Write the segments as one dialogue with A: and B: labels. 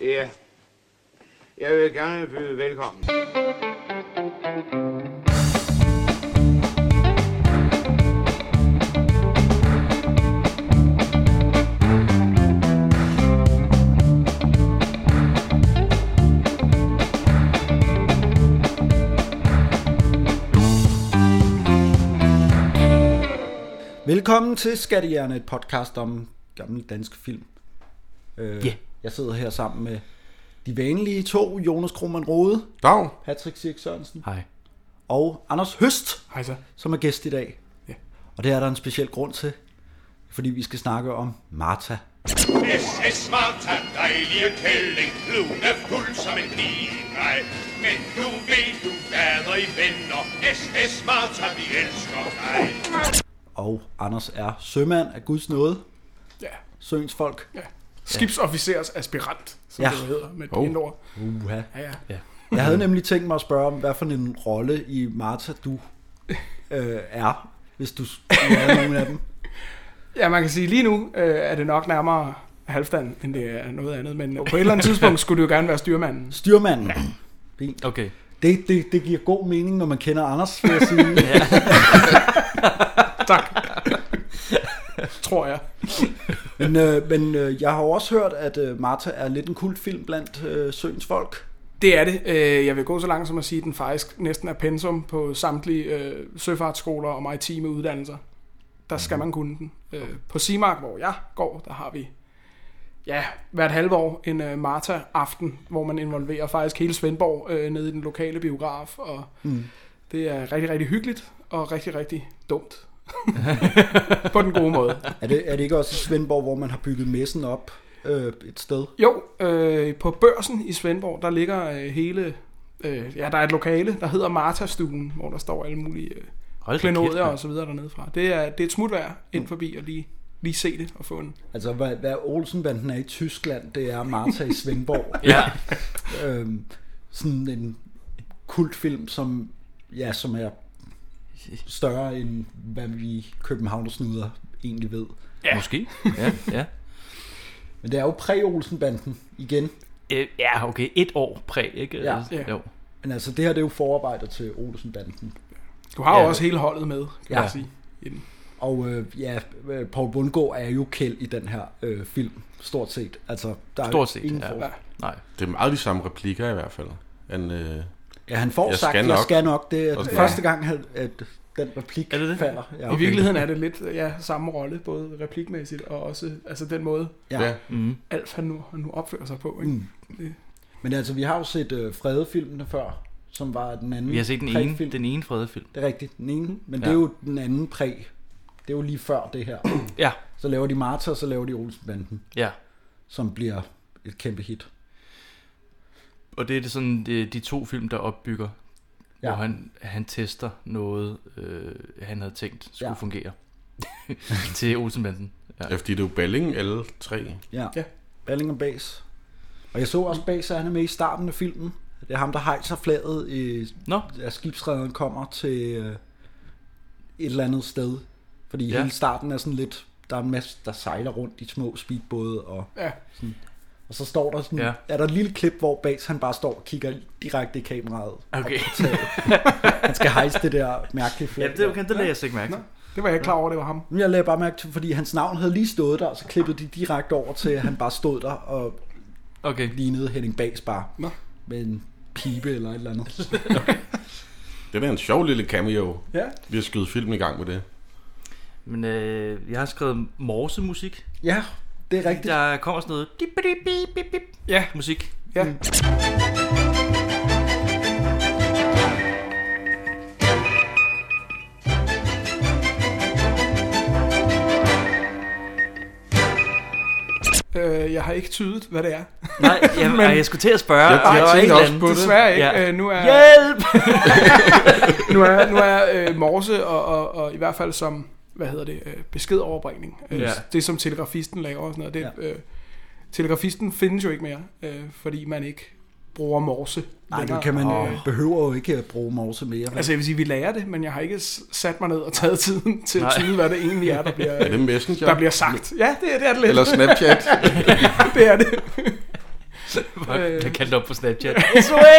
A: Ja. Jeg vil gerne byde velkommen.
B: Velkommen til Skattehjerne, et podcast om gamle danske film. Øh,
C: Ja.
B: Jeg sidder her sammen med de vanlige to, Jonas Krohmann Rode,
D: Dag.
B: Patrick Sirk Sørensen
C: Hej.
B: og Anders Høst,
D: Hej så.
B: som er gæst i dag.
D: Ja.
B: Og det er der en speciel grund til, fordi vi skal snakke om Martha.
E: Es ist Martha, dejlige kælling, lune fuld som en pige. Men nu ved du, bader i venner. Es ist Martha, vi elsker dig.
B: Og Anders er sømand af Guds nåde,
F: Ja,
B: sønsfolk.
F: ja. Skibsofficers aspirant, som
B: Ja.
F: ja. det hedder med et oh. ord.
B: Uha.
F: Ja, ja.
C: Ja.
B: Jeg havde nemlig tænkt mig at spørge om, hvad for en rolle i Martha du øh, er, hvis du s- du er nogen af dem.
F: ja, man kan sige, lige nu øh, er det nok nærmere halvstand, end det er noget andet. Men på et eller andet tidspunkt skulle det jo gerne være styrmanden.
B: Styrmanden. Fint.
C: Okay.
B: Det, det, det giver god mening, når man kender Anders, vil jeg sige.
F: Tror jeg.
B: men øh, men øh, jeg har jo også hørt, at øh, Martha er lidt en kult film blandt øh, søens folk.
F: Det er det. Øh, Jeg vil gå så langt som at sige, at den faktisk næsten er pensum på samtlige øh, søfartsskoler og maritime uddannelser. Der skal man kunne den. Øh, På Simark, hvor jeg går, der har vi ja, hvert halve år en øh, Marta-aften, hvor man involverer faktisk hele Svendborg øh, nede i den lokale biograf. Og mm. Det er rigtig, rigtig hyggeligt og rigtig, rigtig dumt. på den gode måde.
B: Er det, er det ikke også i Svendborg, hvor man har bygget messen op øh, et sted?
F: Jo, øh, på børsen i Svendborg, der ligger øh, hele... Øh, ja, der er et lokale, der hedder Marta-stuen, hvor der står alle mulige øh,
C: Hold da kæft,
F: klenodier
C: mand. Mm.
F: og så videre dernede fra. Det er, det er et smutvær ind forbi og lige, lige se det og få en...
B: Altså, hvad, hvad Olsenbanden er i Tyskland, det er Martha i Svendborg.
C: Ja.
B: øhm, sådan en kultfilm, som, ja, som er større end hvad vi københavnersnuder egentlig ved.
C: ja. Måske. Ja, ja.
B: Men det er jo præ-Olsenbanden igen.
C: Øh, ja, okay. Et år præg, ikke?
B: Ja.
C: Altså,
F: Ja.
C: Jo.
B: Men altså, det her det er jo forarbejder til Olsenbanden.
F: Du har jo
C: Ja.
F: også hele holdet med, kan
B: Ja.
F: man sige. i den.
B: Og øh, ja, øh, Paul Bundgaard er jo kæld i den her øh, film, stort set. Altså, der er
C: Stort set,
B: ingen
C: ja.
B: forskel.
C: Nej.
D: Det er meget de samme replikker i hvert fald. Han, øh,
B: ja. han får
D: Jeg
B: sagt,
D: skal
B: jeg
D: nok."
B: skal nok. Det er
D: Og-
B: okay.
D: Ja.
B: første gang, han, at den replik
C: Er det det?
B: falder. Ja,
F: I virkeligheden er det lidt øh, ja, samme rolle, både replikmæssigt og også altså den måde,
B: Ja.
D: ja.
F: Alf han nu, han nu opfører sig på. Ikke? Mm.
B: Men altså, vi har jo set øh, fredefilmene før, som var den anden
C: Vi har set den
B: prægfilm.
C: ene, den ene fredefilm.
B: Det er rigtigt, den ene. Men ja.
C: Ja.
B: det er jo den anden præg. Det er jo lige før det her.
C: Ja.
B: Så laver de Martha, og så laver de Olsenbanden,
C: Ja.
B: som bliver et kæmpe hit.
C: Og det er det sådan det, de to film, der opbygger, ja.
B: Ja.
C: hvor han, han tester noget, øh, han havde tænkt skulle
B: Ja.
C: ja. fungere til Olsenbanden. Ja.
D: ja, fordi det er jo Balling alle tre.
B: Ja. ja.
F: Ja.
B: Balling og Bas. Og jeg så også Bas, at han er med i starten af filmen. Det er ham, der hejser flaget, i,
C: Nå,
B: at skibsrederen kommer til øh, et eller andet sted. Fordi ja.
C: Ja.
B: hele starten er sådan lidt, der er en masse, der sejler rundt i små speedbåde. Og,
F: Ja.
B: og så står der sådan, ja.
C: Ja.
B: er der et lille klip, hvor Bas han bare står og kigger direkte i kameraet.
C: okay.
B: Han skal hejse det der mærkelige flag.
C: ja, det er okay, det lader jeg slet ikke mærke til.
F: Det var jeg ikke klar over, det var ham.
B: Men Jeg lagde bare mærke til, fordi hans navn havde lige stået der, og så klippede de direkte over til, at han bare stod der og
C: Okay.
B: lignede Henning Bags bare
F: Nå.
B: med en pibe eller et eller andet.
D: Det er en sjov lille cameo.
F: Ja.
D: Vi har skudt film i gang med det.
C: Men øh, jeg har skrevet morsemusik.
B: Ja, det er rigtigt.
C: Der kommer sådan noget dip, dip, dip, dip, dip,
F: Ja.
C: musik.
F: ja. Øh, Øh, jeg har ikke tydet, hvad det er.
C: Nej, jeg, Men, jeg skulle til at spørge.
D: Jeg-
C: og
D: jeg
C: var
D: tænkte
C: et eller
D: også
C: andet.
D: på det.
F: Desværre ikke.
C: Ja.
F: Øh, nu er,
C: Hjælp!
F: nu er, nu er øh, morse og, og, og i hvert fald som, hvad hedder det, øh, beskedoverbringning. Øh,
C: Ja.
F: Det som telegrafisten laver og sådan noget. Det, øh, telegrafisten findes jo ikke mere, øh, fordi man ikke bruger morse.
B: Nej,
F: længere.
B: det kan man
F: Og,
B: oh. behøver jo ikke at bruge morse mere.
F: Altså jeg vil sige, vi lærer det, men jeg har ikke s- sat mig ned og taget tiden til at
C: Nej.
F: tyde, hvad det egentlig er, der bliver,
D: Er det Messenger?
F: der bliver sagt. Ja, det, er- det er det lidt.
D: Eller Snapchat?
F: det er det.
C: Jeg bliver kaldt op på Snapchat.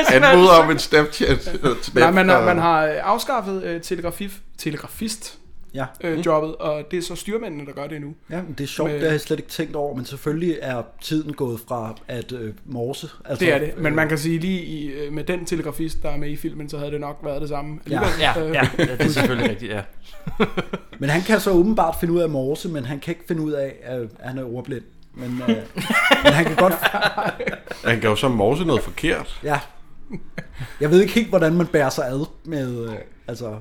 D: Han møder om en Snapchat.
F: Nej, man, har- man har øh, afskaffet øh, telegrafif, telegrafist
B: Ja.
F: øh, jobbet, og det er så styrmændene, der gør det nu.
B: Ja, men det er sjovt,
F: Men-
B: det har jeg slet ikke tænkt over, men selvfølgelig er tiden gået fra at øh, morse. Altså,
F: Det er det, men man kan sige lige i, øh, med den telegrafist, der er med i filmen, så havde det nok været det samme.
B: Ja.
F: alligevel.
C: Ja,
F: Øh,
C: ja, ja, det er selvfølgelig rigtigt, ja.
B: øh, Men han kan så åbenbart finde ud af at morse, men han kan ikke finde ud af, at han er ordblind. Men, øh, men han kan godt...
D: Han kan jo så morse noget forkert.
B: Ja. Jeg ved ikke helt, hvordan man bærer sig ad med... Øh, altså,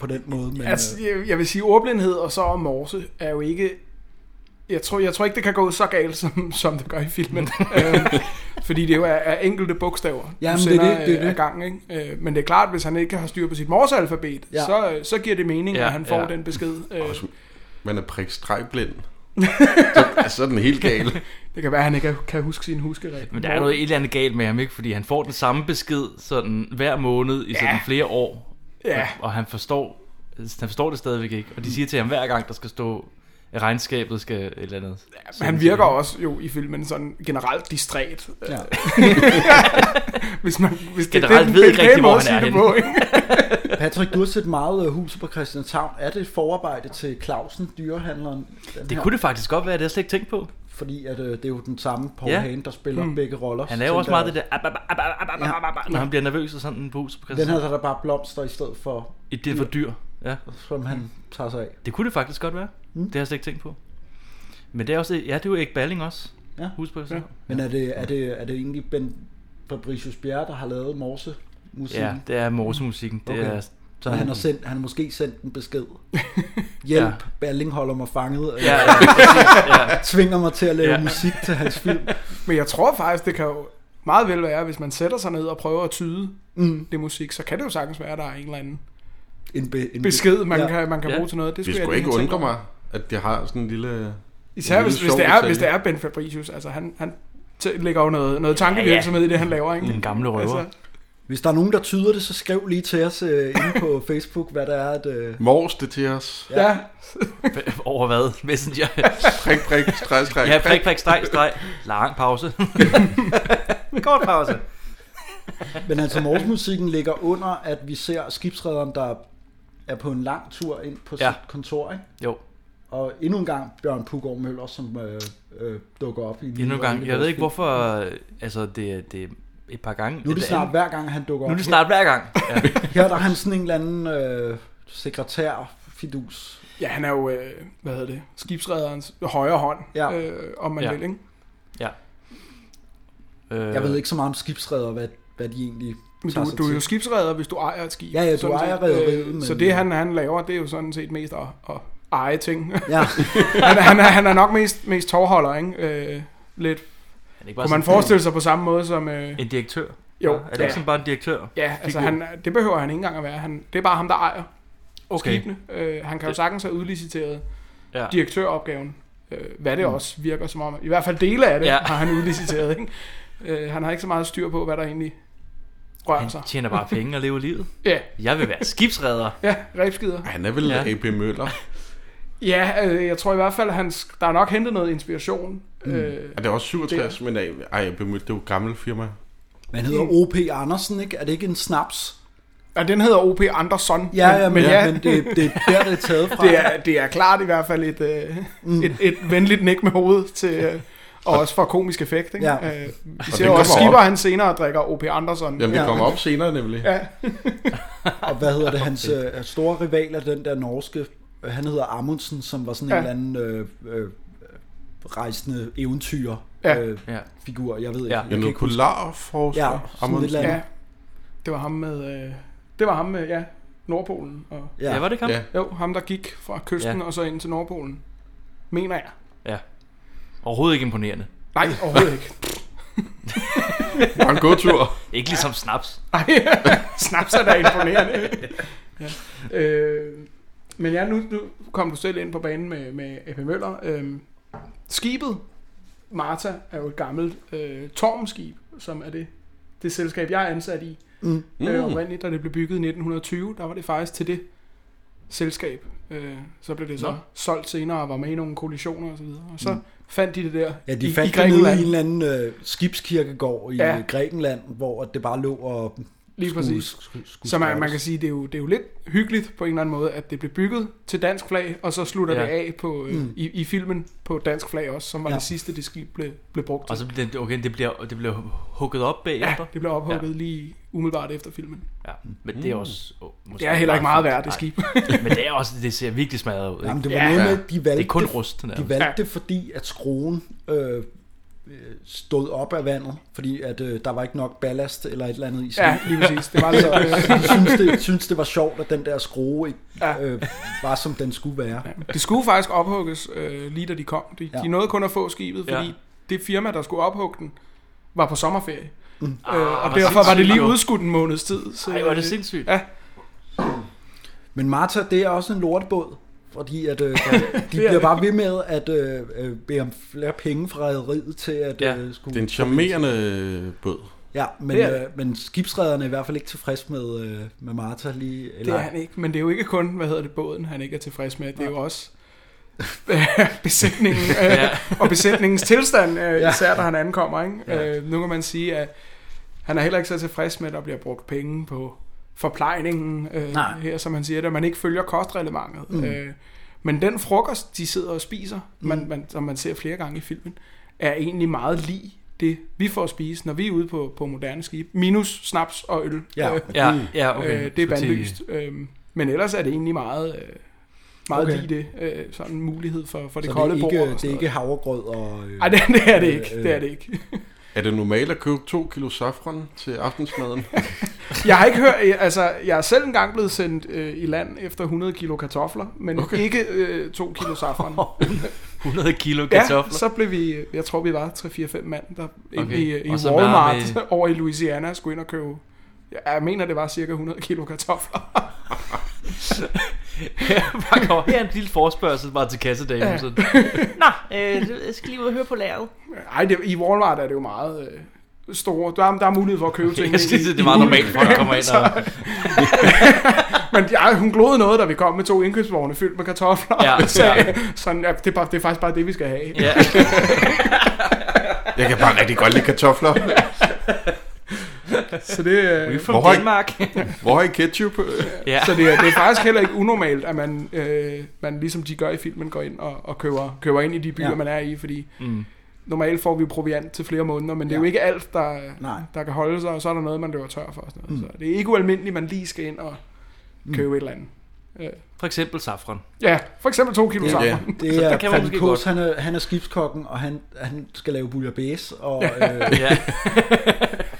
B: på den måde. Men,
F: Altså,
B: øh,
F: jeg, jeg vil sige, ordblindhed og så morse er jo ikke... Jeg tror, jeg tror ikke, det kan gå så galt, som, som det gør i filmen. øhm, fordi det jo er, er enkelte bogstaver,
B: Jamen,
F: du
B: det er
F: sender
B: det, det er
F: øh,
B: det.
F: af gang. Ikke? Øh, men det er klart, hvis han ikke har styr på sit morsealfabet,
B: Ja.
F: ja. så, så giver det mening, ja,
C: Ja,
F: at han får
C: ja.
F: ja. den besked. Øh,
D: Man er prik stregblind. så, så er den helt gal.
F: det kan være, at han ikke kan huske sin huskeregel.
C: Men der er noget et eller andet galt med ham, ikke? Fordi han får den samme besked sådan hver måned i sådan
F: Ja.
C: flere år.
F: Ja.
C: Og, og han forstår, altså, han forstår det stadigvæk ikke. Og de siger til ham hver gang, der skal stå, at regnskabet skal et eller andet.
F: Men han virker også jo i filmen sådan generelt distræt.
B: øh, ja.
F: Hvis man, hvis det,
C: Generelt
F: det,
C: ved
F: det,
C: ikke rigtig, hvor han er henne.
F: På, ikke?
B: Patrick, du har set meget øh, huset på Christianshavn. Er det et forarbejde til Clausen, dyrehandleren? Den
C: Det
B: her?
C: kunne det faktisk godt være, det har jeg slet ikke tænkt på.
B: Fordi at, øh, det er jo den samme Paul
C: Ja.
B: ja. Hagen, der spiller mm. begge roller.
C: Han
B: så
C: er jo også
B: tænker jeg,
C: meget det der, ab, ab, ab, ab, ab, ab, ab, ab, når han bliver nervøs og sådan på huset på
B: Den her
C: Christianshavn.
B: der er der bare blomster i stedet for,
C: Det er for dyr. Ja,
B: som
C: Mm.
B: han tager sig af.
C: det kunne det faktisk godt være. Det har jeg slet ikke tænkt på. Men det er også, ja, det er jo ikke Balling også.
B: Ja.
C: Huset på Christianshavn.
B: Men er det, er det, er det egentlig Ben Fabricius Bjerre, der har lavet morse musik?
C: Ja, det er morsemusikken. Det
B: Okay.
C: er
B: Så han har, sendt, han har måske sendt en besked. Hjælp, ja. Balling holder mig fanget, og
C: Ja,
B: ja.
C: ja, præcis, ja.
B: tvinger mig til at lave
C: Ja.
B: ja. musik til hans film.
F: Men jeg tror faktisk, det kan jo meget vel være, hvis man sætter sig ned og prøver at tyde mm. det musik, så kan det jo sagtens være, at der er en eller anden
B: En be, en
F: besked, man,
B: Mm. ja.
F: ja. kan, man kan
C: Ja.
F: bruge til noget.
D: Det
F: Det jeg
D: skulle
F: lige
D: ikke
F: have tænkt
D: undre
F: over.
D: mig, at det har sådan en lille...
F: Især
D: en
F: hvis,
D: lille
F: hvis,
D: sjov
F: det er,
D: detalje.
F: hvis det er Ben Fabricius. Altså, han, han t- lægger jo noget, noget tankevirksomhed ja, ja. i det, han laver. Ikke? Altså,
C: Den gamle røver.
B: Hvis der er nogen, der tyder det, så skriv lige til os øh, inde på Facebook, hvad der er. At, øh,
D: Mors det til os.
F: ja. ja.
C: Over hvad? Messenger.
D: Prik, prik, streg, streg,
C: Ja, prik, prik, streg, streg. Lang pause. Kort pause.
B: men altså, morsemusikken ligger under, at vi ser skibsrederen, der er på en lang tur ind på
C: Ja.
B: ja. sit kontor, ikke?
C: Jo,
B: Og endnu en gang Bjørn Pugård Møller, som øh, øh, dukker op i nye
C: endnu en gang.
B: øjne i
C: Jeg
B: vores
C: ved ikke,
B: film.
C: hvorfor... Altså, det, er- det er et par gange.
B: Nu er det snart
C: andet-
B: hver gang, han dukker op.
C: Nu er det snart hver gang. Ja.
B: Her, her der er han sådan en eller anden øh, sekretær fidus.
F: ja, han er jo, øh, hvad hedder det, skibsrederens højre hånd,
B: Ja.
F: ja. øh, om man
C: Ja.
F: ja. vil. Ikke?
C: Øh,
B: Jeg ved ikke så meget om skibsredder, hvad, hvad de egentlig
F: Men
B: tager
F: du,
B: sig
F: du er jo
B: til.
F: skibsreder, hvis du ejer et skib.
B: Ja, ja, du
F: Sådan
B: ejer
F: set.
B: rederiet,
F: Øh,
B: men-
F: Så det, han, han laver, det er jo sådan set mest at, at eje ting.
B: Ja,
F: han, han, er, han er nok mest, mest tovholder, ikke? Øh, lidt.
C: er det ikke
F: Kunne
C: bare
F: man
C: sådan
F: forestille sig på samme måde som... Øh,
C: En direktør?
F: jo,
C: Er det
F: ja,
C: ikke sådan bare en direktør?
F: ja altså han, det behøver han ikke engang at være. Han, det er bare ham, der ejer okay. skibene. Øh, han kan jo
C: Det-
F: sagtens have udliciteret
C: Ja.
F: direktøropgaven. Øh, hvad det også virker som om. I hvert fald dele af det
C: Mm. Ja.
F: ja. har han udliciteret. Ikke? Øh, han har ikke så meget styr på, hvad der egentlig rører sig.
C: Han tjener bare penge og lever livet.
F: Ja,
C: Jeg vil være skibsredder.
F: ja rebskider.
D: Ah, Han er vel
C: Ja.
D: ja. A.P. Møller.
F: Ja, øh, jeg tror i hvert fald, hans, der er nok hentet noget inspiration. Mm. Øh,
D: Er det også 67, men øh, ej, A.P. Møller, det er jo et gammelt firma.
B: man hedder O.P. Andersen, ikke? Er det ikke en snaps?
F: og den hedder O.P. Andersson.
B: Ja, ja, men, ja. men
F: det,
B: det, det er der, det er taget fra.
F: det, er, det er klart i hvert fald et, øh, mm. et, et venligt nik med hovedet til... Øh, og også for komisk effekt, ikke?
B: Ja.
F: Øh, vi
D: den
F: ser jo også
D: kommer
F: Skipper,
D: op.
F: han senere drikker O.P. Andersen.
D: Jamen, det
B: Ja.
D: kommer op senere nemlig.
F: Ja.
B: Og hvad hedder det? Hans øh, store rival er den der norske, øh, han hedder Amundsen, som var sådan ja.
F: Ja.
B: en eller anden øh, øh, rejsende eventyr.
F: Ja.
B: Øh,
C: Ja.
B: figur, jeg ved ikke.
C: Ja.
B: Jeg
D: Jeg
B: kan
D: nåede
B: ikke huske.
D: polarforsker.
B: Ja, sådan et eller andet.
F: ja. Det var ham med... Øh, det var ham med, ja, Nordpolen. Og,
C: Ja, var det ikke ham?
D: Ja.
F: jo, ham der gik fra kysten
C: Ja.
F: ja. og så ind til Nordpolen. Mener jeg.
C: Ja. Overhovedet ikke imponerende.
F: Nej, overhovedet ikke.
D: Det var en god tur.
C: Ikke ligesom snaps.
F: Nej, snaps er da imponerende. ja. øh, men ja, nu, nu kom du selv ind på banen med, med AP Møller. Øh, skibet, Marta, er jo et gammelt øh, tormskib, som er det, det selskab, jeg er ansat i. Mm. Øh, oprindeligt, da det blev bygget i 1920, der var det faktisk til det selskab. Øh, så blev det så
C: Nå.
F: solgt senere og var med i nogle kollisioner og så videre. Og så mm. fandt de det der
B: Ja, de
F: i,
B: fandt
F: i
B: det nede i
F: Grækenland.
B: en eller anden øh, skibskirkegård i
F: Ja.
B: ja. Grækenland, hvor at det bare lå og
F: Lige præcis.
B: skulle, skulle
F: Så man, man
B: skrottes.
F: kan sige, det er, jo, det er jo lidt hyggeligt på en eller anden måde, at det blev bygget til dansk flag, og så slutter
C: Ja.
F: ja. det af på, øh, mm.
B: Mm.
F: i, i filmen på dansk flag også, som var ja.
B: Ja.
F: det sidste, det skib blev, blev brugt
C: Og
F: til.
C: så bliver det, okay, det bliver, det bliver hugget op
F: Ja,
C: bagefter.
F: det blev ophugget ja. lige umiddelbart efter filmen.
C: Ja, men det er også... Oh, måske
F: Mm. Det er heller ikke meget værd, det
C: Nej,
F: skib.
C: Men det er også, det ser virkelig smadret ud. Ikke?
B: Jamen,
C: det,
B: det var
F: Ja.
B: ja. noget
D: Ja.
B: med, at de valgte,
C: det er kun rust, Ah, den er.
B: de valgte det, fordi at skruen øh, øh, stod op af vandet, fordi at øh, der var ikke nok ballast eller et eller andet i skibet.
F: ja,
B: Ja.
F: lige præcis. Det var lidt,
B: Så
F: øh,
B: øh, de synes det, synes, det var sjovt, at den der skrue ikke
F: Ja.
B: øh, var, som den skulle være.
F: det skulle faktisk ophugges, øh, lige da de kom. De, ja.
B: Ja.
F: de nåede kun at få skibet, fordi ja.
C: Ja.
F: det firma, der skulle ophugge den, var på sommerferie. Mm. Øh, og
C: hvor
F: derfor var det lige
C: sindssygt.
F: udskudt en måneds tid. Så,
C: Ah, Ej, var det
F: øh,
C: sindssygt.
F: Ja,
B: Men Marta, det er også en lortebåd, fordi at, øh, de bliver bare ved med at øh, øh, bede om flere penge fra rederiet til at
C: Ja.
B: øh, skulle...
D: Det er en charmerende båd.
B: Ja, men,
F: Det er det.
B: øh, men skibsrederne er i hvert fald ikke tilfreds med, øh, med Marta lige.
F: Det
B: Eller,
F: er han ikke, men det er jo ikke kun, hvad hedder det, båden, han ikke er tilfreds med. Det er jo også besætningen øh, ja. og besætningens tilstand, øh, især da han ankommer. Ikke? Ja. Øh, nu kan man sige, at han er heller ikke så tilfreds med, at der bliver brugt penge på forplejningen øh,
B: Nej.
F: her, som han siger, at man ikke følger kostrelementet. Mm. Øh, men den frokost, de sidder og spiser, man, man, som man ser flere gange i filmen, er egentlig meget lig det, vi får at spise, når vi er ude på, på moderne skibe. Minus snaps og øl. Øh,
B: Ja.
C: Ja, ja, okay.
F: Okay, øh, det er
C: Skulle til-
F: bandlyst. Øh, men ellers er det egentlig meget, øh, meget okay.
B: Okay.
F: lige det. Øh, sådan en mulighed for, for det
B: så
F: kolde
B: det er
F: bord.
B: ikke,
F: og
B: det er
F: sådan
B: ikke havregrød og... Øh,
F: noget. Ej, det, det er det
B: øh,
F: ikke.
B: øh,
F: Det er det ikke.
D: Er det normalt at købe to kilo safran til aftensmaden?
F: Jeg har ikke hørt, altså, jeg er selv engang blevet sendt øh, i land efter 100 kilo kartofler, men okay. ikke øh, 2 kilo safran.
C: 100 kilo
F: ja,
C: Oh, kartofler.
F: så blev vi, øh, jeg tror vi var 3-4-5 mand, der okay.
C: Okay,
F: i, øh, i
C: og så
F: Walmart
C: meget med-
F: over i Louisiana skulle ind og købe, Ja, jeg mener det var cirka 100 kilo kartofler.
C: Bare kom, her er en lille forspørgsel bare til kassedagen.
F: Ja.
C: Ja. Sådan. Nå, øh, jeg skal lige ud og høre på lageret.
F: Ej, det, i Walmart er det jo meget øh, store. Der, er- der er mulighed for at købe ting.
C: Jeg skal
F: i-
C: sige, det
F: i
C: er meget
F: hul.
C: normalt, folk kommer ind og...
F: Men ja, hun glodede noget, da vi kom med to indkøbsvogne fyldt med kartofler.
C: Ja,
F: Ja,
C: ja.
F: så, ja. Sådan, ja, det, er bare, det er faktisk bare det, vi skal have. Ja.
C: Ja,
D: Jeg kan bare rigtig godt lide kartofler.
F: Så, det,
C: vi er
F: øh,
D: Hvor
C: fra
D: høj-
C: Danmark.
D: Hvor har I ketchup?
C: ja.
F: så det, er- det er faktisk heller ikke unormalt, at man, øh, man ligesom de gør i filmen, går ind og, og køber, køber ind i de byer, ja.
B: Ja.
F: man er i. Fordi
C: Mm.
F: normalt får vi jo proviant til flere måneder, men det er jo
B: Ja.
F: ikke alt, der,
B: Nej.
F: der kan holde sig, og så er der noget, man løber tør for. Og sådan noget. Mm. Så det er ikke ualmindeligt, man lige skal ind og
B: Mm.
F: købe et eller andet.
C: For eksempel safran.
F: Ja, for eksempel to kilo
B: Det-
F: sammen.
D: ja.
B: Det er
C: kan man måske
B: Paul Kås,
C: godt.
B: han er, han er skibskokken, og han, han skal lave bouillabaisse, og øh,
C: Ja,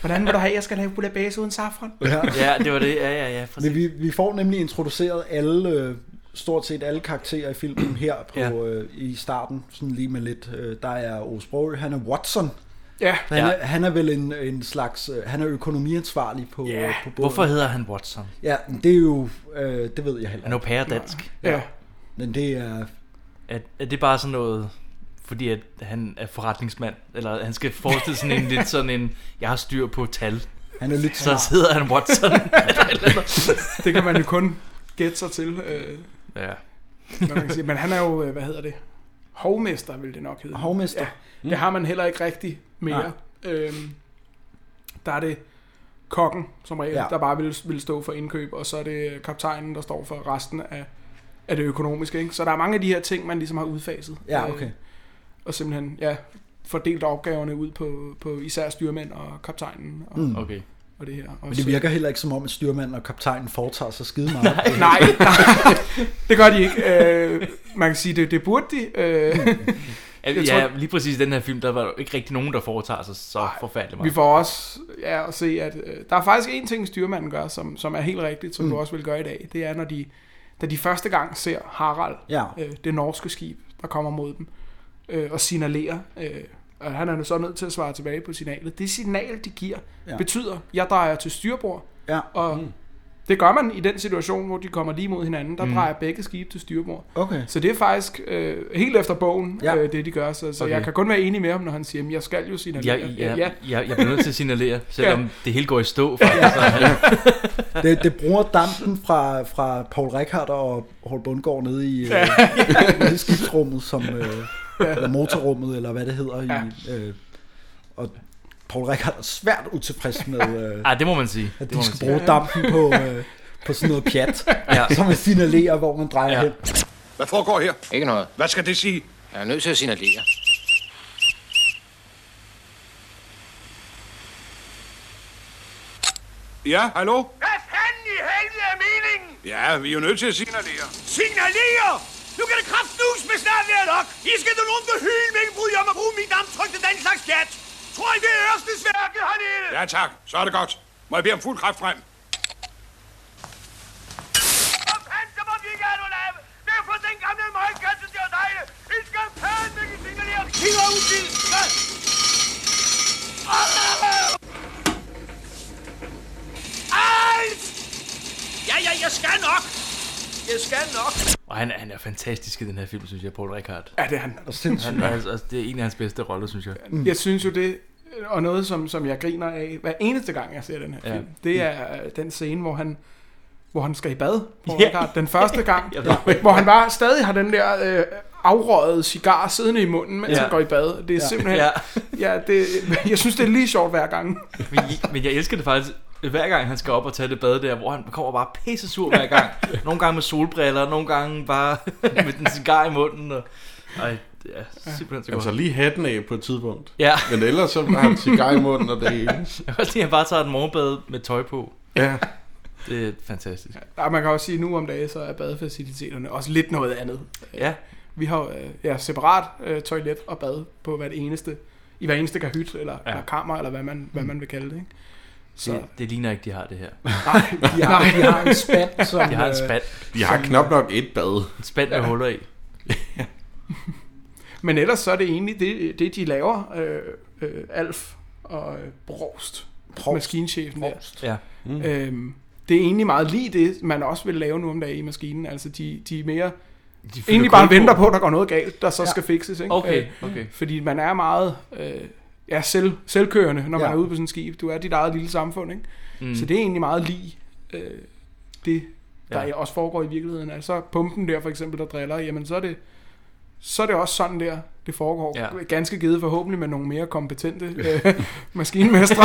F: Hvordan vil du have, at jeg skal lave bouillabaisse uden safran?
B: ja.
C: ja, det var det. Ja, ja, ja.
B: Men
C: Præcis.
B: vi, vi får nemlig introduceret alle, øh, stort set alle karakterer i filmen her på,
C: Ja.
B: ja. øh, i starten, sådan lige med lidt. Øh, der er Osbro, han er Watson.
F: Ja,
B: Han, ja.
C: Ja.
B: er, han er vel en, en slags, øh, han er økonomiansvarlig på,
F: Ja,
B: øh, på båden.
C: Hvorfor hedder han Watson?
B: Ja, men det er jo, øh, det ved jeg heller
C: Han er
B: ikke.
C: jo pæredansk.
F: ja.
B: Men det er,
C: Er, er det bare sådan noget, fordi at han er forretningsmand, eller han skal forestille sådan en lidt sådan en, jeg har styr på tal,
B: han er lidt
C: så sidder han Watson.
F: Det kan man jo kun gætte sig til. Øh,
C: ja.
F: hvad man kan sige. Men han er jo, øh, hvad hedder det? Hovmester, vil det nok hedde.
B: Hovmester.
F: Ja, det har man heller ikke rigtig mere. Øhm, der er det kokken, som regel, ja.
B: Ja.
F: der bare vil, vil stå for indkøb, og så er det øh, kaptajnen, der står for resten af, af det økonomiske. Ikke? Så der er mange af de her ting, man ligesom har udfaset.
B: Ja,
F: Øh,
B: okay.
F: og simpelthen, ja, fordelt opgaverne ud på, på især styrmænd og kaptajnen og, mm.
B: Mm.
C: Okay.
F: og det her. Og
B: Men det virker heller ikke som om, at styrmanden og kaptajnen foretager sig skide meget.
F: Nej, nej, det gør de ikke. Øh, man kan sige, det, det burde de. Øh,
B: Mm.
F: Jeg
C: Jeg
F: tror-
C: ja, lige præcis i den her film, der var der jo ikke rigtig nogen, der foretager sig så forfærdeligt
F: vi
C: meget.
F: får også ja, at se, at øh, der er faktisk en ting, styrmanden gør, som, som er helt rigtigt, som mm. du også vil gøre i dag. Det er, når de, da de første gang ser Harald,
B: Ja.
F: øh, det norske skib, der kommer mod dem, øh, og signalerer, øh, og han er nu så nødt til at svare tilbage på signalet. Det signal, de giver, ja.
B: Ja.
F: betyder, jeg drejer til styrbord,
B: Ja.
F: og mm. Det gør man i den situation, hvor de kommer lige mod hinanden. Der mm. drejer begge skibe til styrbord.
B: Okay.
F: Så det er faktisk øh, helt efter bogen,
B: Ja.
F: ja. øh, det de gør. Så, så okay.
C: Okay.
F: jeg kan kun være enig med ham, når han siger, at jeg skal jo signalere.
C: Jeg, jeg, jeg, jeg, jeg bliver nødt til at signalere, selvom det hele går i stå. Faktisk.
B: Det, det bruger dampen fra, fra Paul Rickard og Holt Bundgaard nede i, øh, nede i skibsrummet, som, øh, eller motorrummet, eller hvad det hedder. I, øh, og Paul Rickard er svært utilfreds med, øh,
C: Ej, det må man sige.
B: at
C: Det må
B: de
C: man
B: skal
C: sige.
B: bruge dampen på, øh, på sådan noget pjat,
C: Ja.
B: som man signalerer, hvor man drejer
C: Ja.
B: hen.
E: Hvad foregår her?
G: Ikke noget.
E: Hvad skal det sige?
G: Jeg er nødt til at signalere.
E: Ja, hallo? Hvad fanden i helvede er meningen? Ja, vi er jo nødt til at signalere. Signalere? Nu kan det kraftnus med snart være nok. I skal da nogen behyle med ikke bryde jer om at bruge mit damptryk til den slags gat. Tror I, det er Ørsteds værke hernede? Ja tak, så er det godt. Må jeg bede om fuld kraft frem? Ja, ja, jeg skal nok. Jeg skal nok.
C: Og han, er- han er fantastisk i den her film, synes jeg, Paul Rickard.
F: Ja, det er han. Mm.
B: Og sindssygt.
C: Han er, altså, altså, det er en af hans bedste roller, synes jeg.
F: Jeg synes jo det, og noget som, som jeg griner af hver eneste gang, jeg ser den her
C: Ja.
F: film, det er øh, den scene, hvor han hvor han skal i bad, Paul
C: Ja.
F: Rickard, den første gang,
C: Jeg ved.
F: hvor han bare stadig har den der øh, afrøget cigar siddende i munden, mens
C: Ja.
F: han går i bad. Det er ja. simpelthen, ja.
C: Ja.
F: Ja, det, jeg synes, det er lige sjovt hver gang.
C: Men, men jeg elsker det faktisk hver gang han skal op og tage det bad der, hvor han kommer bare pisse sur hver gang. Nogle gange med solbriller, nogle gange bare med den cigar i munden. Og... Ej, det er simpelthen så godt.
D: Altså lige hatten af på et tidspunkt.
C: Ja,
D: Men ellers så har han cigar i munden og det hele.
C: også lige han bare tager et morgenbad med tøj på.
D: Ja.
C: Det er fantastisk.
F: Ja, man kan også sige, at nu om dagen, så er badefaciliteterne også lidt noget andet.
C: Ja,
F: Vi har øh, ja, separat øh, toilet og bad på hvert eneste, i hver eneste kahyt, eller, ja. Mm.
C: Ja.
F: eller kammer, eller hvad man, hvad man vil kalde det. Ikke? Så,
C: det, det ligner ikke, de har det her.
F: nej,
B: De har, de har en spand, som...
C: De har en
B: øh,
C: spand,
D: De har knap nok et bad.
C: en spand med huller i.
F: Men ellers så er det egentlig det, det de laver, øh, øh, Alf og øh, Brost, Prost. maskinchefen Prost.
C: Ja.
F: der. Øhm, det er egentlig meget lige det, man også vil lave nu om dagen i maskinen. Altså de, de er mere
C: De fylder
F: egentlig bare
C: kul på.
F: venter på, at der går noget galt, der så ja. skal fikses. Ikke? Øh,
C: Okay, okay.
F: fordi man er meget øh, ja, selv, selvkørende, når man
B: Ja.
F: er ude på sådan et skib. Du er dit eget lille samfund. Ikke? Mm. Så det er egentlig meget lige øh, det, der ja.
C: Ja.
F: også foregår i virkeligheden. Altså pumpen der for eksempel, der driller, jamen så er det, så er det også sådan der, det foregår. Ja.
C: Ja.
F: Ganske givet forhåbentlig med nogle mere kompetente øh, maskinmestre.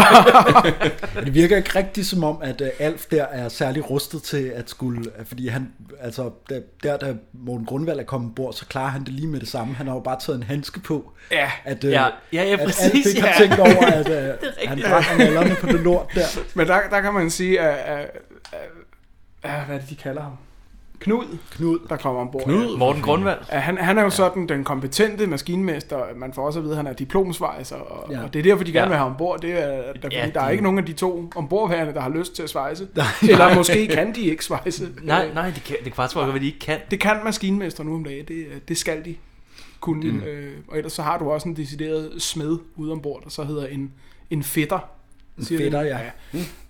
B: Men Det virker ikke rigtigt som om, at øh, Alf der er særlig rustet til at skulle, øh, fordi han, altså der, der da Morten Grundvald er kommet ombord, så klarer han det lige med det samme. Han har jo bare taget en handske på.
F: ja.
B: At, øh,
C: Ja, ja, ja,
B: At Alf
C: præcis,
B: ikke har
C: ja.
B: tænkt over, at øh, han brænder nallerne på det lort der.
F: Men der, der kan man sige, at, at, at, at hvad er det, de kalder ham? Knud,
B: Knud.
F: der kommer ombord.
C: Morten Grundvald.
F: Ja, han, han er jo ja. sådan den kompetente maskinmester. Man får også at vide, at han er diplomsvejser, og,
B: Ja.
F: ja. og det er derfor, de gerne
C: Ja.
F: vil have ham ombord. Det er, der, ja,
C: Ja,
F: der er
C: de-
F: ikke nogen af de to ombordværende, der har lyst til at svejse. Eller måske kan de ikke svejse. Øh,
C: Nej, nej, det kan, det kan faktisk godt være, at de ikke kan.
F: Det kan maskinmester nu om dagen. Det, det skal de kunne. Mm. Øh, og ellers så har du også en decideret smed ude ombord, der så hedder en, en fætter. siger de.
B: fætter, ja.
F: ja.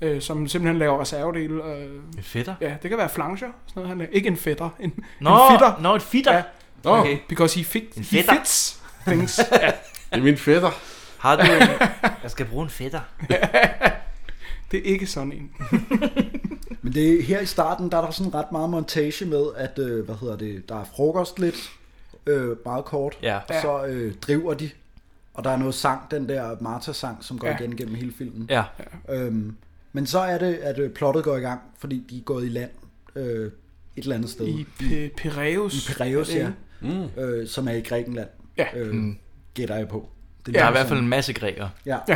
F: Øh, som simpelthen laver reservedele. Øh,
C: En fætter?
F: ja, det kan være flanger. Sådan noget. Han laver. Ikke en fætter. En,
C: Nå,
F: en fitter.
C: nå, et fitter.
F: Ja.
C: Ja. Okay.
F: Because he, fit, he
C: En fætter.
F: fits things.
D: Det er min fætter.
C: Har du en... Jeg skal bruge en fætter.
F: Det er ikke sådan en.
B: Men det er her i starten, der er der sådan ret meget montage med, at, øh, hvad hedder det, der er frokost lidt, øh, meget kort,
C: Ja.
B: og så øh, driver de, og der er noget sang, den der Martha-sang, som går
F: Ja.
B: ja. igen gennem hele filmen.
C: Ja,
B: Øhm, men så er det, at øh, plottet går i gang, fordi de er gået i land øh, et eller andet sted.
F: I P- Piraeus. I
B: Piraeus, ja. Mm. Øh, som er i Grækenland.
F: Ja.
B: Øh, Gætter jeg på. Det
C: der er
B: lyder
C: i hvert fald
B: sådan.
C: en masse grækere.
B: Ja.
D: Der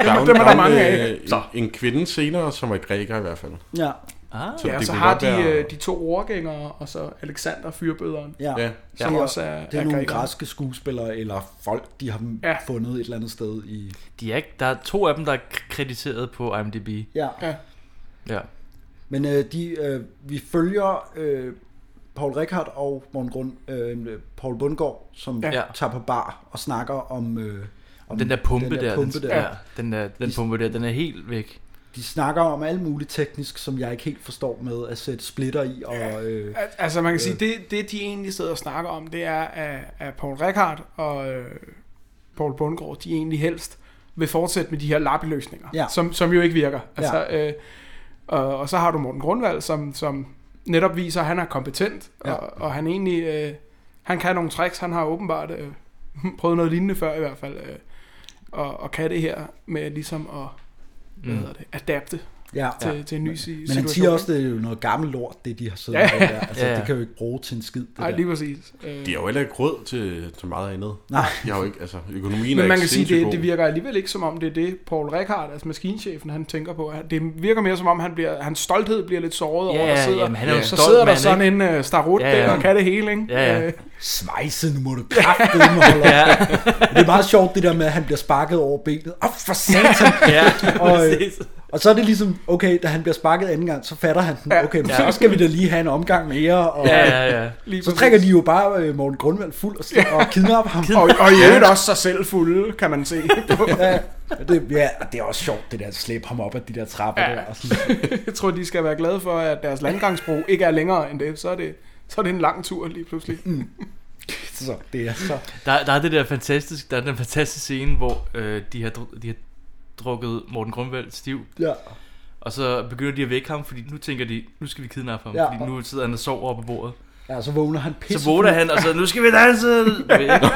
D: er jo
F: Dem er der
D: gammel,
F: mange af.
D: øh, En, en kvinde senere, som er græker i hvert fald.
B: ja.
C: Ah,
D: Så
F: Ja, og
D: det
F: så
D: kunne
F: har
D: godt
F: de
D: være-
F: øh, de to overgængere, og så Alexander fyrbøderen.
B: Ja.
D: Ja.
B: Så
F: Som
B: er-
F: også er-
B: det er
F: er
B: nogle
F: grækere.
B: græske skuespillere eller folk, de har
F: Ja.
B: ja. fundet et eller andet sted i...
C: de er ikke, der er to af dem, der er k- krediteret på IMDb.
B: Ja.
F: Ja.
C: Ja.
B: Men øh, de, øh, vi følger øh, Paul Rickard og Morten Grund, øh, Paul Bundgaard, som
F: Ja.
B: ja. tager på bar og snakker om... Øh, om
C: Den der pumpe
B: den der,
C: der,
B: pumpe
C: den,
B: der.
C: Ja, den der, den pumpe der, den er helt væk.
B: de snakker om alt muligt teknisk, som jeg ikke helt forstår med at sætte splitter i. Og, øh,
F: Al- Altså man kan sige, det, det de egentlig sidder og snakker om, det er, at, at Paul Rickard og øh, Paul Bundgaard, de egentlig helst vil fortsætte med de her lappeløsninger,
B: Ja.
F: som, som jo ikke virker. Altså, øh, og, og så har du Morten Grundvald, som, som netop viser, at han er kompetent,
B: Ja.
F: og, og han egentlig, øh, han kan nogle tricks, han har åbenbart øh, prøvet noget lignende før i hvert fald, øh, og, og kan det her med ligesom at, hvad hedder det, adapte
B: Mm. ja.
F: til, til en ny si- situation.
B: Men han siger også,
F: det.
B: det er jo noget gammelt lort, det de har siddet
F: Ja.
B: med der. Altså,
C: Ja, ja.
B: det kan jo ikke bruge til en skid. Det
F: Nej,
B: der.
F: lige præcis. Øh,
D: De har jo heller ikke råd til, til meget andet.
B: Nej.
D: De har jo ikke, altså, økonomien er
F: Men man
D: ikke
F: kan sige,
D: sindssygt
F: det,
D: god.
F: det virker alligevel ikke som om, det er det, Paul Rickard, altså maskinchefen, han tænker på. Han- Det virker mere som om, han bliver, hans stolthed bliver lidt såret over,
C: Ja,
F: at
C: ja,
F: sidder,
C: jamen, han er jo en
F: så
C: stolt
F: sidder der
C: mand,
F: sådan en uh, starot
C: Ja, ja.
F: der og kan det hele, ikke?
C: Ja, ja.
F: Øh,
B: Svejse, nu må du kraftedeme holde op.
C: Ja,
B: Det er meget sjovt, det der med, at han bliver sparket over benet. Åh, for satan!
C: ja,
B: Og, øh,
C: præcis.
B: Og så er det ligesom, okay, da han bliver sparket anden gang, så fatter han den.
F: Ja.
B: Okay, men
C: Ja.
B: så skal vi da lige have en omgang mere. Og, øh,
C: Ja, ja, ja.
F: lige
B: Så
F: præcis.
B: trækker de jo bare øh, Morten Grundvald fuld og, ja. og kidnapper ham.
F: Og, og i øvrigt også sig selv fulde, kan man se.
B: Ja, og det, ja, og det er også sjovt, det der at slæbe ham op af de der trapper ja. der. Og sådan.
F: Jeg tror, de skal være glade for, at deres landgangsbro ikke er længere end det. Så er det, så er det en lang tur lige pludselig.
B: Så det er så...
C: Der, der er det der fantastisk, der er den fantastiske scene, hvor øh, de, har, dru- de har drukket Morten Grundvald stiv,
B: Ja.
C: og så begynder de at vække ham, fordi nu tænker de, nu skal vi kidnappe ham,
B: Ja.
C: ja. fordi nu sidder han og sover oppe på bordet.
B: ja, så vågner han pisse.
C: Så vågner han, og så, nu skal vi danse! Du ved, ikke?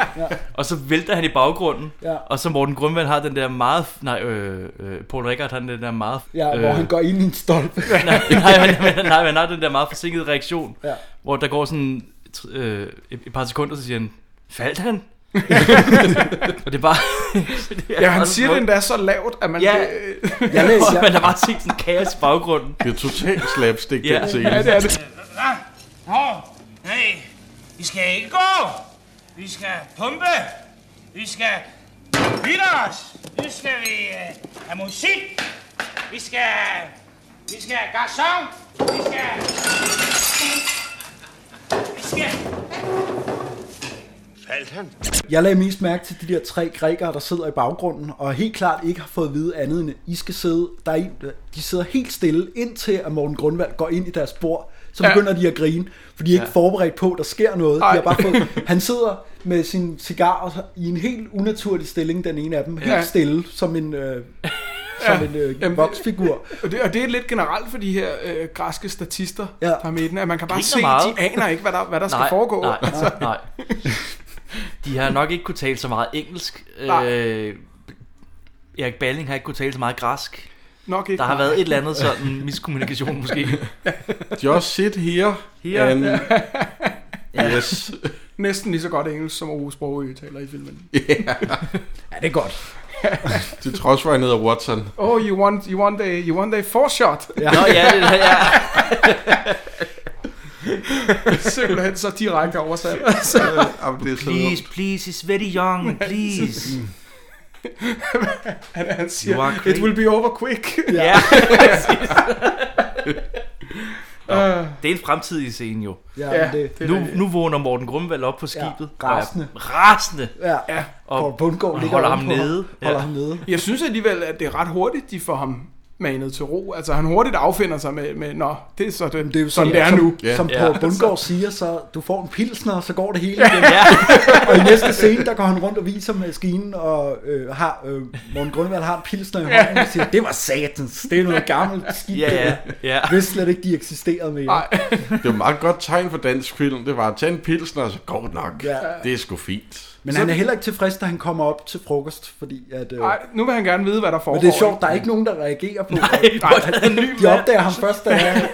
C: Og så vælter han i baggrunden,
B: Ja.
C: og så Morten Grundvald har den der meget, nej, øh, øh, Paul Rickard har den der meget,
B: Ja, hvor han går ind i en stolpe.
C: nej, nej, nej, nej, nej, han har den der meget forsinkede reaktion,
B: Ja.
C: hvor der går sådan tr- øh, et, et par sekunder, så siger han, faldt han? og det er bare... det er
F: Ja, han
C: meget
F: siger
C: smukt.
F: det endda så lavt, at man...
C: Ja.
F: det,
B: Jeg læser,
C: Hvor
B: jeg,
C: man har bare set sådan kaos i baggrunden.
D: Det er totalt slapstick,
C: Ja.
D: den scene.
F: ja, det er det.
G: Hov, nej, vi skal ikke gå. Vi skal pumpe. Vi skal lytte os. Nu skal vi øh, have musik. Vi skal... Vi skal have garçon. Vi skal... Vi skal...
E: Faldt han?
B: jeg lagde mest mærke til de der tre grækere, der sidder i baggrunden, og helt klart ikke har fået at vide andet end, at I skal sidde, der er en, de sidder helt stille, indtil at Morten Grundvald går ind i deres spor, så
F: Ja.
B: begynder de at grine, for de er ikke forberedt på, at der sker noget. De
F: Ej.
B: har bare fået, han sidder med sin cigar og så- i en helt unaturlig stilling, den ene af dem, helt
F: Ja.
B: stille, som en, øh, som en øh,
F: Jamen,
B: voksfigur.
F: Og det, og det er lidt generelt for de her øh, græske statister
B: Ja.
F: ja. fra midten, at man kan bare
C: Griner
F: se,
C: meget.
F: de aner ikke, hvad der, hvad der skal foregå.
C: Nej, nej. De har nok ikke kunne tale så meget engelsk.
F: Nej.
C: Øh, Erik Balling har ikke kunne tale så meget græsk.
F: Nok ikke.
C: Der har været et eller andet sådan miskommunikation måske.
D: Just sit here.
C: Here.
D: And... Yes.
F: Næsten lige så godt engelsk, som Aarhus Sprogø taler i filmen.
B: Ja, det er godt.
D: Til trods for, at jeg hedder Watson.
F: Oh, you want, you want, a, you want a four shot.
C: Ja. Nå ja, det, ja.
F: Simpelthen så direkte oversat.
D: Jamen, det er så
C: Please, please, he's very young, please.
F: Han, han
C: You
F: siger,
C: are crazy.
F: it will be over quick.
C: Ja, ja. præcis. Nå, det er en fremtidig scene jo.
B: Ja,
F: Ja,
B: ja Øh. det,
F: det-
C: Nu, nu vågner Morten Grumvald op på skibet. og er
B: rasende.
C: Rasende.
B: ja. ja.
C: Og
B: Paul Bundgaard
C: og
B: ligger
C: holder ham
B: ovenpå
C: nede.
B: Holder
C: Ja.
B: ham nede.
F: Jeg synes alligevel, at det er ret hurtigt, de får ham manet til ro. Altså, han hurtigt affinder sig med, med nå, det er så det,
B: Det er jo altså-
F: sådan,
B: sådan,
F: det er
B: som,
F: nu.
B: Som
C: Ja.
B: Paul Bundgaard siger, så du får en pilsner, og så går det hele igen.
C: Ja,
B: Og i næste scene, der går han rundt og viser maskinen, og øh, har, øh, Morten Grundvald har en pilsner i hånden, og siger, det var satans, det er noget gammelt skidt.
C: ja, ja. ja.
B: Jeg vidste slet ikke, de eksisterede mere.
F: Nej.
D: Det var et meget godt tegn for dansk film. Det var at tage en pilsner, og så går det nok.
B: Ja.
D: Det er sgu fint.
B: Men han er heller ikke tilfreds, da han kommer op til frokost, fordi at... Øh,
F: Ej, nu vil han gerne vide, hvad der foregår.
B: men det er sjovt, der er ikke nogen, der reagerer på det.
C: Hvor er der en ny
B: De
C: mand?
B: opdager ham først, da han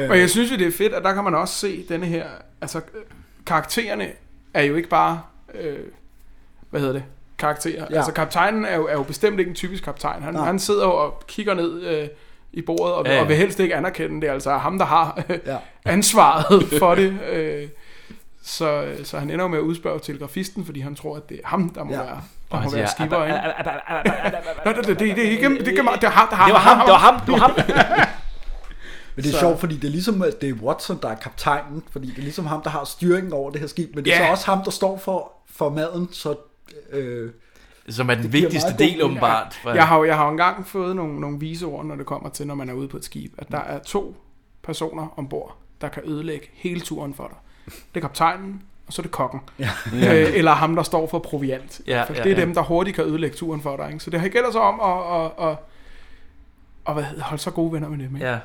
B: Øh.
F: Og jeg synes jo, det er fedt, at der kan man også se denne her... Altså, øh, karaktererne er jo ikke bare... Øh, hvad hedder det? Karakterer.
B: Ja.
F: Ja. Altså, kaptajnen er jo, er jo bestemt ikke en typisk kaptajn. Han,
B: Nej.
F: han sidder jo og kigger ned øh, i bordet, og,
C: Ja, ja.
F: og vil helst ikke anerkende det. Altså, er ham, der har øh,
B: Ja.
F: ja. ansvaret for det. Øh, så, øh, så han ender jo med at udspørge telegrafisten, fordi han tror, at det er ham, der må
B: Ja.
F: ja. være... Der må
C: Og han
F: være
C: siger,
F: skiver, ikke?
C: "Ah, ah, ah, ah, ah, ah, ah, ah, ah."
F: Nå, det, det, det, det, er ikke- det, kan man- det, er ham, der har-
C: Det var ham, det var ham, det var ham.
B: Men det er så. sjovt, fordi det er ligesom, at det er Watson, der er kaptajnen, fordi det er ligesom ham, der har styringen over det her skib, men det er
F: Ja.
B: så også ham, der står for, for maden, så øh,
C: Som er den
B: giver
C: vigtigste
B: meget god
C: del, åbenbart. For,
F: Jeg har, jo- jeg har jo engang fået nogle, nogle viseord, når det kommer til, når man er ude på et skib, at der er to personer ombord, der kan ødelægge hele turen for dig. Det er kaptajnen, og så er det kokken. Ja. Øh, eller ham, der står for proviant.
C: Ja,
F: for
C: ja,
F: det er
C: ja.
F: dem, der hurtigt kan ødelægge turen for dig. Ikke? Så det her gælder så om at, at, at, at hvad hedder, holde så gode venner med dem. Ikke?
C: Ja.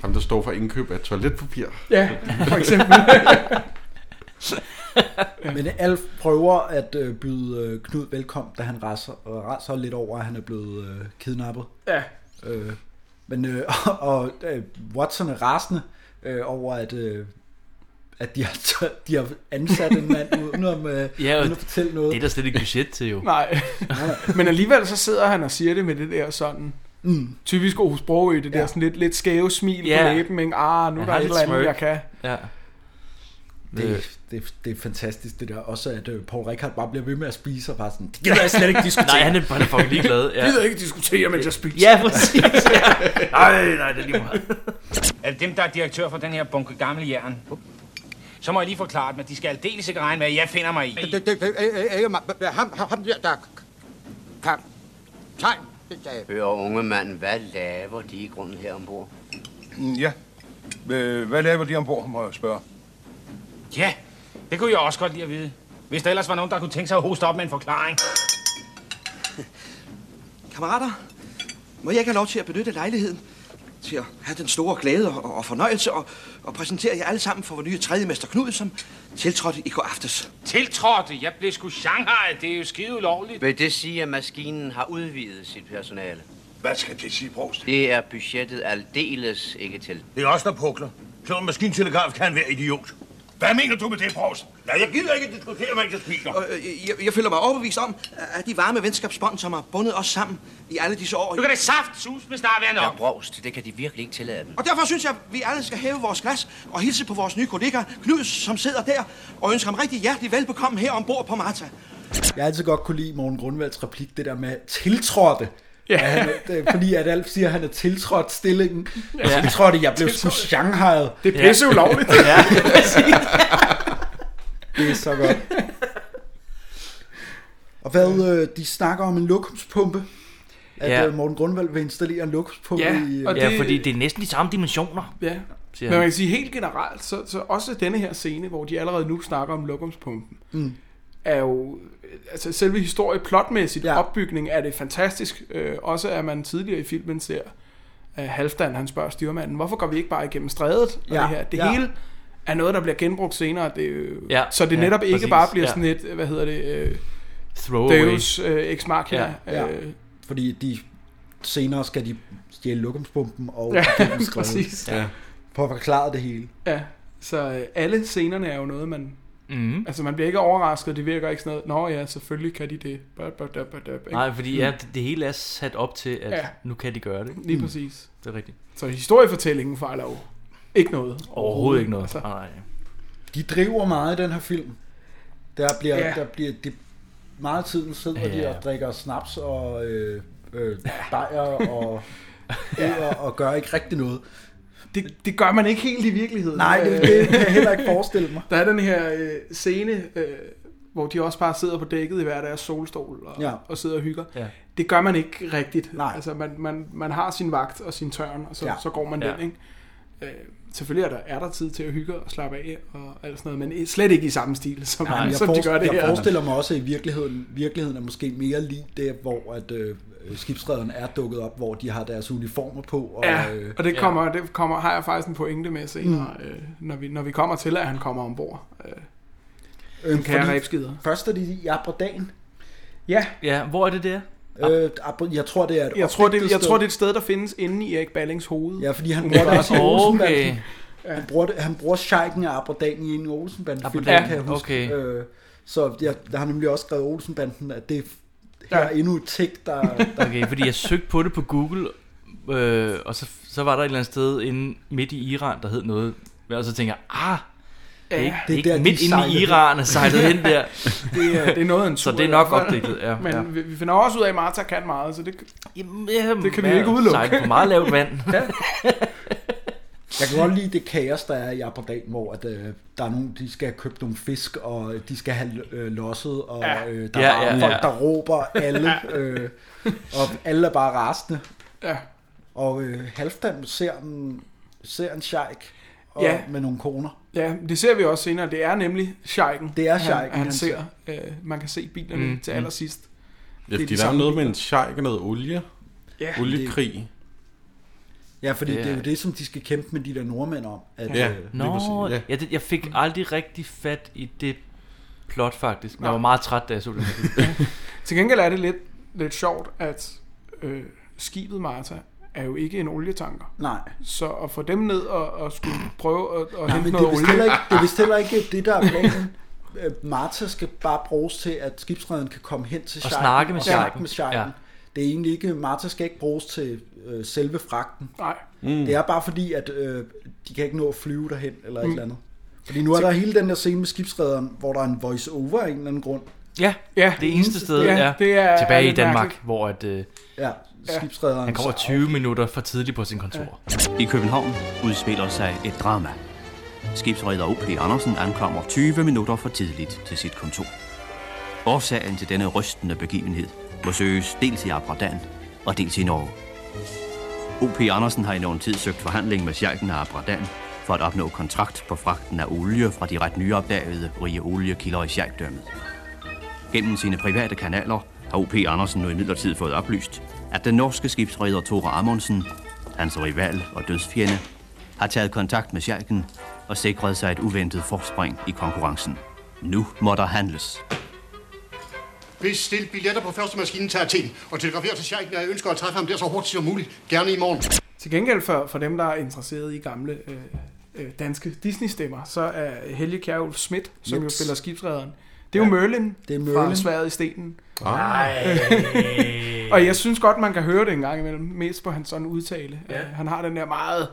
D: Ham, der står for indkøb af toiletpapir.
F: ja, for eksempel.
B: Men Alf prøver at øh, byde øh, Knud velkommen, da han raser, og raser lidt over, at han er blevet øh, kidnappet.
F: ja.
B: Øh, men øh, og øh, Watson er rasende øh, over, at, øh, at de, har, de har ansat en mand uden, om, øh,
C: Ja,
B: ja,
C: og
B: uden at fortælle noget.
C: Det er der slet ikke budget til, jo.
F: Nej. Men alligevel så sidder han og siger det med det der sådan... Mm. Typisk Aarhus Brogø, det der
B: Ja.
F: sådan lidt, lidt skæve smil yeah.
C: Ja.
F: på læben, ikke? Ah, nu er
C: Han
F: der
C: har
F: et
C: lidt
F: eller andet,
C: smirk.
F: jeg kan.
C: Ja. Øh,
B: Det, det, det er fantastisk det der, også at øh, Paul Rickard bare bliver ved med at spise og bare sådan, det gider jeg slet ikke
C: Nej,
B: diskutere.
C: han er bare fucking ligeglad. Ja,
F: gider ikke diskutere, mens jeg spiser.
C: ja præcis. Ja. Nej, nej, det er lige meget.
G: Er det dem, der er direktør for den her bunke gamle jern? Så må jeg lige forklare dem, at de skal aldeles ikke regne med, at jeg finder mig i.
H: Det, det, det, øh, øh, ikke mig. Ham, ham- ham der, der... Kaptajn, det sagde jeg.
I: Hør, unge mand, hvad laver de i grunden her ombord?
E: Mm, Ja. Øh, Hvad laver de ombord, må jeg spørge?
G: Ja, det kunne jeg også godt lide at vide. Hvis der ellers var nogen, der kunne tænke sig at hoste op med en forklaring.
J: Kammerater, må jeg ikke have lov til at benytte lejligheden til at have den store glæde og, og fornøjelse og, og præsentere jer alle sammen for vores nye tredje mester Knud, som tiltrådte i går aftes.
G: Tiltrådte, jeg blev sgu Shanghai, det er jo skide ulovligt.
I: Vil det sige, at maskinen har udvidet sit personale?
E: Hvad skal det sige, Prost?
I: Det er budgettet aldeles ikke til.
E: Det er os, der pukler. Klog en maskintelegraf kan være idiot. Hvad mener du med det, Prost? Nej, jeg gider ikke diskutere, mens jeg spiser.
J: Og øh, jeg, jeg føler mig overbevist om, at de varme venskabsbånd, som har bundet os sammen i alle disse år...
G: Nu kan det saft sus med snart være
I: Ja,
G: nok.
I: Brovst, det kan de virkelig ikke tillade dem.
J: Og derfor synes jeg, at vi alle skal hæve vores glas og hilse på vores nye kollega Knud, som sidder der, og ønsker ham rigtig hjertelig velbekomme her ombord på Marta.
B: Jeg har altid godt kunne lide Morten Grundvalds replik, det der med tiltrådte. Ja. At han, det, fordi at Alf siger, at han er tiltrådt stillingen. Ja. Tiltrådte, jeg blev sgu Shanghai.
F: Det er pisse ulovligt.
B: Det er så godt. Og hvad øh, de snakker om en lokumspumpe. At
C: Ja.
B: ja. øh, Morten Grundvald vil installere en lokumspumpe
F: Ja,
B: i...
F: og det-
B: Øh,
C: Ja, fordi det er næsten de samme dimensioner.
F: ja. Men
C: Siger han.
F: man kan sige helt generelt, så, så også denne her scene, hvor de allerede nu snakker om lokumspumpen, mm. er jo, altså selve historie plotmæssigt, ja.
B: Ja.
F: opbygning er det fantastisk. Øh, også at man tidligere i filmen ser, at Halfdan han spørger styrmanden, hvorfor går vi ikke bare igennem strædet? Og
B: Ja,
F: det her, det
B: ja.
F: hele er noget, der bliver genbrugt senere. Det, er jo-
C: Ja,
F: så det
C: ja,
F: netop ikke
C: præcis,
F: bare bliver
C: ja.
F: sådan et, hvad hedder det, øh,
C: Throwaway.
F: Deus øh, Ex Machina.
B: Ja, ja.
F: Øh,
B: Fordi de senere skal de stjæle lokumspumpen og...
F: Ja,
B: igennem skrevet,
F: præcis. Ja.
B: For at forklare det hele.
F: ja. Så øh, alle scenerne er jo noget, man...
C: Mm.
F: Altså, man bliver ikke overrasket, det virker ikke sådan noget. Nå ja, selvfølgelig kan de det. Blah, blah, blah, blah, blah, ikke?
C: Nej, fordi ja, det, det hele er sat op til, at
F: Ja.
C: nu kan de gøre det. ikke?
F: Lige præcis.
C: Det er rigtigt.
F: Så historiefortællingen fejler jo ikke noget.
C: Overhovedet ikke noget.
F: Altså,
C: Nej, nej.
B: De driver meget i den her film. Der bliver,
F: Ja.
B: ja. der bliver det meget af tiden sidder ja. de
C: Ja.
B: og drikker snaps og øh, øh, bajer og, ja. og gør ikke rigtig noget.
F: det, det gør man ikke helt i virkeligheden.
B: Nej, det,
F: Øh,
B: det kan jeg heller ikke forestille mig.
F: Der er den her øh, scene, øh, hvor de også bare sidder på dækket i hver deres solstol og, ja.
B: Ja.
F: og sidder og hygger.
C: Ja.
F: Det gør man ikke rigtigt.
B: Nej.
F: Altså, man, man, man har sin vagt og sin tørn, og så, ja.
B: Ja.
F: så går man ja.
C: Ja.
F: den, ikke? Øh, selvfølgelig er der, er der tid til at hygge og slappe af og alt sådan noget, men slet ikke i samme stil, som,
B: Nej,
F: Nej,
B: jeg,
F: som de gør det
B: jeg
F: her.
B: forestiller mig også, at i virkeligheden, virkeligheden er måske mere lige det, hvor at, øh, skibsredderne er dukket op, hvor de har deres uniformer på. Og,
F: Ja,
B: øh,
F: og det kommer, det kommer, har jeg faktisk en pointe med senere, mm. øh, når, vi, når vi kommer til, at han kommer ombord. Øh,
B: øh,
F: kan jeg
B: fordi
F: ræbskider?
B: Først er de i Abradan.
F: Ja,
C: Ja, hvor er det der?
B: Øh, Abra- jeg tror, det er et
F: jeg tror, det, jeg tror,
B: opdigtet sted.
F: det er et sted, der findes inde i Erik Ballings hoved.
B: Ja, fordi han bruger det også i
C: Okay.
B: Olsenbanden. Han bruger, det, han bruger Scheiken af Abradan i en Olsenbanden film,
C: Abradan,
B: kan jeg huske.
C: okay.
B: Øh, så jeg, jeg har nemlig også skrevet Olsenbanden, at det er f- her
F: Ja.
B: ja. endnu et tæk, der... der
C: Okay, fordi jeg søgte på det på Google, øh, og så, så var der et eller andet sted inde midt i Iran, der hed noget. Og så tænker jeg, ah, det er ikke, det er ikke
B: der, de
C: midt inde
B: sejlede
C: i Iran er sejlet hen der.
F: Det, er, det er noget af en tur.
C: Så det
F: i
C: er nok
F: hvert fald.
C: opdækket, ja.
F: Men
C: ja.
F: vi, vi finder også ud af, at Martha kan meget, så det,
C: Jamen,
F: Det kan vi ikke udelukke.
C: Sejlet på meget lavt vand.
B: Jeg kan godt lide det kaos, der er i Aberdeen, hvor at, øh, der er nogen, de skal have købt nogle fisk, og de skal have øh, losset, og
F: Ja.
B: øh, der
C: Ja,
B: er bare
C: ja,
B: folk,
C: ja.
B: der råber alle, øh, og alle er bare rasende.
F: Ja.
B: Og øh, Halfdan ser en, ser en sheik og,
F: Ja.
B: med nogle koner.
F: Ja, det ser vi også senere. Det er nemlig Scheiken.
B: Det er
F: han,
B: sheiken,
F: han,
B: han
F: ser. Øh, man kan se bilerne
D: Mm,
F: mm, til
D: mm.
F: allersidst.
D: Ja,
F: Det er
D: fordi
F: de
D: der er
F: samme
D: noget med en sjejk og noget olie.
F: Ja,
D: Oliekrig.
B: Ja, fordi
C: Det
B: det er jo
C: er-
B: det, som de skal kæmpe med de der nordmænd om. At,
D: Ja.
B: øh,
D: Lige
C: Nå,
D: præcis,
C: ja.
D: ja.
C: Ja, det, jeg fik aldrig rigtig fat i det plot, faktisk. Men
F: Nej.
C: Jeg var meget træt, da jeg så det.
F: Til gengæld er det lidt, lidt sjovt, at øh, skibet Martha er jo ikke en olietanker.
B: Nej.
F: Så at få dem ned og, og skulle prøve at, at
B: Nej,
F: hente
B: men det er,
F: noget
B: vist heller
F: olie.
B: ikke, det er vist heller ikke det, der er planen. Øh, Martha skal bare bruges til, at skibsredden kan komme hen til
C: Og
B: sheiken
C: snakke med
B: og snakke
C: sheiken.
B: med sheiken.
C: Ja.
B: Det er egentlig ikke, Martha skal ikke bruges til øh, selve fragten.
F: Nej.
B: Mm. Det er bare fordi, at øh, de kan ikke nå at flyve derhen eller mm. et
F: Mm.
B: eller andet. Fordi nu er der hele den der scene med skibsredderen, hvor der er en voice-over af en eller anden grund.
C: Ja,
F: Ja,
C: det eneste sted
F: ja,
C: er,
F: det er- er
C: tilbage i
F: lidt
C: Danmark,
F: mærkeligt.
C: hvor at, øh,
B: Ja, skibsredderen.
C: han kommer
B: så-
C: 20 minutter for tidligt på sin kontor.
K: I København udspiller sig et drama. Skibsredder O.P. Andersen ankommer 20 minutter for tidligt til sit kontor. Årsagen til denne rystende begivenhed må søges dels i Abradan og dels i Norge. O.P. Andersen har i nogen tid søgt forhandling med sjejken af Abradan for at opnå kontrakt på fragten af olie fra de ret nyopdagede rige oliekilder i sjejkdømmet. Gennem sine private kanaler har O.P. Andersen nu imidlertid fået oplyst, at den norske skibsreder Tore Amundsen, hans rival og dødsfjende, har taget kontakt med Sjælken og sikret sig et uventet forspring i konkurrencen. Nu må der handles.
L: Bestil billetter på første maskinen til Athen, og telegrafer til Sjejken, at jeg ønsker at træffe ham der så hurtigt som muligt. Gerne i morgen.
F: Til gengæld for, for dem, der er interesseret i gamle øh, øh, danske Disney-stemmer, så er Helge Kjærulf Schmidt, som
B: Jeps.
F: jo spiller skibsredderen, det er jo Merlin,
B: det er
F: fra
B: Merlin.
F: Sværet i Stenen.
B: Nej.
F: og jeg synes godt, man kan høre det en gang imellem, mest på hans sådan udtale. Ja. Han har den der meget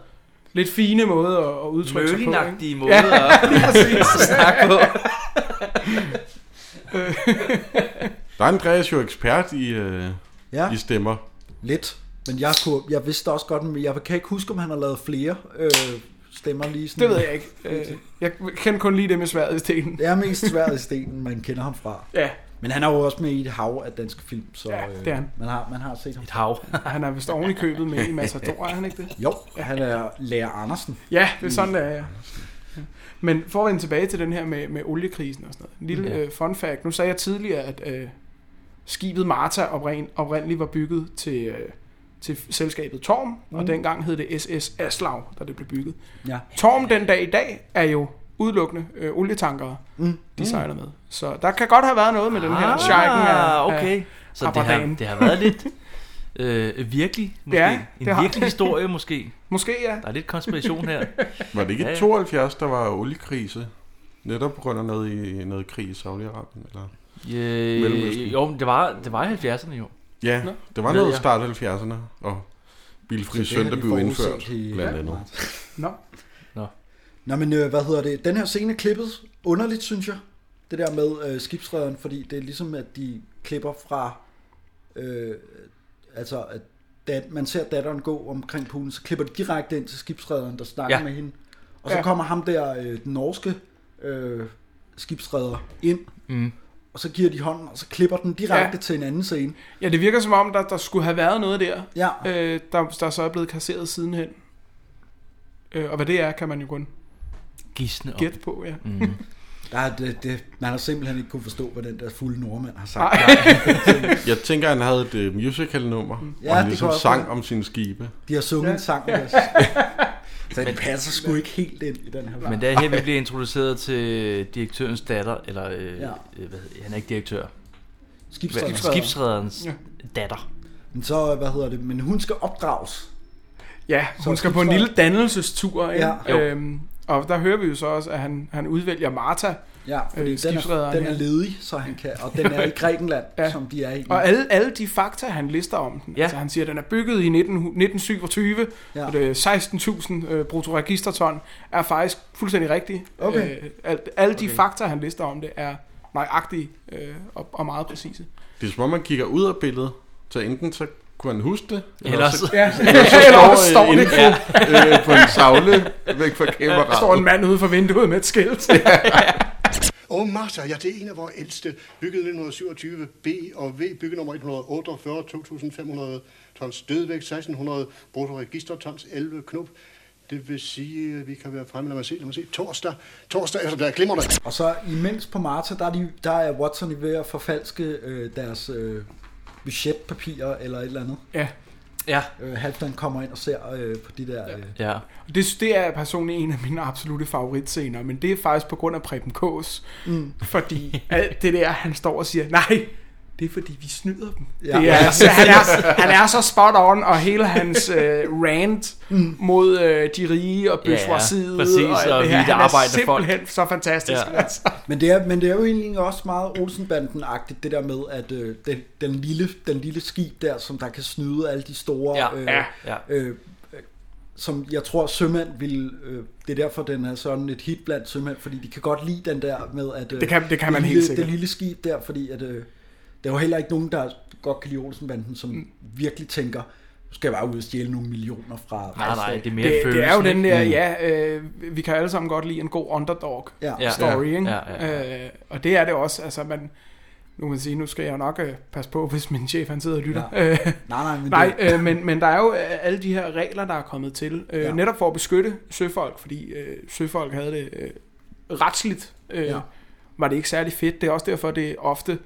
F: lidt fine måde at, at udtrykke sig på. ikke?
C: Merlin-agtige måde
F: Ja,
C: at-
F: lige
C: at
F: præcis.
C: snakke på.
F: Øh,
D: Der er Andreas jo ekspert i, øh,
B: Ja.
D: ja. i stemmer.
B: Lidt. Men jeg, kunne, jeg vidste også godt, men jeg kan ikke huske, om han har lavet flere øh, stemmer lige sådan.
F: det ved jeg ikke. Øh, jeg kender kun lige det med Sværet i Stenen.
B: Det er mest sværet i stenen, man kender ham fra.
F: Ja.
B: Men han er jo også med i et hav af danske film, så ja,
F: det er han.
B: Man, har, man har set ham. Et
C: hav.
F: Han er vist oven i købet med i Massador, er han ikke det?
B: Jo, han er lærer Andersen.
F: Ja, det er sådan, det er, ja. Men for at vende tilbage til den her med, med oliekrisen og sådan noget. En lille
C: Ja.
F: ja. uh, fun fact. Nu sagde jeg tidligere, at uh, skibet Marta oprin, oprindeligt var bygget til, uh, til selskabet Torm, mm.
B: Mm.
F: og dengang hed det SS Aslav, da det blev bygget.
B: Ja.
F: Torm den dag i dag er jo udelukkende øh, olietankere,
B: Mm.
F: mm. designer med. Så der kan godt have været noget med den her
C: Ah,
F: shiken af,
C: okay.
F: af
C: Så det har,
F: Abradan.
C: det har været lidt øh, virkelig, måske.
F: Ja,
C: en
F: det har-
C: virkelig historie, måske.
F: Måske, ja.
C: Der er lidt konspiration her.
D: Var det ikke
C: Ja,
D: ja,
C: ja.
D: 72, der var oliekrise? Netop på grund af noget, i, noget krig i Saudi-Arabien? Eller? Mellemøsten.
C: Øh, jo, men det var, det var i 70'erne jo.
D: Ja,
C: Nå.
D: det var
C: Ved
D: noget i
C: jeg.
D: start af 70'erne, og
B: Så
D: bilfri
B: det har de
D: søndag blev
B: forudset
D: indført,
B: i-
D: blandt
B: Ja.
D: andet.
F: Nå.
B: Nå, men øh, hvad hedder det? Den her scene er klippet underligt, synes jeg. Det der med øh, skibsredderen, fordi det er ligesom, at de klipper fra... Øh, altså, at dat, man ser datteren gå omkring poolen, så klipper de direkte ind til skibsredderen, der snakker ja.
C: Ja.
B: med hende. Og så ja.
F: Ja.
B: kommer ham der, øh, den norske øh, skibsredder, ind.
C: Mm.
B: Og så giver de hånden, og så klipper den direkte
F: Ja.
B: ja. til en anden scene.
F: Ja, det virker som om, der, der skulle have været noget der,
B: Ja.
F: øh, der, der så er blevet kasseret sidenhen. Øh, og hvad det er, kan man jo kun
C: Gisne om.
F: gætte på, ja.
C: Mm.
B: Der er, det, det, man har simpelthen ikke kunne forstå, hvad den der fulde nordmand har sagt.
F: Nej.
D: Jeg tænker, han havde et uh, musical-nummer, ja,
B: Ja,
D: hvor
B: det
D: han ligesom
B: kunne også
D: sang
B: være.
D: om sine skibe.
B: De har sunget ja. en sang med os. Så det
C: Men-
B: passer sgu ikke helt ind i den her
C: Men det er her, vi bliver introduceret til direktørens datter, eller øh,
B: Ja.
C: ja. øh, hvad hedder, han er ikke direktør.
B: Skibsredder.
C: Hvad- Skibsrederens
F: Ja.
C: ja. datter.
B: Men så, hvad hedder det, men hun skal opdrages.
F: Ja,
B: Så
F: hun skal på en
B: skibsreder-
F: lille dannelsestur, ikke?
B: Ja. Jo.
F: Øhm, og der hører vi jo så også, at han, han udvælger Martha.
B: Ja, fordi
F: Øh,
B: den, er,
F: skibsrederen
B: den er
F: her.
B: ledig, så han kan, og den er i Grækenland, ja.
F: Ja.
B: som de er i.
F: Og alle, alle de fakta, han lister om den.
C: Ja.
F: Ja. Altså, han siger, at den er bygget i 19, 1927,
B: Ja.
F: ja. og det er 16.000 øh, bruttoregisterton, er faktisk fuldstændig rigtigt.
B: Okay.
F: Øh, alt, alle de
C: Okay.
F: fakta, han lister om det, er nøjagtige øh, og, og meget præcise.
D: Det er som om, man kigger ud af billedet, så enten så Kunne han huske det?
C: Ellers-
D: også-
C: Ja.
F: Eller også står
D: øh,
F: det.
D: info, øh, på en savle væk fra kameraet.
F: Der står en mand ude for vinduet med et skilt.
L: Åh, Martha, ja, det er en af vores ældste, bygget 1927, B og V, byggenummer 148, 2500 tons dødvægt, 1600 bruttoregister, tons 11 knop. Det vil sige, at vi kan være fremme, lad mig se, lad mig se, torsdag, torsdag efter, der er glimrende.
B: Og så imens på Marta, der er, de, der er Watson ved at forfalske øh, deres øh, budgetpapirer eller et eller andet.
F: Ja.
C: Ja.
B: Øh, Halfdan kommer ind og ser øh, på de der... Øh,
C: Ja.
F: Og Det, det er personligt en af mine absolutte favoritscener, men det er faktisk på grund af Preben K's.
B: Mm.
F: Mm. Fordi alt det der, han står og siger, nej, det er fordi vi snyder dem.
B: Ja.
F: Ja. Det er, altså, han, er, han er så spot on, og hele hans øh, rant
B: Mm.
F: mm. mod øh, de rige og
B: Ja, ja.
F: bøsvarsidet.
C: Præcis,
F: alt
C: og
F: det her.
C: vi, der
F: han er
C: arbejdende folk.
F: simpelthen så fantastisk.
C: Ja.
F: Ja. Altså.
B: Men det, er, men det er jo egentlig også meget Olsenbanden-agtigt, det der med, at øh, den, den, lille, den lille skib der, som der kan snyde alle de store...
C: Ja,
B: øh,
C: ja, ja.
B: Øh, øh, som jeg tror sømænd vil øh, det er derfor den er sådan et hit blandt sømænd fordi de kan godt lide den der med at øh,
F: Det kan- det kan
B: det
F: man helt
B: lille,
F: sikkert.
B: det lille skib der fordi at øh, der er jo heller ikke nogen der godt kan lide Olsenbanden som mm. virkelig tænker nu skal jeg bare ud og stjæle nogle millioner fra
C: Nej, nej, det er mere
F: altså, det, det er jo
C: følelsen,
F: den
C: ikke?
F: der,
C: Mm.
F: ja, øh, vi kan alle sammen godt lide en god underdog
B: Ja.
C: Ja.
F: ja. story,
C: Ja.
F: ikke?
C: Ja, ja,
F: Øh, og det er det også, altså man, nu kan man sige, nu skal jeg jo nok øh, passe på, hvis min chef han sidder og lytter.
B: Ja.
F: Øh,
B: Nej, nej, men
F: nej
B: det-
F: øh, men, men der er jo øh, alle de her regler, der er kommet til, øh,
B: Ja.
F: ja. netop for at beskytte søfolk, fordi øh, søfolk havde det øh, retsligt, øh,
B: Ja.
F: ja. var det ikke særlig fedt. Det er også derfor, det ofte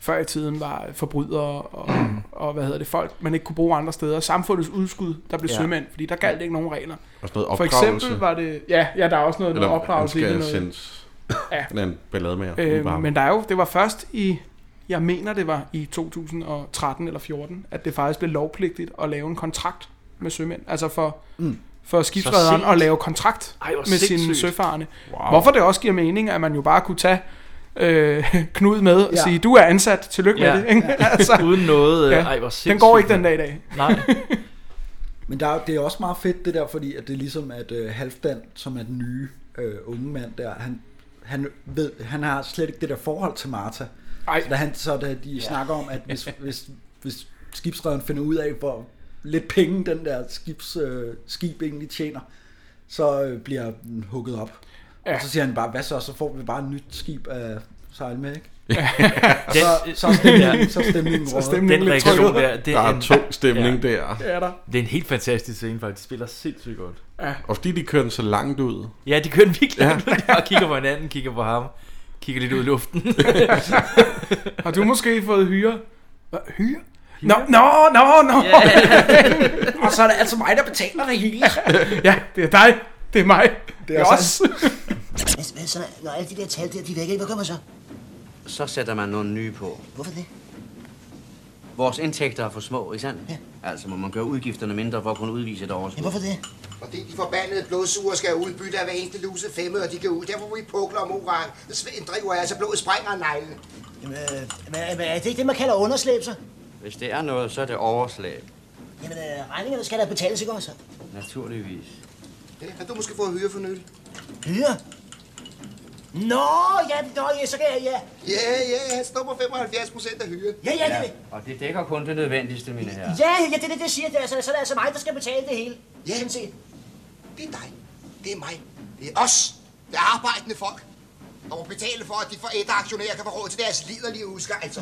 F: før i tiden var forbrydere og,
B: Mm.
F: og hvad hedder det, folk, man ikke kunne bruge andre steder. Samfundets udskud, der blev
D: Ja.
F: ja. sømænd, fordi der galt ikke nogen regler.
D: Og sådan noget
F: For
D: opdragelse.
F: eksempel var det... Ja, ja der er også noget, noget
D: Eller,
F: opdragelse i
D: han
F: det.
D: skal
F: Noget,
D: sendes.
F: Ja.
D: Han er en ballade med
F: øh, men der er jo, det var først i, jeg mener det var i 2013 eller 14, at det faktisk blev lovpligtigt at lave en kontrakt med sømænd. Altså for,
B: Mm.
F: mm. for skibsrederen
C: sindssygt.
F: at lave kontrakt
C: Ej, hvor
F: med sine
C: sindssygt.
F: søfarende.
C: Wow.
F: Wow. Hvorfor det også giver mening, at man jo bare kunne tage øh, Knud med og
C: Ja.
F: ja. sige, du er ansat, tillykke
C: Ja.
F: med det. Ikke?
C: Ja. Uden noget, øh, ej, hvor
F: Den går
C: sindssygt,
F: ikke den dag i dag.
C: Nej.
B: Men der, er- det er også meget fedt det der, fordi at det er ligesom, at øh, Halfdan, som er den nye øh, unge mand der, han, han, ved, han har slet ikke det der forhold til Martha.
F: Ej.
B: Så da, han, så da de ja. snakker om, at hvis, hvis, hvis skibsrederen finder ud af, hvor lidt penge den der skibs, øh, skib egentlig tjener, så øh, bliver den hugget op. Ja.
F: Ja.
B: Og så siger han bare, hvad så, så får vi bare et nyt skib at sejle med, ikke?
D: Ja.
B: Og så, så er stemningen, så er stemningen rådet.
C: Den reaktion der, det
D: Der er
C: en-
D: tung stemning der.
F: Det er der.
C: Det er en helt fantastisk scene, faktisk. De spiller sindssygt godt.
F: Ja.
D: Og fordi de kører den så langt ud.
C: Ja, de kører den virkelig langt ud. og kigger på hinanden, kigger på ham, kigger lidt ud i luften.
F: Har du måske fået hyre? Hvad, hyre? Nå, nå, nå, nå.
B: Og så er det altså mig, der betaler det hele.
F: ja, det er dig. Det er mig. Det er os.
M: Hvad, hvad så, når alle de der tal der, de er væk, ikke? hvad gør man så?
I: Så sætter man nogle nye på.
M: Hvorfor det?
I: Vores indtægter er for små, ikke sandt? Ja. Altså må man gøre udgifterne mindre for at kunne udvise et overskud.
M: Ja, hvorfor det?
N: Fordi de forbandede blodsuger skal have udbytte af hver eneste luse femme, og de kan ud. Derfor vi pukler om uran. Svend driver altså blodet sprænger af neglen.
M: Jamen, øh, men, øh, men er det ikke det, man kalder underslæbser?
I: Hvis det er noget, så er det overslag.
M: Jamen, øh, regningerne skal da betales, ikke også?
I: Naturligvis.
N: Ja, har du måske fået hyre for nylig?
M: Hyre? Nå, ja, nå, ja, så kan jeg, ja.
N: Ja, ja, han står på 75 procent af hyre.
M: Ja, ja, det,
I: Og det dækker kun det nødvendigste, mine herrer.
M: ja, ja, det er det, det siger det. Altså, så er det altså mig, der skal betale det hele. Ja. Sådan set.
N: Det er dig. Det er mig. Det er os. Det er arbejdende folk. Og må betale for, at de forældre aktionærer kan få råd til deres liderlige udskejelser.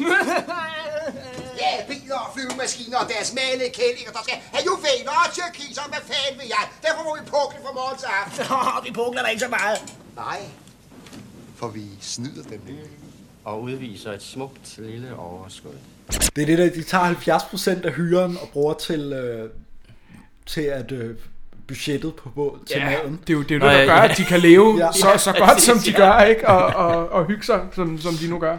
N: ja, biler og flyvemaskiner og deres malede kællinger, der skal have juveler og tyrkiser, og hvad fanden vil jeg? Derfor må vi pukle fra morgen til aften.
M: vi pukler da ikke så meget.
N: Nej, for vi snyder dem.
I: Og udviser et smukt lille overskud.
B: Det er det der, de tager 70% af hyren og bruger til, øh, til at øh, budgettet på båden, til
F: Ja,
B: maden.
F: det er jo det, er jo det der gør, at de kan leve ja. så, så godt, som de gør, ikke? Og, og, og hygge sig, som, som de nu gør.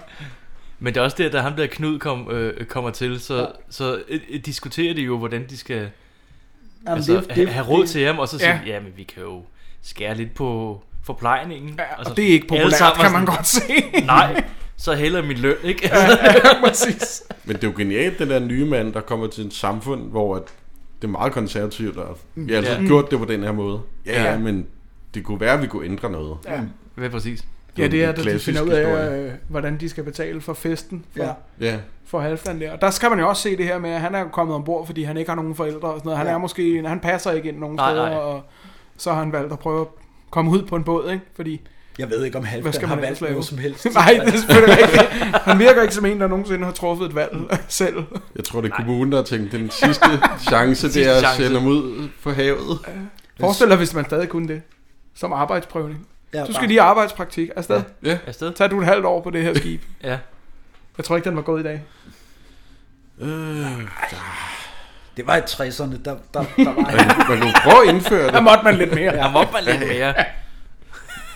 C: Men det er også det, at da ham der Knud kom, øh, kommer til, så, ja. så øh, diskuterer de jo, hvordan de skal
B: Jamen,
C: altså,
B: det er- det er-
C: ha- have råd
B: det-
C: til ham, og så
B: Ja.
C: sige, ja. men vi kan jo skære lidt på forplejningen. Altså, Ja,
F: og det er ikke populært, kan man godt se.
C: Nej, så heller min løn, ikke?
F: præcis.
D: Men det er jo genialt, den der nye mand, der kommer til et samfund, hvor at det er meget konservativt, og
F: Mm.
D: vi har altid
C: Ja.
D: gjort det på den her måde. Ja,
C: Ja.
D: ja, men det kunne være, at vi kunne ændre noget.
C: Ja, præcis.
F: Ja, det er,
D: en
F: at de
D: klassisk
F: finder ud af,
D: historie.
F: øh, hvordan de skal betale for festen for,
D: Ja. Ja.
F: for Halfdan der. Og der skal man jo også se det her med, at han er kommet ombord, fordi han ikke har nogen forældre og sådan noget. Han,
C: Ja.
F: ja. er måske, han passer ikke ind nogen
C: Nej,
F: steder,
C: nej.
F: og så har han valgt at prøve at komme ud på en båd, ikke? Fordi,
B: jeg ved ikke, om Halfdan
F: hvad skal
B: har
F: man
B: valgt
F: ellers lave?
B: noget som helst.
F: Nej, det er selvfølgelig ikke. Han virker ikke som en, der nogensinde har truffet et valg selv.
D: Jeg tror, det er kommunen, der har tænkt, den sidste chance, det er at
F: chance.
D: sende ham ud på havet.
F: Forestil dig, hvis man stadig kunne det. Som arbejdsprøvning.
B: Ja,
F: Ja, du
B: bare-
F: skal lige arbejdspraktik. Afsted.
D: Ja.
C: Afsted.
F: Tag du et halvt år på det her skib.
C: ja.
F: Jeg tror ikke, den var gået i dag.
D: Øh,
B: Det var i 60'erne, der, der, der var...
D: Man kunne prøve at indføre det.
F: Der måtte man lidt mere.
C: Der måtte man lidt mere.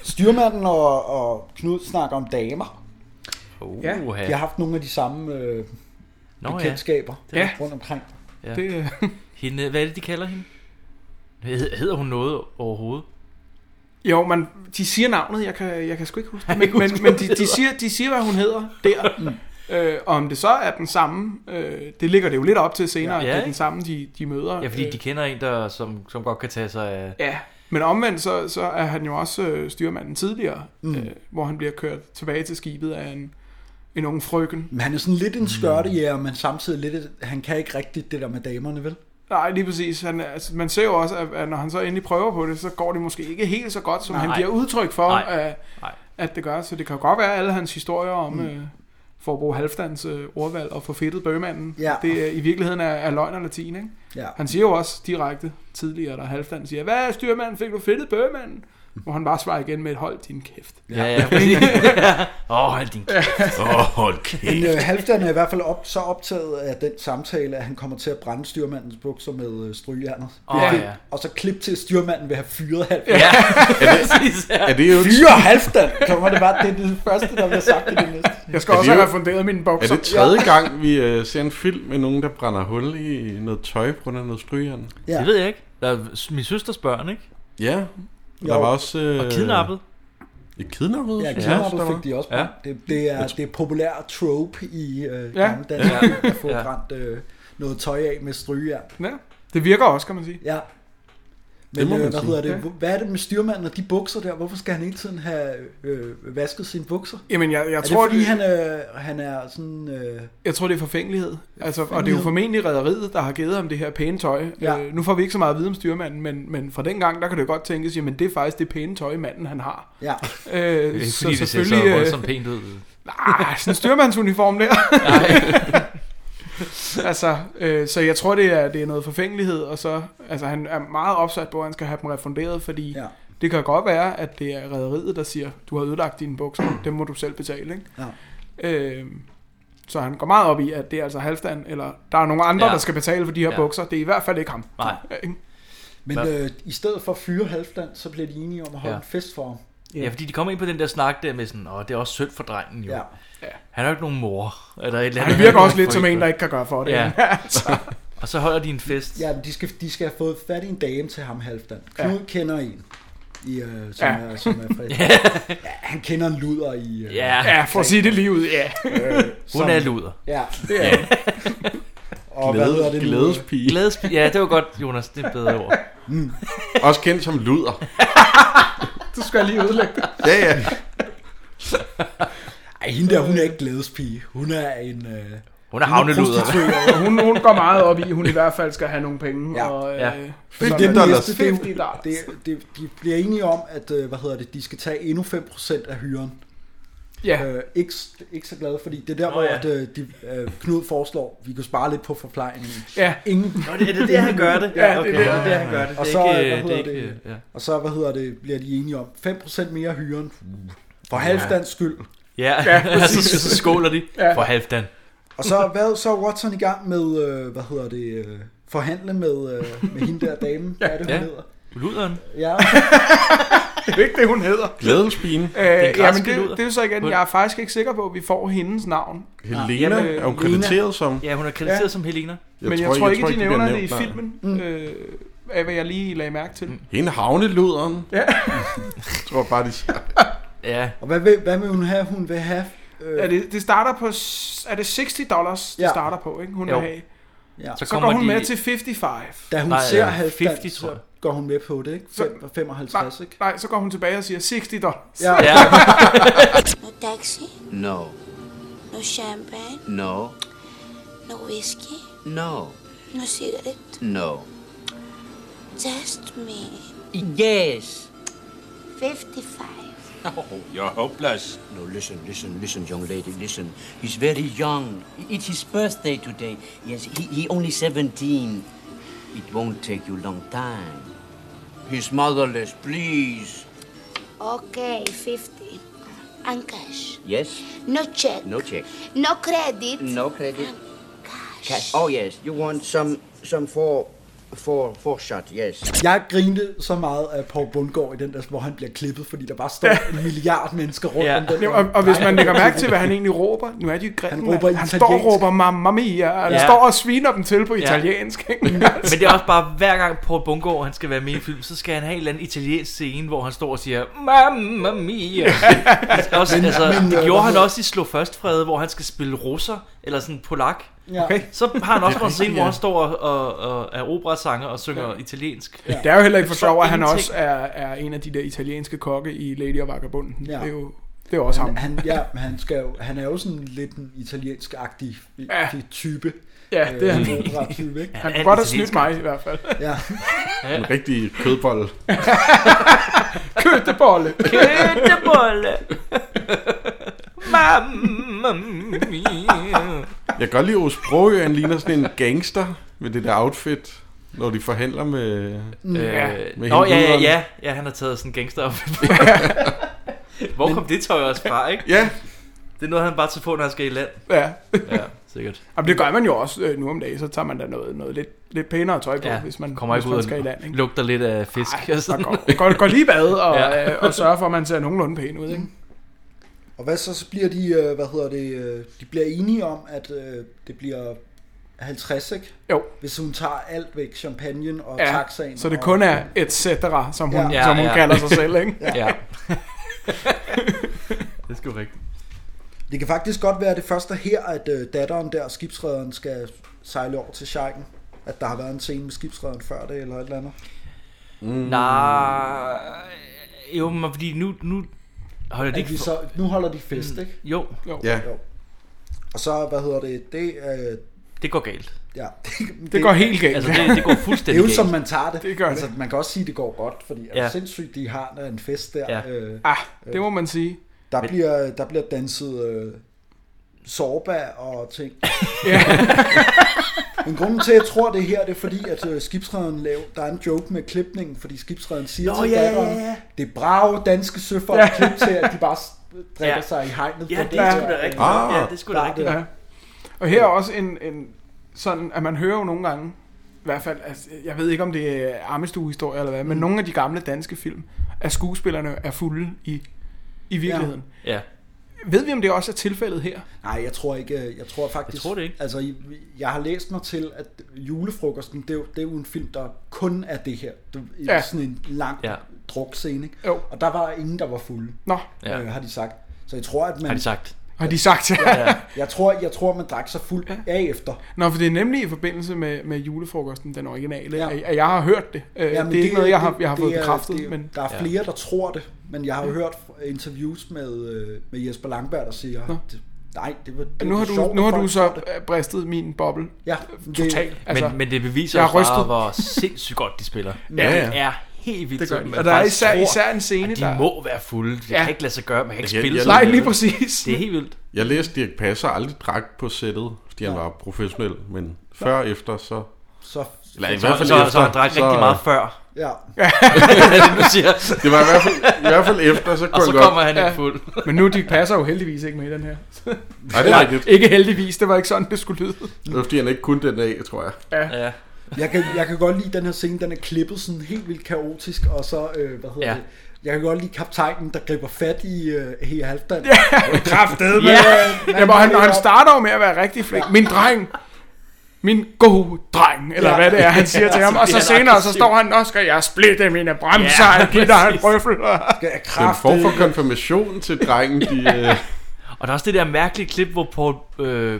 B: Styrmanden og, og Knud snakker om damer.
C: Uh,
B: Ja, de har haft nogle af de samme øh,
C: Nå,
B: Nå,
C: ja.
B: bekendtskaber
C: Det er
B: ja.
C: rigtigt.
B: rundt omkring.
C: Ja.
F: Det- øh,
C: Hende, hvad er det, de kalder hende? Hed- Hedder hun noget overhovedet?
F: Jo, man, de siger navnet, jeg kan, jeg kan sgu ikke huske det.
C: Jeg
F: Men,
C: kan
F: men,
C: huske,
F: men
C: hvad
F: de,
C: hun
F: de, siger, de siger, hvad hun hedder der. øh, og om det så er den samme, øh, det ligger det jo lidt op til senere,
C: Ja,
F: ja, at det er
C: ikke?
F: den samme, de, de møder.
C: Ja, fordi
F: øh,
C: de kender en, der, som, som godt kan tage sig af...
F: Ja, men omvendt så, så er han jo også øh, styrmanden tidligere, mm.
B: Mm.
F: øh, hvor han bliver kørt tilbage til skibet af en, en ung frøken.
B: Men han er sådan lidt en skørtejæger, men samtidig lidt... et- Han kan ikke rigtigt det der med damerne, vel?
F: Nej, lige præcis. Han, er- altså, man ser jo også, at, at når han så endelig prøver på det, så går det måske ikke helt så godt, som
C: Nej.
F: han giver udtryk for,
C: Nej.
F: At,
C: Nej.
F: at det gør. Så det kan jo godt være, at alle hans historier om mm.
B: Mm.
F: øh, for at bruge Halfdans øh, ordvalg og forfættet bøgemanden,
B: Ja.
F: det øh, i virkeligheden er, er løgn og latin. Ikke?
B: Ja.
F: Han siger jo også direkte tidligere, da Halfdan siger, hvad styrmanden, fik du fedtet bøgemanden? Hvor han bare svarer igen med et hold din kæft.
C: Ja, ja, præcis. Åh, oh, hold din kæft. Åh, oh, hold
B: Men
C: kæft.
B: øh, Halfdan er i hvert fald op, så optaget af den samtale, at han kommer til at brænde styrmandens bukser med øh, strygernet.
C: Åh,
B: Det-
C: ja.
B: Og så klip til, at styrmanden vil have fyret Halfdan.
C: Ja, præcis.
D: Er det jo
B: Fyre Halfdan! Kommer det bare, det er det første, der bliver sagt i det næste.
F: Jeg skal
D: Er
F: også
D: det jo-
F: have refunderet mine bokser.
D: Er det tredje gang, vi øh, ser en film med nogen, der brænder hul i noget tøj på grund af noget strygeren?
B: Ja.
C: Det ved jeg ikke. Der er s- min søsters børn, ikke?
D: Ja, der
B: Jo.
D: var også... Øh,
C: Og kidnappet.
D: Ja, kidnappet?
B: Ja,
D: synes jeg også,
B: kidnappet
D: der var.
B: fik de også
D: Ja.
B: brændt. Det, det, er, det er populær trope i øh,
F: Ja.
B: ja. gamle danske film, at få
C: Ja.
B: brændt øh, noget tøj af med strygejern.
F: Ja, det virker også, kan man sige.
B: Ja. Men
F: Det må
B: det
F: man
B: øh, hvad
F: sige.
B: hedder det?
F: Ja.
B: Ja. Hvad er det med styrmanden og de bukser der? Hvorfor skal han hele tiden have øh, vasket sine bukser?
F: Jamen, jeg- jeg
B: er
F: tror,
B: det, fordi
F: det-
B: han, øh, han er sådan... Øh,
F: Jeg tror, det er forfængelighed. Altså, og det er jo
B: Forfængelighed.
F: formentlig rædderiet, der har givet ham det her pæne tøj. Ja.
B: Ja.
F: Øh, nu får vi ikke så meget at vide om styrmanden, men, men fra den gang, der kan det jo godt tænkes, jamen det er faktisk det pæne tøj, manden han har.
B: Ja.
F: Øh,
C: Det er ikke,
F: så
C: fordi det ser så
F: selvfølgelig, øh,
C: voldsomt pænt ud.
F: Nej, sådan en styrmandsuniform der. altså, øh, så jeg tror, det er, det er noget forfængelighed, og så, altså han er meget opsat på, at han skal have dem refunderet, fordi ja.
B: Ja.
F: det kan godt være, at det er rædderiet, der siger, du har ødelagt dine bukser, dem må du selv betale, ikke?
B: ja.
F: Øh, så han går meget op i, at det er altså Halfdan, eller der er nogle andre, ja.
C: Ja.
F: der skal betale for de her ja.
C: Ja.
F: bukser. Det er i hvert fald ikke ham.
C: Nej.
F: Ikke?
B: Men
C: Hvad?
B: øh, i stedet for at fyre Halfdan, så bliver de enige om at holde
C: Ja.
B: ja. en fest for ham.
C: Ja, fordi de kommer ind på den der snak der med sådan, åh, det er også sødt for drengen jo.
B: Ja.
C: Han har jo ikke nogen mor. Eller et eller
F: Han
C: andet.
F: virker også lidt som en, der ikke kan gøre for det.
C: Ja.
F: Altså.
C: Og så holder de en fest.
B: Ja, men de skal, de skal have fået fat i en dame til ham, Halfdan. Knud
F: Ja.
B: ja. kender en, i, øh, som,
F: Ja.
B: ja. er, som er fred.
C: Ja.
B: ja. han kender en luder i... Øh,
C: Ja.
F: Ja, for at sige det lige ud, ja.
C: Hun er luder.
B: Ja,
F: det er
B: Og hvad hedder det nu?
D: Glædespige.
C: Glædespige. Ja, det var godt, Jonas. Det er et bedre ord.
D: Også kendt som luder.
F: Du skal lige udlægge det.
D: Ja, ja.
B: Ej, hende der, hun er ikke glædespige. Hun er en... Øh,
C: Hun er havneluder.
B: prostitueret.
F: hun, hun går meget op i, at hun i hvert fald skal have nogle penge.
B: Ja.
F: Og, øh,
C: Ja.
F: så-
B: det,
D: dollars.
B: næste, det,
F: 50 dollars.
B: er- det, er- det, de bliver enige om, at øh, hvad hedder det, de skal tage endnu 5% af hyren.
F: Ja.
B: Øh, ikke, ikke så glade, fordi det er der,
C: Nå,
B: Nå, hvor
C: ja.
B: ja. at, øh, de, øh, Knud foreslår, vi kan spare lidt på forplejningen.
F: Ja.
B: Ingen,
C: Nå, det- er det der, han gør det?
F: Ja,
C: Ja, okay.
F: det er det.
C: det, han gør det.
B: Og
C: Det er
B: så,
C: ikke,
B: øh,
C: øh,
B: hvad hedder
C: det er ikke,
B: det,
C: øh, ja.
B: og så hvad hedder det, bliver de enige om 5% mere hyren.
C: Uh.
B: For halvdans skyld.
C: Ja,
F: Ja,
C: ja så,
F: præcis.
C: så skåler de
F: Ja.
C: ja. for Halfdan.
B: Og så hvad, så er Watson i gang med, øh, hvad hedder det, øh, forhandle med, øh, med hende der dame. Hvad er det, hun
C: Ja.
B: hedder?
C: Luderen.
B: Ja.
F: Det er jo ikke det, hun hedder.
D: Glædespigen.
F: Øh,
C: en græsk
F: jamen, det,
C: luder.
F: det er jo så igen,
C: Hun-
F: jeg er faktisk ikke sikker på, at vi får hendes navn.
D: Helena
C: Jamen,
D: er hun krediteret som.
C: Ja, hun er krediteret
F: Ja.
C: ja. som Helena.
F: Jeg men jeg tror, jeg tror ikke, de
D: bliver
F: nævner det i
D: nævnt, nej.
F: filmen, øh,
B: Mm.
F: af hvad jeg lige lagde mærke til.
D: Hende havneluderen.
F: Ja.
D: Jeg tror bare, de siger.
C: Ja,
B: Og hvad vil, hvad vil hun have? Hun vil have... Øh,
F: Er det, det starter på, s- er det 60 dollars, det
B: Ja.
F: starter på, ikke? Hun
C: Jo.
F: vil have.
B: Ja.
F: Så, så går hun de... med til 55.
B: Da hun nej, ser ja, 50, så går hun med på det, ikke?
F: Så-
B: Fem- 55, ikke?
F: Nej, så går hun tilbage og siger 60 dollars.
B: Ja.
O: No taxi,
I: No.
O: no champagne,
I: No.
O: no whiskey,
I: No.
O: no cigarette.
I: No.
O: Just me.
I: Yes.
O: 55.
I: Oh, you're hopeless. No, listen, listen, listen, young lady, listen. He's very young. It's his birthday today. Yes, he, he only 17. It won't take you long time. He's motherless, please.
O: Okay, 50. And cash.
I: Yes?
O: No check.
I: No check.
O: No credit.
I: No credit. Cash. Oh, yes. You want some, some for, for, for shot, yes.
B: Jeg grinte så meget af Paul Bundgaard i den der, hvor han bliver klippet, fordi der bare står en milliard mennesker rundt om den.
F: Ja, og, og hvis man lægger mærke til, hvad han egentlig råber, nu er de jo
B: Han
F: grimme,
B: råber
F: han, han står og
B: italiensk.
F: råber mamma mia, og han
C: Ja.
F: står og sviner dem til på
C: Ja.
F: italiensk. ikke?
C: Men det er også bare, hver gang Paul Bungård, han skal være med i en film, så skal han have en eller anden italiensk scene, hvor han står og siger, Mamma mia. Det er også,
B: Men-
C: altså,
B: men,
C: det
B: øh, hvad
C: gjorde han
B: hedder-
C: også i Slå Først Frede, hvor han skal spille russer, eller sådan polak.
B: Ja. Okay.
C: Så har han også
F: Det er
C: en scene,
F: rigtigt,
C: hvor
F: ja.
C: han står og, og, og er operasanger og synger italiensk.
F: Det er jo heller ikke for
C: Jeg forstår
F: sjov, at han
C: ingenting.
F: også er, er en af de der italienske kokke i Lady og Vagabunden. Ja.
B: Ja.
F: Det er jo det er jo også ham.
B: han, han, ja, men han, skal jo, han er jo sådan lidt en italiensk-agtig ja. type.
F: Ja,
B: Øh,
F: det er han.
B: Type, ikke?
F: Han kunne godt have snydt mig i hvert fald.
B: Ja.
D: En rigtig kødbolle.
F: Køttebolle.
C: Køttebolle. Mamma mia.
D: Jeg kan godt lide, at Ous Brogø, han ligner sådan en gangster med det der outfit, når de forhandler med...
C: Mm. Ja.
D: med
C: Øh, Nå,
D: hende
C: ja, ja,
D: uderen.
C: ja, ja, han har taget sådan en gangster op. Hvor kom det tøj også fra, ikke?
D: Ja.
C: Det er noget, han bare tager på, når han skal i land.
F: Ja.
C: ja sikkert.
F: Jamen, det gør man jo også øh, nu om dagen, så tager man da noget, noget lidt, lidt pænere tøj på,
C: Ja,
F: ja. hvis man,
C: kommer
F: hvis
C: ikke ud
F: man
C: og
F: skal i land. Ikke?
C: lugter lidt af fisk.
F: Ej,
C: og sådan.
F: Går, går, går lige i bad og,
C: Ja.
F: ja. øh, og sørger for, at man ser nogenlunde pæn ud. Ikke?
B: Mm. Og hvad så, så bliver de, øh, hvad hedder det, øh, de bliver enige om, at øh, det bliver 50, ikke?
F: Jo.
B: Hvis hun tager alt væk, champagnen og
F: Ja,
B: taxaen.
F: så det
B: og-
F: kun er et cetera, som hun,
B: Ja.
F: ja, som hun
B: Ja,
F: ja.
B: ja.
F: kalder sig selv, ikke?
B: Ja. Ja.
C: Det er sgu rigtigt.
B: Det kan faktisk godt være det første her, at øh, datteren der, skibsrederen, skal sejle over til Scheiken. At der har været en scene med skibsrederen før det, eller et eller andet.
C: Mm. Nej. Jo, men fordi nu... nu holder
B: At
C: det ikke
B: vi
C: for-
B: så, nu holder de fest,
C: Mm.
B: ikke?
C: Jo.
D: Ja.
B: Og så, hvad hedder det, det... Øh,
C: det går galt.
B: Ja. Det,
F: går helt galt. Altså, det- det går fuldstændig
B: Det er jo som
F: galt.
B: man tager det.
F: Det gør det.
B: Altså, man kan også sige, at det går godt, fordi ja.
F: Ja.
B: altså, sindssygt, de har der er en fest der.
F: Ja.
B: Øh,
F: Ah, det må man sige.
B: Der, bliver, der bliver danset øh, sorba og ting.
F: Ja.
B: Men grunden til, at jeg tror det her, det er fordi, at øh, skibsrederen laver, der er en joke med klipningen, fordi skibsrederen siger
C: Nå,
B: til
C: ja, ja,
B: datteren,
C: ja.
B: det er brave danske søfolk
C: Ja.
B: ja. klip til, at de bare s- drikker
C: Ja.
B: ja. sig i hegnet.
C: Ja,
B: på
C: det
B: der,
C: er sgu da
B: øh,
C: rigtigt. Ah. Ja, det er sgu da
B: der
C: rigtigt.
B: der.
F: Ja. Og her er også en, en sådan, at man hører jo nogle gange, i hvert fald, altså, jeg ved ikke om det er armestuehistorie eller hvad,
B: Mm.
F: men nogle af de gamle danske film, at skuespillerne er fulde i, i virkeligheden.
C: Ja.
F: Ved vi, om det også er tilfældet her?
B: Nej, jeg tror ikke. øh, Jeg tror faktisk...
C: Jeg tror det ikke.
B: Altså, I- jeg har læst mig til, at julefrokosten, det er jo, det er jo en film, der kun er det her. Det er
F: Ja.
B: ja. sådan en lang
C: Ja.
B: ja. drukscene. Ikke?
F: Jo.
B: Og der var ingen, der var fulde.
F: Nå.
B: Ja.
C: Ja.
B: Øh, har de sagt. Så jeg tror, at man...
C: Har de sagt.
F: Har de sagt?
B: ja. Jeg tror, jeg tror, man drak sig fuld ja. af efter.
F: Nå, for det er nemlig i forbindelse med, med julefrokosten, den originale,
B: Ja.
F: ja. at at jeg har hørt det. Øh, det er
B: men
F: ikke noget, jeg har,
B: det-
F: jeg har fået
B: det er-
F: bekræftet.
B: det er-
F: men,
B: Der er flere, der tror det, men jeg har jo hørt interviews med, øh, med Jesper Langberg, der siger, at det- nej, det var det
F: nu
B: var
F: har,
B: sjovt,
F: du, nu
B: at
F: har
B: folk
F: du så øh, bristet min boble. altså.
B: Ja, det-
F: totalt.
B: Men-
C: Men, men det beviser
F: jeg
C: også
F: har
C: bare,
F: rystet.
C: hvor sindssygt godt de spiller.
F: Ja, ja.
C: Det er helt vildt.
F: Det gør
C: sådan,
F: de.
C: man
F: Og der er
C: faktisk
F: især-
C: tror,
F: især en scene,
C: at de
F: der-
C: må være fulde. Det
F: Ja.
C: kan ikke lade sig gøre. Man kan ikke
D: Jeg-
C: spille
D: jeg-
C: sådan
D: Nej,
C: noget.
D: lige
F: præcis.
C: Det er helt vildt.
D: Jeg læste, at Dirk Passer aldrig drak på sættet, fordi han
C: Nej.
D: var professionel, men før og efter, så...
B: Så-
D: Eller i
C: så-
D: hvert fald
C: så- så
D: efter,
C: han drak rigtig meget før.
B: Ja.
C: du siger.
D: Det var i hvert fald, i hvert fald efter, så kunne
C: Og så
D: godt-
C: kommer han ikke fuld.
F: Men nu, de passer jo heldigvis ikke med i den her. Nej,
D: er rigtigt.
F: Ikke heldigvis, det var ikke sådan, det skulle lyde.
D: Det var, fordi han ikke kunne den af, tror jeg.
F: Ja.
C: ja.
B: Jeg kan, jeg kan godt lide den her scene, den er klippet sådan helt vildt kaotisk, og så, øh, hvad hedder
C: Ja.
B: ja. det, jeg kan godt lide kaptajnen, der griber fat i øh, hele halvdagen.
F: Ja, kraftedeme. Ja. Jamen, og han, og han starter jo med at være rigtig flink. Min dreng. Min gode dreng, eller
B: Ja.
F: ja. hvad det er, han siger
B: Ja,
F: til ham.
B: så
F: Og så
B: bliver han
F: senere, så
B: aggressiv.
F: står han, også skal jeg splitte mine bremser,
D: Ja,
F: ja, og give dig en
D: præcis.
F: brøffel.
D: Det er en form for konfirmation til drengen, de... Øh,
C: Og der er også det der mærkelige klip, hvor Paul, øh,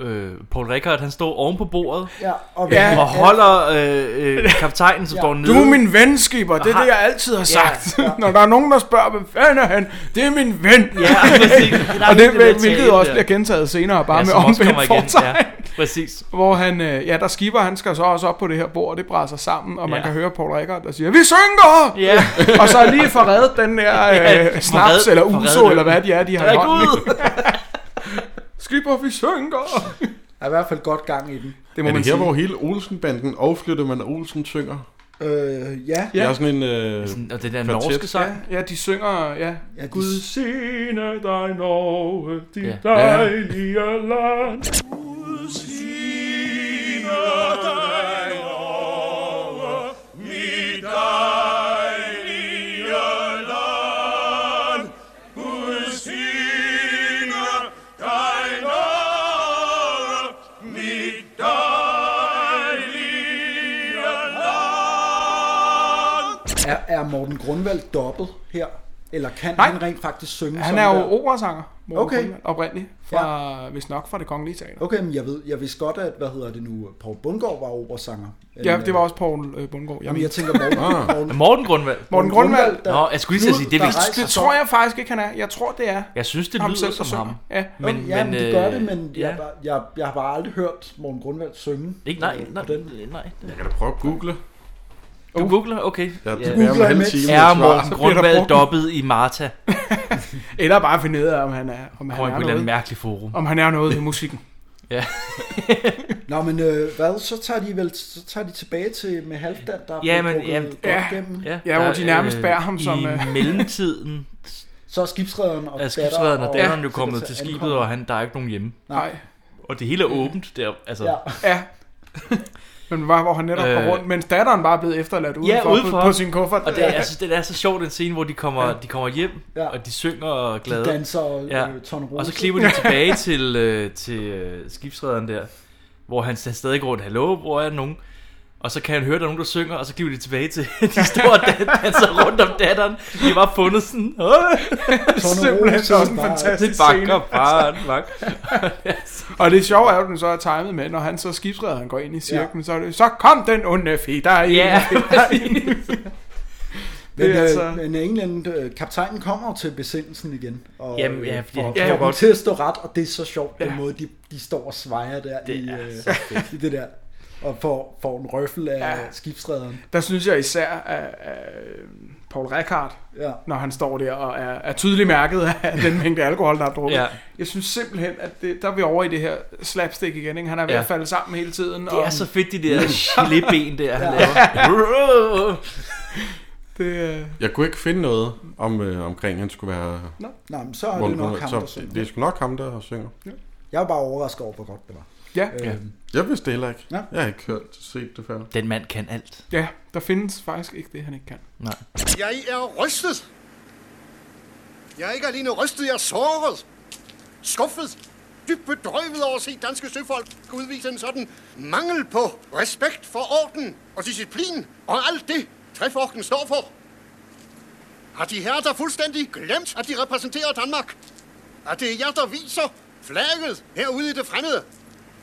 C: øh, Paul Rickard, han står oven på bordet
B: Ja,
C: og,
B: og-
C: ja,
B: Ja.
C: og holder øh, øh, kaptajnen, som ja. står nede.
F: Du er min ven, skipper. Det er
C: Aha.
F: det, jeg altid har
C: Ja,
F: sagt. Ja, Når der er nogen, der spørger, hvem fanden er han? Det er min ven.
C: Ja, præcis. Der er
F: og det,
C: lidt det der
F: hvilket
C: tale
F: også
C: der.
F: bliver gentaget senere, bare
C: Ja,
F: ja, med
C: som også
F: omvendt
C: kommer igen,
F: fortegn.
C: ja, præcis.
F: Hvor han, øh, ja, der skipper, han skal så også op på det her bord, og det brænder sig sammen, og man
C: Ja.
F: kan høre Paul Rickard, der siger, vi synker!
C: Ja.
F: og så er lige forredet den der
C: Ja,
F: øh, snaps,
C: forredet-
F: eller
C: forredet
F: uso,
C: øl.
F: eller hvad de er, de har i
C: Drik
F: hånden.
C: ud!
F: skipper, vi synker!
B: Der er i hvert fald godt gang i den.
D: Det må er det her, hvor hele Olsen-banden afflytter, man Olsen synger?
B: Øh, ja.
D: Det er sådan en... Øh,
C: og det der
D: kvartet.
F: Ja, ja de synger, ja.
B: ja de...
F: Gud sene dig Norge, dit
D: Ja.
F: ja.
D: dejlige
F: dejlige ja. land.
B: Er, er Morten Grundvald dobbelt her? Eller kan
F: Nej.
B: han rent faktisk synge
F: Han
B: sådan
F: er
B: der?
F: jo operasanger, Morten
B: Okay.
F: Grundvald, oprindeligt, fra, ja. hvis nok fra det kongelige teater.
B: Okay, men jeg, ved, jeg vidste godt, at, hvad hedder det nu, Paul Bundgaard var operasanger.
F: Ja,
B: Øh,
F: det var også Poul øh, Bundgaard.
B: Jamen, jeg tænker Morten- Ah. Morten-
C: Morten Grundvald.
F: Morten Grundvald.
C: der- Nå, jeg skulle lige til at sige, det
F: der
C: vidste-
F: rejser sig. Det tror jeg faktisk ikke, han er. Jeg tror, det er.
C: Jeg synes, det
F: ham
C: lyder
F: selv, der
C: som
F: synger.
C: ham.
F: Ja.
B: Men,
C: Men-
B: men, ja, men,
C: men,
B: det
C: øh,
B: gør det, men
C: ja.
B: jeg, har bare- jeg, jeg har bare aldrig hørt Morten Grundvald synge.
C: Ikke nej, nej, nej.
D: Jeg kan da prøve at google.
C: Du googler? Okay.
D: Ja, det
C: Ja.
D: Googler bærer om en imens. halv time,
C: Er
D: jeg tror.
C: Morten
D: Så bliver der
C: Grundvald
D: brugt-
C: dobbet i Marta?
F: Eller bare finde ud af, om han er, om han er
C: Kommer på et eller
F: noget.
C: andet mærkeligt forum.
F: Om han er noget ved musikken.
C: ja.
B: Nå, men øh, hvad, så tager de vel så tager de tilbage til med Halvdan, der er
C: Ja,
B: blevet
C: men-
B: drukket
C: ja,
B: godt
C: ja,
B: gennem.
C: ja.
F: Ja, hvor
C: Der,
F: de nærmest
C: øh,
F: bærer ham som...
C: i
F: øh,
C: mellemtiden
B: Så er skibsrederen og
C: Er skibsrederen og datteren jo
B: Ja. altså
C: kommet til skibet, og han, der er ikke nogen hjemme.
B: Nej.
C: Og det hele er åbent der, altså.
B: Ja.
F: Ja. Men var, hvor han netop
C: Øh.
F: går rundt, mens datteren bare er blevet efterladt udenfor,
C: ja, udenfor.
F: På, på sin kuffert.
C: Og det, er, jeg synes, det er så sjovt, den scene, hvor de kommer, ja.
F: Ja.
C: de kommer hjem, ja. og de synger og er glade.
B: danser, øh, Torne Rose.
C: Og så klipper de tilbage til, øh, til øh, skibsrederen der, hvor han sta- stadig går rundt, hallo, hvor er nogen? Og så kan han høre, at der er nogen, der synger, og så klipper de tilbage til de store dan- danser rundt om datteren. De var fundet sådan, "Åh!"
F: Simpelthen
C: Rose
F: også en
C: bare-
F: fantastisk
C: Det bakker
F: scene.
C: bare, det bakker.
F: og det sjove er jo, at den så er timet med, når han så skibsredder, han går ind i cirklen, så er det, så kom den onde fætter ind.
C: Ja,
B: Men,
F: Det er
B: øh,
F: altså-
B: men England, øh, kaptajnen kommer jo til besindelsen igen. Og,
C: Jamen, ja,
B: øh,
C: fordi han
B: og
C: kan
B: får
C: jo
B: dem
C: godt-
B: til at stå ret, og det er så sjovt, ja.
C: Ja.
B: den måde, de, de står og svejer der
C: Det
B: i,
C: er
B: øh,
C: så fedt.
B: i det der. Og får, får en røffel af ja. skibsrederen.
F: Der synes jeg især, at, at Paul Rickard,
B: ja.
F: når han står der og er, er tydeligt mærket af den mængde alkohol, der er drukket.
C: Ja.
F: Jeg synes simpelthen, at det, der er vi over i det her slapstick igen. Ikke? Han er ved
C: Ja.
F: ja. at falde sammen hele tiden.
C: Det er så fedt, de der gelében der, han laver.
F: det, øh,
D: Jeg kunne ikke finde noget om, øh, omkring, han skulle være...
B: Nå. Nå, men så er det
D: Morten
B: nok
D: Grundvald.
B: ham,
D: Så
B: der synger.
D: Det er sgu nok ham, der synger.
B: Jeg var bare overrasket over, hvor godt det var.
D: ja.
B: Øhm,
D: Jeg vidste det heller ikke.
B: Ja.
D: Jeg har ikke hørt set det før.
C: Den mand kan alt.
F: ja, der findes faktisk ikke det, han ikke kan.
C: Nej.
N: Jeg er rystet. Jeg er ikke alene rystet, jeg er såret. Skuffet. Dybt bedrøvet over at se danske søfolk udvise en sådan mangel på respekt for orden og disciplin og alt det, træforken står for. Har de herrer der fuldstændig glemt, at de repræsenterer Danmark? At det er jer, der viser flaget herude i det fremmede?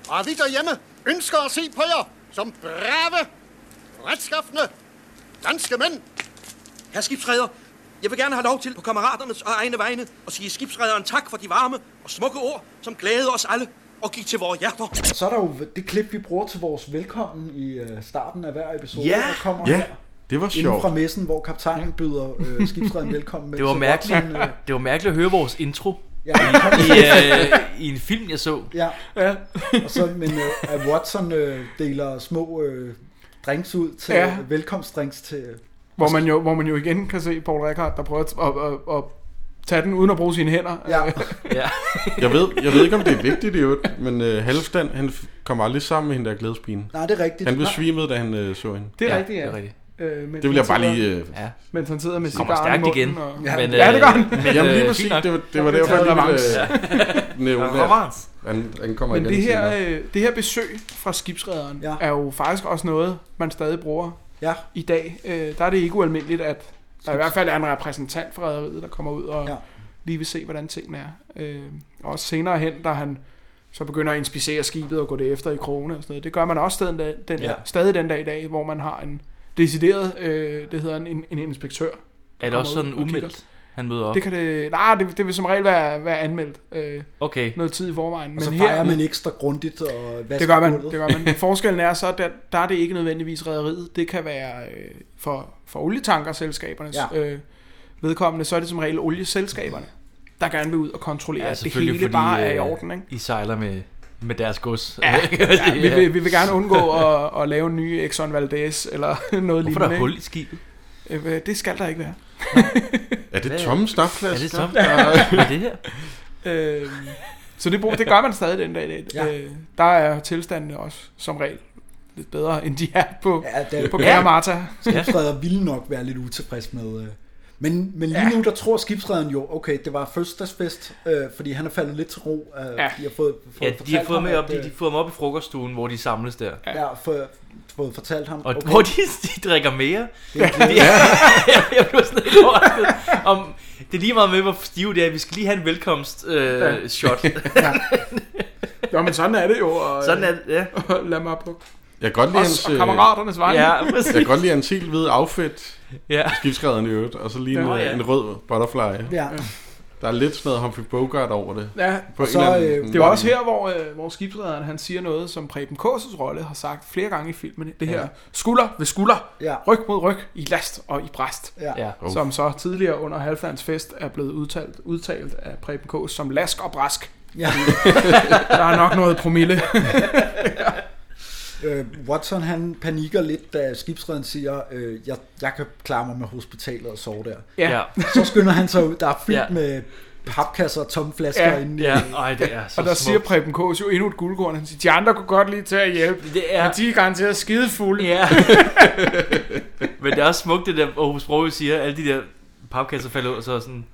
N: Og at vi derhjemme ønsker at se på jer som brave, retskaffende danske mænd?
J: Herre skibsredder, jeg vil gerne have lov til på kammeraternes og egne vegne at sige skibsrederen tak for de varme og smukke ord, som glædede os alle og gik til vores hjerter.
B: og så er der jo det klip, vi bruger til vores velkommen i øh, starten af hver episode,
J: Ja.
B: der kommer
D: Ja,
B: her.
D: det var
B: Inden
D: sjovt.
B: fra messen, hvor kaptajnen byder øh, skibsrederen velkommen.
C: Det var,
B: mens Watson,
C: mærkeligt,
B: øh,
C: det var mærkeligt at høre vores intro
B: Ja.
C: i, i, øh, i en film, jeg så.
B: Ja. ja. og så, men øh, at Watson øh, deler små øh, drinks ud til, ja.
F: Ja.
B: velkomstdrinks til... øh,
F: Hvor man, jo, hvor man jo igen kan se Paul Rickard, der prøver at, at, at, at tage den uden at bruge sine hænder.
B: Ja.
C: ja.
D: Jeg ved, jeg ved ikke, om det er vigtigt i øvrigt, men øh, Halvstand, han f- kom aldrig sammen med hende der glædespigen.
B: Nej, det er rigtigt.
D: Han
B: Nej.
D: besvimede, da han øh, så hende.
F: Det er ja, rigtigt, ja.
C: det er rigtigt.
F: Øh,
D: Det
F: mens
D: vil jeg
F: han
D: bare
F: sidder-
D: lige... Øh,
C: ja.
F: Mens han sidder med
C: Kommer
F: cigaren i
C: stærkt
F: munden.
C: igen,
F: Og...
C: men, øh,
F: ja, det gør han.
C: men,
D: Jamen lige
C: øh,
D: præcis,
C: fint nok.
D: det var, det
F: Der
D: var
F: bliver
D: derfor,
F: taget
D: jeg lige
F: revanche.
D: ville øh, nævne
F: Der er revanche.
D: at han, han kommer
F: Men
D: igen
F: det her,
D: senere.
F: øh, det her besøg fra skibsrederen ja. er jo faktisk også noget, man stadig bruger
B: ja.
F: i dag. Øh, der er det ikke ualmindeligt, at der i hvert fald er en repræsentant fra rederiet, der kommer ud og ja. lige vil se, hvordan tingene er. Øh, og også senere hen, da han så begynder at inspicere skibet og gå det efter i krogene og sådan noget. Det gør man også den, dag, den
C: Ja.
F: ja. stadig den dag i dag, hvor man har en decideret, øh, det hedder en, en, en inspektør. der
C: Er det
F: kommer
C: også sådan
F: ud og kigger.
C: umiddelbart, han møder op?
F: Det kan det, nej, det, det vil som regel være, være anmeldt øh,
C: Okay.
F: noget tid i forvejen.
B: Og så fejrer man ekstra grundigt og vasker
F: det gør man,
B: gulvet.
F: det gør man. Men forskellen er så, at der, der er det ikke nødvendigvis rædderiet. Det kan være øh, for, for olietankerselskabernes
B: Ja.
F: ja. øh, vedkommende, så er det som regel olieselskaberne, der gerne vil ud og kontrollere, ja, at det hele
C: selvfølgelig,
F: fordi, bare er i
C: øh,
F: orden. Ikke?
C: I sejler med, med deres gods.
F: Ja, ja, vi,
C: Ja.
F: vil, vi vil gerne undgå at, at lave en ny Exxon Valdez eller noget lignende.
C: Hvorfor er der
F: ikke?
C: hul i skibet?
F: Øh, hvad- Det skal der ikke være.
D: Er det Hvad- tomme stoflasker?
C: Er det tomme- Hvad er det her?
F: Øhm, så det, brug- det gør man stadig den dag i dag.
B: Ja.
F: Ja. Øh, der er tilstandene også som regel lidt bedre, end de er på,
B: Ja,
F: ja, på Kære Marta.
B: Skibsredder ville nok være lidt utilfreds med... Øh. Men, men lige nu, der tror skibsrederen jo, okay, det var fødselsdagsfest, øh, fordi han er faldet lidt til ro. Øh, ja. De har fået, fået
C: Ja, de har
B: fortalt
C: fået
B: ham,
C: med op,
B: at,
C: de, de fået ham op i frokoststuen, hvor de samles der.
B: øh, Ja, fået, fået fortalt ham.
C: Og okay. hvor de, de drikker mere.
B: Det er
C: Ja.
B: klart.
C: jeg blev sådan lidt overrasket. Om, det er lige meget med, hvor stive det er. Vi skal lige have en velkomst øh,
F: Ja.
C: ja. shot.
F: Ja. Jo, men sådan er det jo. Og,
C: Sådan er det, ja.
F: Og lad mig på.
D: Jeg kan godt lide
F: Os
D: hans...
F: og
D: øh,
F: kammeraternes vegne. Ja, præcis.
D: jeg kan godt lide hans helt hvide outfit.
C: Ja.
D: Skibsrederen i øvrigt. Og så lige en,
B: Ja.
D: ja. en rød butterfly.
B: Ja.
D: Der er lidt sådan noget Humphrey Bogart over det.
F: Ja,
D: På
F: og
D: en
F: så,
D: eller anden
F: øh,
D: sådan-
F: det var også her, hvor, øh, hvor skibsrederen han siger noget, som Preben Kåses rolle har sagt flere gange i filmen. Det her
C: Ja.
F: ja. skulder ved skulder,
B: ja.
F: ryg mod ryg, i last og i bræst.
C: Ja. Ja.
F: Som så tidligere under Halflands fest er blevet udtalt, udtalt af Preben Kås som lask og brask.
B: Ja.
F: Der er nok noget promille.
B: Øh, Watson han panikker lidt, da skibsredden siger, øh, jeg, jeg kan klare mig med hospitalet og sove der.
C: Ja. Ja.
B: Så skynder han sig ud, der er fyldt
C: Ja.
B: ja. med papkasser og tomme flasker ja. inde i.
C: Ej, det er så
F: Og der
C: smukt.
F: siger Preben Kås jo endnu et guldkorn. Han siger, de andre kunne godt lige tage at hjælpe.
C: Det er...
F: Men de er garanteret skidefulde.
C: Ja. Men det er også smukt, det der Aarhus Brogø siger, alle de der papkasser falder ud, og så er sådan,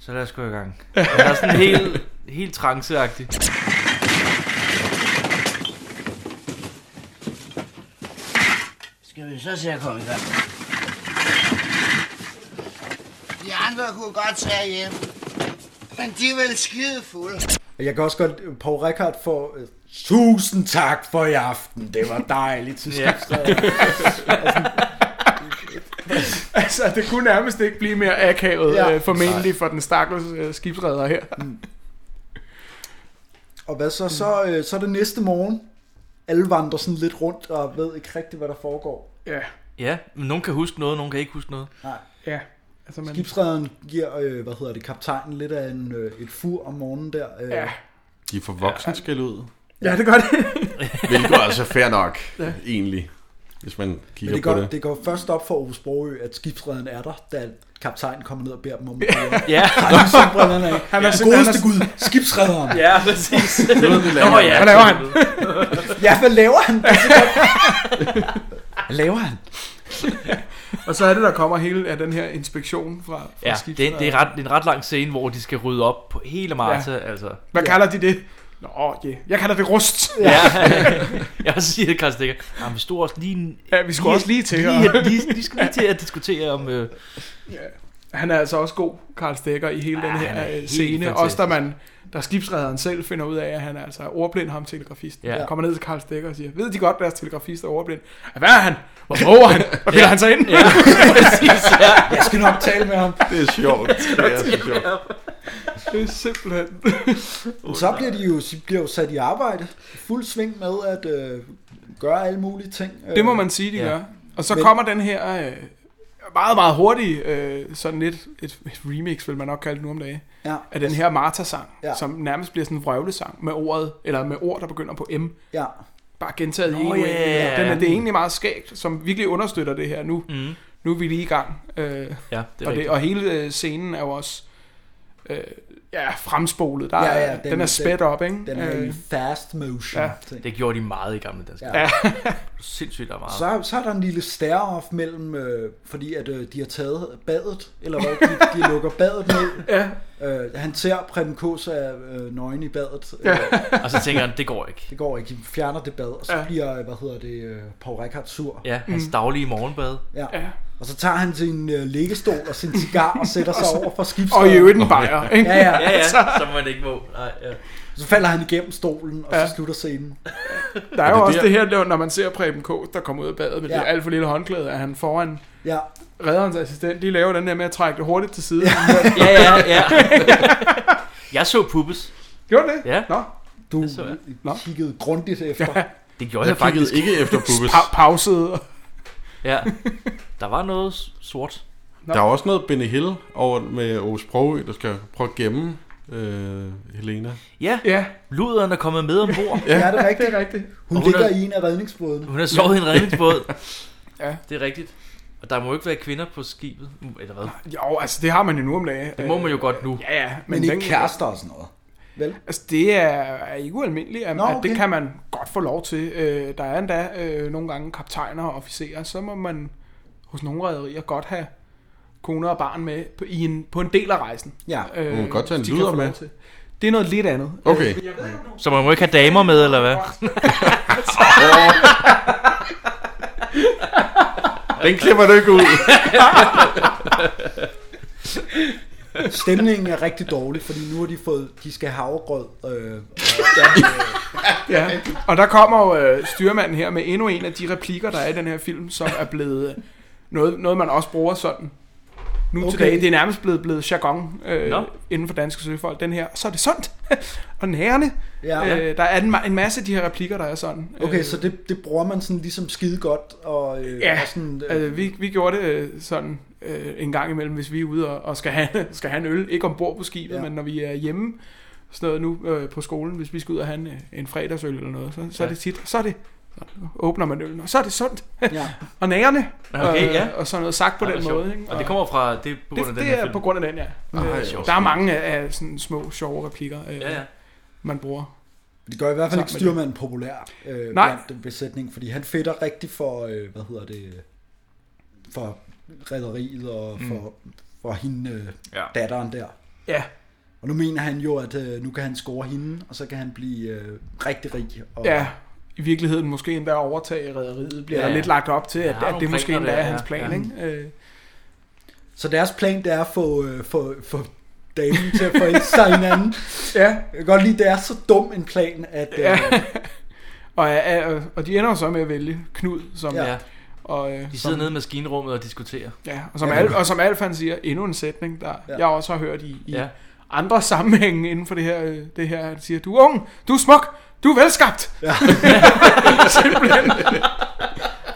C: så lad os gå i gang. Og der er sådan helt, helt tranceagtigt.
G: Skal vi så se at komme i gang?
N: De andre kunne godt tage hjem. Men de er vel skide fulde.
B: Og Jeg kan også godt, Paul Rickard for øh, tusind tak for i aften, det var dejligt til
F: Ja.
B: skibsredden.
F: altså, det kunne nærmest ikke blive mere akavet,
B: Ja.
F: ja. øh, formentlig for den stakkels øh, skibsredder her.
B: Og hvad så? Så, øh, så er det næste morgen. Alle vandrer sådan lidt rundt og ved ikke rigtigt, hvad der foregår.
F: Ja.
C: Ja, men nogen kan huske noget, nogen kan ikke huske noget.
B: Nej.
F: Ja. Altså, man...
B: Skibsrederen giver, øh, hvad hedder det, kaptajnen lidt af en, øh, et fur om morgenen der. Øh.
F: Ja.
D: De får voksen skæld ud.
F: Ja, det gør det.
D: Hvilket også er altså fair nok,
B: Ja.
D: ja. egentlig. Hvis man
B: Men
D: kigger
B: det
D: på
B: går,
D: det.
B: det. det går først op for Aarhus Brogø, at skibsrederen er der, da kaptajnen kommer ned og beder dem om at
C: Ja.
B: Har de solbrillerne af?
F: Han
B: Han
F: er
B: er
F: simpelthen-
B: godeste
F: han er-
B: gud, skibsrederen.
C: Ja, præcis. Nå, ja.
B: Hvad laver han? ja, hvad laver han? Det er så godt. Hvad laver han?
F: og så er det, der kommer hele af den her inspektion fra, fra
C: Ja, det,
F: skibsrederen.
C: det, er ret, det er en ret lang scene, hvor de skal rydde op på hele Marta, ja. altså.
F: Hvad ja. kalder de det? Nå, okay. Jeg kalder det rust.
C: Ja. jeg vil sige det, Carsten Stikker. Jamen, vi stod også lige... en-
F: Ja, vi skulle også lige til
C: Lige,
F: her.
C: lige, lige, skal lige til at diskutere om... Øh,
F: Han er altså også god, Karl Stikker, i hele den
C: han er
F: her øh,
C: helt
F: scene.
C: fantastisk.
F: Også da man, der skibsrederen selv finder ud af, at han er altså ordblind, ham telegrafisten.
C: Ja.
F: Ja. Kommer ned til Karl Stikker og siger, ved de godt, at deres telegrafist er ordblind? Hvad er han? Hvor våger han? Hvor bilder
C: Ja.
F: han sig ind?
C: Ja, præcis, ja.
B: Jeg skal nok tale med ham.
D: Det er sjovt. Det er så sjovt.
F: Det er simpelthen...
B: Men så bliver de jo, de bliver jo sat i arbejde. Fuld sving med at øh, gøre alle mulige ting. Øh,
F: Det må man sige, de ja. gør. Og så Men... kommer den her øh, meget, meget hurtige, øh, sådan lidt et, et remix, vil man nok kalde det nu om dagen,
B: Ja.
F: af den her Martha-sang,
B: Ja.
F: ja. som nærmest bliver sådan en vrøvlesang med ordet, eller med ord, der begynder på M.
B: Ja.
F: Bare gentaget i
C: Nå,
F: en uge.
C: ja.
F: Den er, det er egentlig meget skægt, som virkelig understøtter det her nu.
C: Mm.
F: Nu er vi lige i gang. Øh, ja,
C: er
F: og,
C: rigtigt.
F: og hele øh, scenen er jo også øh, ja, fremspolet. Der, ja, ja, den, den er spæt op, ikke?
B: Den er i fast motion.
F: Øh, Ja.
B: ting.
C: Det gjorde de meget i gamle danske.
B: Ja.
C: Sindssygt der er meget.
B: Så, så er der en lille stare-off mellem, øh, fordi at øh, de har taget badet, eller hvad, de, de lukker badet ned.
F: Ja.
B: Øh, han ser Preben Kås af øh, nøgen i badet.
C: Ja. Og så tænker han, det går ikke.
B: Det går ikke, de fjerner det bad, og så
C: Ja.
B: ja. bliver, øh, hvad hedder det, øh, Paul Rickard sur.
C: Ja, hans mm. daglige morgenbad.
B: Ja. Og så tager han sin øh, liggestol og sin cigar og sætter sig
F: Og så-
B: over for skibsreden.
F: Øh, og i øvrigt en bajer, ikke? Altså,
B: Ja, ja.
C: Ja, ja, så man ikke må. Nej, ja.
B: Så falder han igennem stolen, og
F: Ja.
B: så slutter scenen.
F: Der er jo også det her, når man ser Preben K., der kommer ud af badet med ja.
B: Ja.
F: det alt for lille håndklæde, at han foran
B: Ja.
F: redderens assistent, de laver den der med at trække det hurtigt til side.
C: Ja, ja, ja. Jeg så Puppes.
F: Gjorde du det?
C: Ja.
F: Nå.
B: Du
C: så jeg.
B: kiggede grundigt efter.
F: Ja.
C: Det gjorde jeg, faktisk.
F: Pa- pausede.
C: Ja. Der var noget s- sort.
D: Der er også noget Benny Hill over med Aarhus Sprogø, der skal prøve at gemme øh, Helena.
C: Ja.
F: ja.
C: Luderen er kommet med ombord.
B: Ja, det er rigtigt.
F: Det er rigtigt.
B: Hun, hun
C: Og hun
B: ligger
C: er-
B: i en af redningsbådene.
C: Hun har sovet i en redningsbåd.
F: ja.
C: Det er rigtigt. Og der må ikke være kvinder på skibet. Eller hvad?
F: Jo, altså det har man jo nu om dagen.
C: Det må man jo godt nu.
F: Ja, ja.
B: Men ikke kærester og sådan noget. Vel?
F: Altså, det er, er ikke ualmindeligt, at,
B: Nå,
F: Nå, okay. at
B: okay.
F: det kan man godt få lov til. Øh, der er endda øh, nogle gange kaptajner og officerer, så må man hos nogle rædderier godt have koner og barn med på, i en, på en del af rejsen.
B: Ja.
D: Må man godt tage en
F: hvis de kan
D: luder
F: få lov
D: med?
F: til. Det er noget lidt andet.
D: Okay.
C: Så man må ikke have damer med, eller hvad?
D: Den klipper du ikke ud.
B: Stemningen er rigtig dårlig, fordi nu har de fået, de skal have afgrød. Øh,
F: Ja, og der kommer jo øh, styrmanden her med endnu en af de replikker, der er i den her film, som er blevet øh, noget, noget man også bruger sådan. Nu okay.
B: Okay.
F: til dag, det er nærmest blevet, blevet jargon øh,
C: Nå.
F: inden for danske søfolk, den her. Så er det sundt. og nærende.
B: Ja.
F: Øh, der er en, ma- en masse af de her replikker, der er sådan.
B: okay,
F: Øh,
B: så det, det bruger man sådan ligesom skide godt. Og, øh,
F: Ja,
B: og sådan,
F: øh, vi, vi gjorde det øh, sådan øh, en gang imellem, hvis vi er ude og, og skal, have, skal have en øl. Ikke ombord på skibet,
B: Ja.
F: ja. men når vi er hjemme sådan noget nu øh, på skolen, hvis vi skal ud og have en, øh, en fredagsøl eller noget, så, så ja. er
C: Ja.
F: det tit, så er det så åbner man øllen, og så er det sundt.
B: Ja.
F: og nærende.
C: Okay,
F: og,
C: ja.
F: og sådan noget sagt på
C: Ej,
F: den
C: hvor sjovt.
F: måde. Ikke?
C: Og det kommer fra, det er på grund af
F: det,
C: den
F: det
C: her
F: er
C: film.
F: på grund af den, ja.
C: Ej,
F: Øh,
C: sjovt.
F: der er mange af af sådan små, sjove replikker, øh,
C: Ja, ja.
F: man bruger.
B: Det gør i hvert fald ikke
F: Sammen med
B: styrmanden populær øh,
F: Nej.
B: blandt den besætning, fordi han fedter rigtig for, øh, hvad hedder det, øh, for rædderiet og
F: Mm.
B: for, for hende, øh,
C: ja.
B: datteren der.
F: Ja.
B: Og nu mener han jo, at øh, nu kan han score hende, og så kan han blive øh, rigtig rig. Og,
F: Ja, i virkeligheden måske endda overtage rædderiet, bliver ja,
B: Ja,
F: der
B: ja.
F: lidt lagt op til,
B: Ja,
F: at, at
B: der er
F: det
B: nogle
F: måske
B: planer
F: endda
B: der,
F: er hans
B: ja,
F: plan,
B: ja.
F: ikke? Øh,
B: Så deres plan, det er at få, øh, få, få damen til at forelske sig i hinanden.
F: ja.
B: Jeg kan godt lide, det er så dum en plan, at... Øh,
F: Ja. og, ja, ja, og de ender jo så med at vælge Knud, som...
B: Ja. Ja.
F: Og, øh, som-
C: De sidder nede i maskinrummet og diskuterer.
F: Ja, og som,
C: Ja.
F: ja. Alf, og som Alf han siger, endnu en sætning, der
C: Ja.
F: ja. jeg også har hørt i, i
C: Ja.
F: ja. andre sammenhænge inden for det her, øh, det her, han siger, du er ung, du er smuk, du er velskabt. Ja. Simpelthen.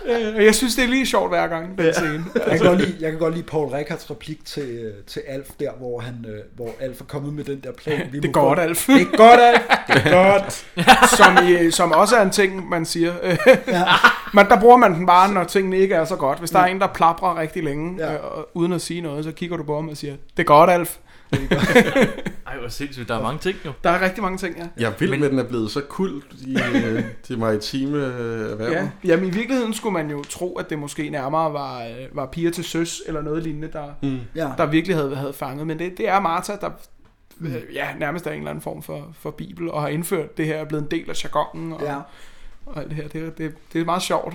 F: Øh, og jeg synes, det er lige sjovt hver gang, den ja. scene.
B: Jeg kan, godt lide, jeg kan godt lide Paul Rickards replik til, øh, til Alf der, hvor, han, øh, hvor Alf er kommet med den der plan. Vi
F: Det er
B: må
F: godt,
B: få-
F: Alf.
B: Det er godt, Alf. Det er godt.
F: som, i, som også er en ting, man siger.
B: Ja.
F: Men der bruger man den bare, når tingene ikke er så godt. Hvis der er en, der plaprer rigtig længe,
B: Ja.
F: ja. øh, og- uden at sige noget, så kigger du på ham og siger, det er godt, Alf.
C: Ej, hvor sindssygt. Der er mange ting jo.
F: der er rigtig mange ting, ja.
D: Jeg er vild med, at den er blevet så kult i øh, de maritime øh, erhverv.
F: Ja. Jamen, i virkeligheden skulle man jo tro, at det måske nærmere var, øh, var piger til søs, eller noget lignende, der,
D: Mm.
F: mm.
B: Ja.
F: der virkelig havde, havde fanget. Men det, det er Martha, der
B: Mm.
F: øh, ja, nærmest er en eller anden form for, for bibel, og har indført det her, er blevet en del af jargonen, og,
B: Ja.
F: ja. og alt det her. Det, er- det, det er meget sjovt.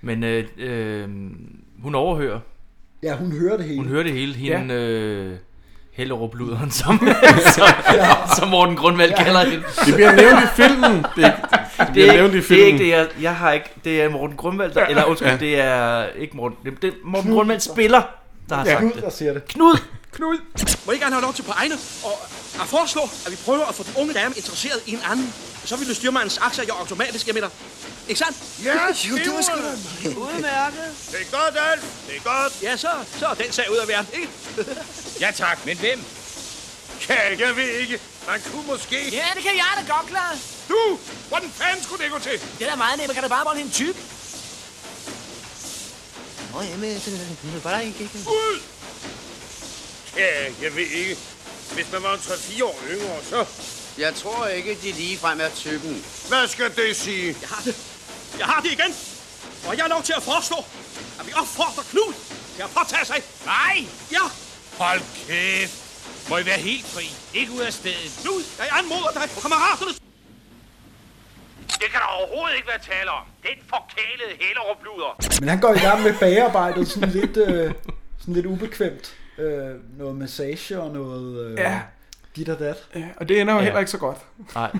C: Men øh, øh, hun overhører.
B: Ja, hun hører det hele.
C: Hun hører det hele.
B: Ja.
C: Hende øh, Hellerup-luderen, som, som, som Morten Grundvald
B: Ja.
C: kalder hende.
B: Det bliver nævnt i filmen.
D: Det er ikke- det bliver
C: er ikke-
D: nævnt i
C: Det er
D: filmen.
C: ikke det, jeg, jeg har ikke. Det er Morten Grundvald, der, eller undskyld, ja. det er ikke Morten. Det, det er Morten Grundvald spiller, der har
B: Ja.
C: ja.
B: Knud,
C: sagt
B: der
C: det.
B: siger det.
C: Knud!
F: Knud!
J: Må jeg ikke gerne have lov til på egne og at foreslå, at vi prøver at få den unge dame interesseret i en anden? Så vil du styrmandens aktier jo automatisk, jeg mener. Ikke sandt?
E: Ja, Jo, det var sgu da-
J: Udmærket.
E: Det er godt, Alf. Det er godt.
J: Ja, så, så er den sag ud af verden, ikke?
G: Ja tak, men hvem?
E: Ja, jeg ved ikke. Man kunne måske...
M: Ja, det kan jeg da godt klare.
E: Du! Uh, Hvordan fanden skulle det gå til?
M: Det er da meget nemt. Kan da bare holde hende tyk?
H: Nå, jamen, det det er bare ikke...
E: Ud! Ja, jeg ved ikke. Hvis man var en 3-4 år yngre, så...
P: Jeg tror ikke, de ligefrem er typen.
E: Hvad skal det sige?
J: Jeg har det. Jeg har det igen. Og jeg er lov til at foreslå, at vi opfordrer Knud til at påtage sig.
G: Nej!
J: Ja,
G: Hold kæft! Må I være helt fri? Ikke ud af stedet.
J: Knud, jeg anmoder dig på kammeraterne.
G: Det kan der overhovedet ikke være tale om. Den forkælede hælderupluder.
B: Men han går i gang med bagearbejdet sådan lidt, øh, sådan lidt ubekvemt. Øh, noget massage og noget øh,
F: Ja.
B: dit og dat.
F: Ja, og det ender jo Ja. heller ikke så godt.
C: Nej.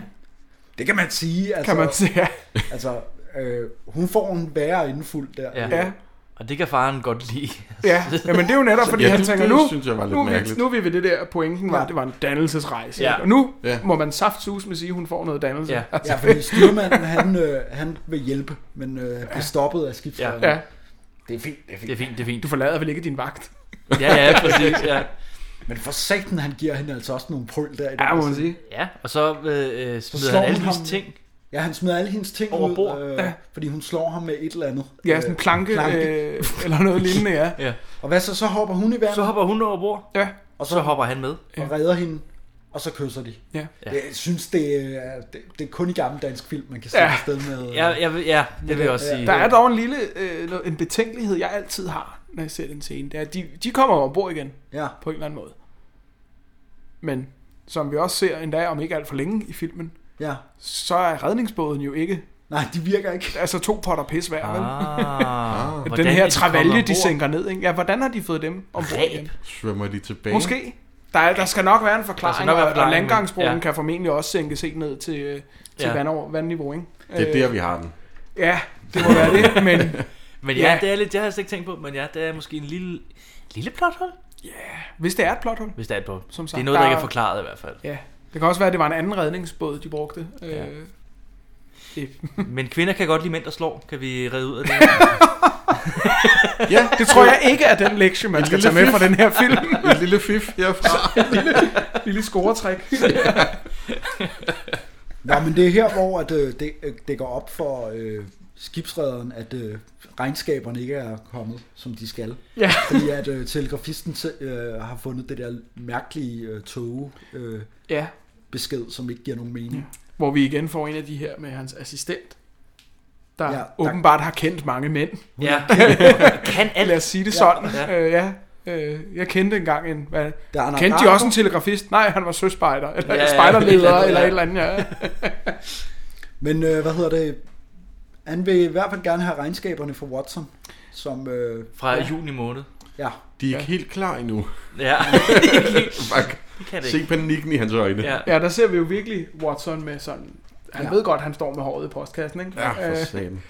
B: Det kan man sige. Altså,
F: Kan man sige, ja.
B: altså, øh, hun får en værre indfuld der.
C: Ja. ja. Og det kan faren godt lide.
F: Ja, ja, men det er jo netop, fordi ja, han tænker, nu, nu, er vi-
C: mærkeligt.
F: nu er vi ved det der, pointen var, det var en dannelsesrejse.
C: Ja.
F: ikke? Og nu
C: Ja.
F: må man saftsus med sige, at hun får noget dannelse.
B: Ja, ja fordi styrmanden, han, øh, han vil hjælpe, men øh, han bliver stoppet af skibsføreren.
F: Ja.
B: Det er fint, det er fint.
C: Det er fint, det er fint.
F: Du forlader vel ikke din vagt?
C: Ja, ja, præcis, ja.
B: Men for satan, han giver hende altså også nogle pøl der. i
F: Ja,
B: den
F: må man
B: scene.
F: sige.
C: Ja, og så øh, øh,
B: Så
C: smider
B: slår
C: han alle
B: hun
C: hans
B: ham-
C: ting.
B: Ja, han smider alle hendes ting
C: Over
B: ud,
C: bord.
B: Øh,
C: Ja.
B: fordi hun slår ham med et eller andet.
F: Ja, sådan en planke, øh, eller noget lignende, ja.
C: ja.
B: Øh, Og hvad så? Så hopper hun i vandet.
C: Så hopper hun over bord.
F: Ja.
B: Og
C: så hopper han med.
B: Og redder hende. Og så kysser de.
F: Ja.
B: Jeg synes, det er, det, det er kun i gammel dansk film, man kan se ja. afsted med. øh,
C: Ja, jeg, vil- ja, det vil jeg også sige.
F: Der er dog en lille øh, noget- en betænkelighed, jeg altid har, når jeg ser den scene. Det er, at de, de kommer jo ombord igen,
B: ja.
F: på en eller anden måde. Men som vi også ser endda om ikke alt for længe i filmen,
B: ja.
F: så er redningsbåden jo ikke...
B: Nej, de virker ikke.
F: Altså to potter pis hver, vel?
C: Ah,
F: den
C: hvordan er
F: her
C: de kommet
F: travalje, de
C: ombord?
F: sænker ned, ikke? Ja, hvordan har de fået dem ombord igen?
D: Svømmer de tilbage?
F: Måske. Der, er, der skal nok være en
D: Der skal
F: forklaring,
D: nok være en
F: og, og
D: forklaring, men-
F: landgangsbroen ja.
D: ja.
F: kan formentlig også sænkes helt ned til, øh, til
D: Ja.
F: ja. vandover, vandniveau, ikke?
D: Det er
F: Øh,
D: der, vi har den.
F: Ja, det må være det, men...
C: Men ja, det er lidt, det har jeg slet ikke tænkt på, men ja, det er måske en lille, lille plothul.
F: Ja, hvis det er et plothul.
C: Hvis det er et plothul.
F: Som
C: Det er noget, der ikke er forklaret i hvert fald.
F: Ja, det kan også være, at det var en anden redningsbåd, de brugte.
C: Ja.
F: Øh, det-
C: Men kvinder kan godt lide mænd, der slår. Kan vi redde ud af det?
F: Ja, det tror jeg ikke er den lektie, man
C: En
F: skal
C: lille
F: tage med
C: fif.
F: fra den her film.
C: En lille fif herfra.
F: En lille, lille scoretræk.
B: Nå, men det er her, hvor at, øh, det, øh, det går op for øh, skibsrederen, at øh, regnskaberne ikke er kommet, som de skal.
F: Ja.
B: Fordi at øh, telegrafisten til- øh, har fundet det der mærkelige øh, tog øh,
F: Ja.
B: besked, som ikke giver nogen mening.
F: Hvor vi igen får en af de her med hans assistent, der
B: Ja,
F: ja,
B: tak.
F: åbenbart har kendt mange mænd.
B: Ja.
C: kan alt.
F: Lad os sige det
B: Ja.
F: sådan.
B: Ja.
F: Ja. Øh, ja. Øh, jeg kendte engang en... Hvad,
B: Der er en
F: kendte de
B: araber.
F: også en telegrafist? Nej, han var søspejder, eller ja,
B: Ja, ja.
F: ja, spejderleder,
B: Ja.
F: eller et eller andet, ja.
B: Men øh, hvad hedder det? Han vil i hvert fald gerne have regnskaberne fra Watson. Som, øh,
C: Fra juni måned.
B: Ja.
D: De er ikke helt klar endnu.
C: Ja.
D: Fuck.
C: Det kan det
D: Se
C: ikke.
D: panikken i hans øjne.
F: Ja. ja, der ser vi jo virkelig Watson med sådan... Han
B: Ja.
F: ja. ved godt, han står med håret i postkassen, ikke?
D: Ja, for
F: Øh,
D: satan.
B: Men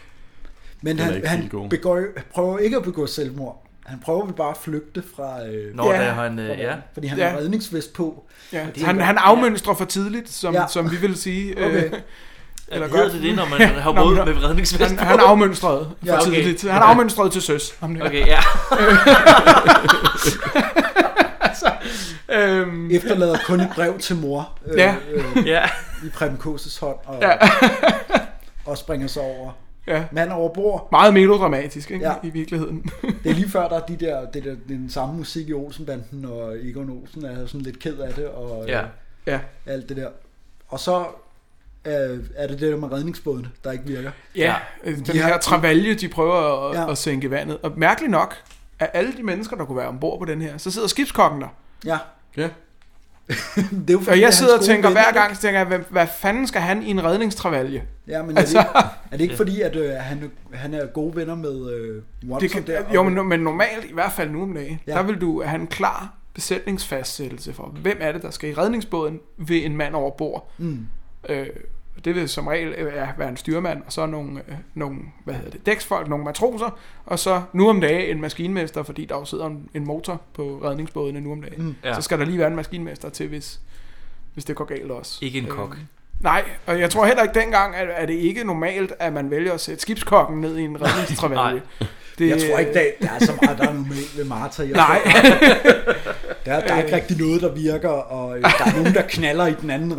D: Den er
B: han,
D: ikke
B: han
D: helt god.
B: begår, prøver ikke at begå selvmord. Han prøver vel bare at flygte fra... Øh,
C: Nå, da han, øh,
B: fra-
C: ja.
B: Fordi han
F: Ja.
B: har redningsvest på.
F: Ja,
B: Og det er
F: han,
B: godt.
F: han afmønstrer for tidligt, som,
B: Ja.
F: ja. som vi vil sige.
B: Okay.
F: Øh,
B: Ja, hedder
F: godt.
B: det det, når man hopper
F: Nå,
B: ud
F: men-
B: med redningsvest
F: Han,
B: på?
F: han afmønstrede for
B: Ja,
F: ja,
B: okay.
F: okay. tidligt. Han afmønstrede til søs. ham der.
C: Okay, ja.
F: altså, øhm,
B: Efterlader kun et brev til mor. øh,
F: Ja.
C: ja.
B: I Preben Koses hånd. Og,
F: Ja.
B: og springer sig over.
F: Ja.
B: Mand over bord.
F: Meget melodramatisk, ikke?
B: Ja.
F: I virkeligheden.
B: Det er lige før, der er de der, det der, den samme musik i Olsenbanden, og Egon Olsen er sådan lidt ked af det, og øh,
C: Ja.
F: Ja.
B: alt det der. Og så øh, er det det der med redningsbåden, der ikke virker.
F: Ja, øh, den her travalje, de prøver at, ja. at sænke i vandet. Og mærkeligt nok, af alle de mennesker, der kunne være ombord på den her, så sidder skibskokken der.
B: Ja.
D: Ja.
B: det er jo, fordi,
F: og
B: det er
F: jeg sidder og
B: hans gode
F: tænker
B: venner,
F: hver gang, så tænker jeg, hvad, hvad fanden skal han i en redningstravalje?
B: Ja, men er det, ikke,
F: Altså-
B: er det ikke fordi, at øh, han, han er gode venner med øh, Watson
F: det kan,
B: der?
F: jo, men, men normalt, i hvert fald nu om dagen,
B: Ja.
F: ja. der vil du have en klar besætningsfastsættelse for, hvem er det, der skal i redningsbåden ved en mand over bord.
B: Mm.
F: Øh, det vil som regel øh, ja, være en styrmand, og så nogle, øh, nogle hvad hedder det, dæksfolk, nogle matroser, og så nu om dagen en maskinmester, fordi der jo sidder en, en motor på redningsbådene nu om dagen.
C: Mm.
F: Mm.
C: Ja.
F: Ja. Så skal der lige være en maskinmester til, hvis, hvis det går galt også.
C: Ikke en kok.
F: Øhm. Nej, og jeg tror heller ikke dengang, at, at det ikke normalt, at man vælger at sætte skibskokken ned i en redningstravalje.
B: Det, jeg tror ikke, der, der er så meget, der er normalt ved Martha. Jeg
F: Nej.
B: Tror, der, der er ikke rigtig noget, der virker, og øh, der er nogen, der knaller i den anden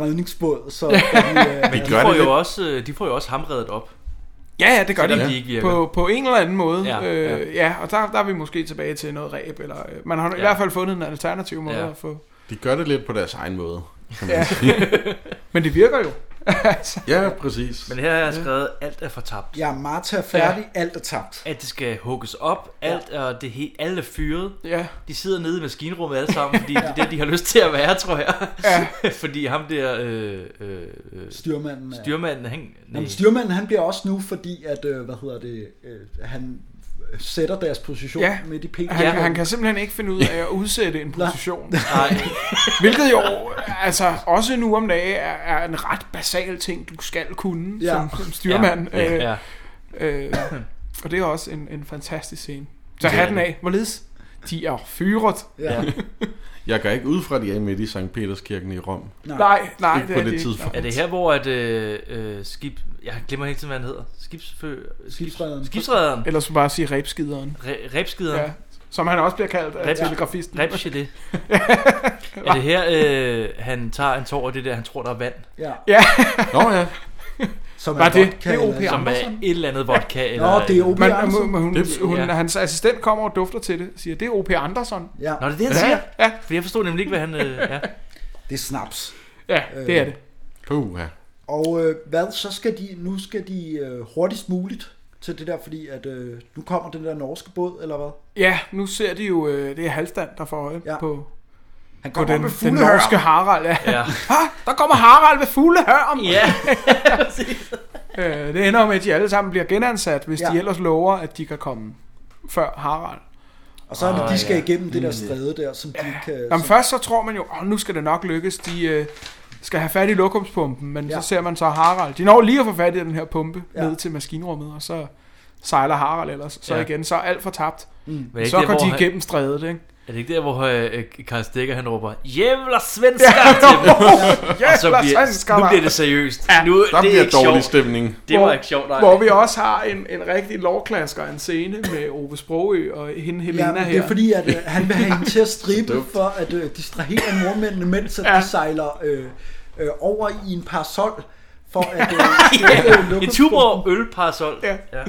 B: redningsbåd. Så de, øh,
C: Men de får, jo også, øh, de får jo også ham reddet op.
F: Ja, ja, det gør
C: Selvom
F: det.
C: de ikke virker.
F: på, på en eller anden måde.
C: Ja,
F: Ja, øh, ja. og der, der er vi måske tilbage til noget ræb. Eller, øh, man har ja. i hvert fald fundet en alternativ måde ja. at få...
D: De gør det lidt på deres egen måde. kan man
F: Ja.
D: sige.
F: Men det virker jo.
D: ja, præcis.
C: Men her har jeg skrevet, alt er fortabt.
B: Ja, Martha er færdig, ja. alt er tabt.
C: At det skal hugges op, alt og det hele, alle er fyret.
F: Ja.
C: De sidder nede i maskinrummet alle sammen, fordi det er det, de har lyst til at være, tror jeg. Ja. fordi ham der... Øh, øh, øh,
B: Styrmanden er-
C: Styrmanden, han...
B: Jamen, styrmanden han bliver også nu, fordi at, øh, hvad hedder det, øh, han sætter deres position
F: Ja,
B: midt i pink.
F: han, han kan simpelthen ikke finde ud af at udsætte en position. Nej. Hvilket jo altså, også nu om dagen er, er en ret basal ting, du skal kunne
B: Ja.
F: ja. som, som styrmand.
B: Ja, ja, ja.
F: Øh, øh, og det er også en, en fantastisk scene. Så hatten af, hvorledes? De er fyret.
D: Jeg går ikke ud fra, at de er midt i Sankt Peterskirken i Rom.
F: Nej, nej,
D: Ikke på det, tidspunkt.
C: Er det her, hvor at, øh, øh, skib... Jeg glemmer hele tiden, hvad han hedder. Skibsfø... Skibsrederen. Skibsrederen.
F: Eller skulle bare sige rebskideren.
C: Re- rebskideren.
F: Ja. Som han også bliver kaldt af
C: Reb-
F: telegrafisten.
C: Rebgelé. er det her, øh, han tager en tår af det der, han tror, der er vand?
B: Ja.
F: Ja.
D: Nå ja.
B: Som
F: Var det? Det er O.P.
C: Som er
F: Andersen?
C: et eller andet vodka. Eller,
F: Men, men, men hun,
C: Det-
F: hun,
C: ja.
F: hans assistent kommer og dufter til det siger, det er O.P. Andersen.
B: Ja.
C: Nå, det er det, han
F: ja.
C: siger? Ja. For jeg forstod nemlig ikke, hvad han... Øh, ja.
B: Det er snaps.
F: Ja, det er det.
D: Puh, ja.
B: Og øh, hvad, så skal de, nu skal de øh, hurtigst muligt til det der, fordi at øh, nu kommer den der norske båd, eller hvad?
F: Ja, nu ser de jo, øh, det er Halvstand, der får øje ja. på,
B: Han
F: på
B: kommer
F: den,
B: med
F: den
B: fulde hør.
F: norske Harald. Ja.
B: Ja.
F: ja. der kommer Harald med fulde hørm.
C: Ja,
F: øh, det ender med, at de alle sammen bliver genansat, hvis
B: Ja.
F: ja. de ellers lover, at de kan komme før Harald.
B: Og så er det, de skal igennem det der stræde der, som de ikke kan...
F: Jamen
B: som-
F: først så tror man jo, åh, nu skal det nok lykkes, de øh, skal have fat i lokumspumpen, men ja. så ser man så Harald. De når lige at få fat i den her pumpe
B: Ja.
F: ja. ned til maskinrummet, og så sejler Harald ellers. Så
C: Ja.
F: ja. igen, så er alt for tabt.
C: Men
F: Mm.
C: er det
F: Så
C: ikke
F: går
C: der,
F: de
C: hvor han-
F: igennem strædet, ikke?
C: Er det ikke der, hvor øh, Karl Stikker han råber, Jævla svensker til dem. Og så
F: Jævla
C: bliver,
F: svensker,
C: nu
F: mand.
C: bliver det seriøst. Ja, nu,
D: der
C: det
D: bliver
C: er ikke
D: dårlig
C: sjovt.
D: stemning.
C: Det var ikke sjovt, nej.
F: Hvor vi også har en, en rigtig lovklasker, en scene med Ove Sprogø og hende Helena
B: Ja, men
F: her.
B: det er fordi, at øh, han vil have hende til at stribe for at øh, distrahere nordmændene, mens at ja. de sejler øh, øh, over i en parasol for at øh, støtte, øh,
C: En
B: lukkespumpen.
C: tuborg ølparasol. Ja. ja.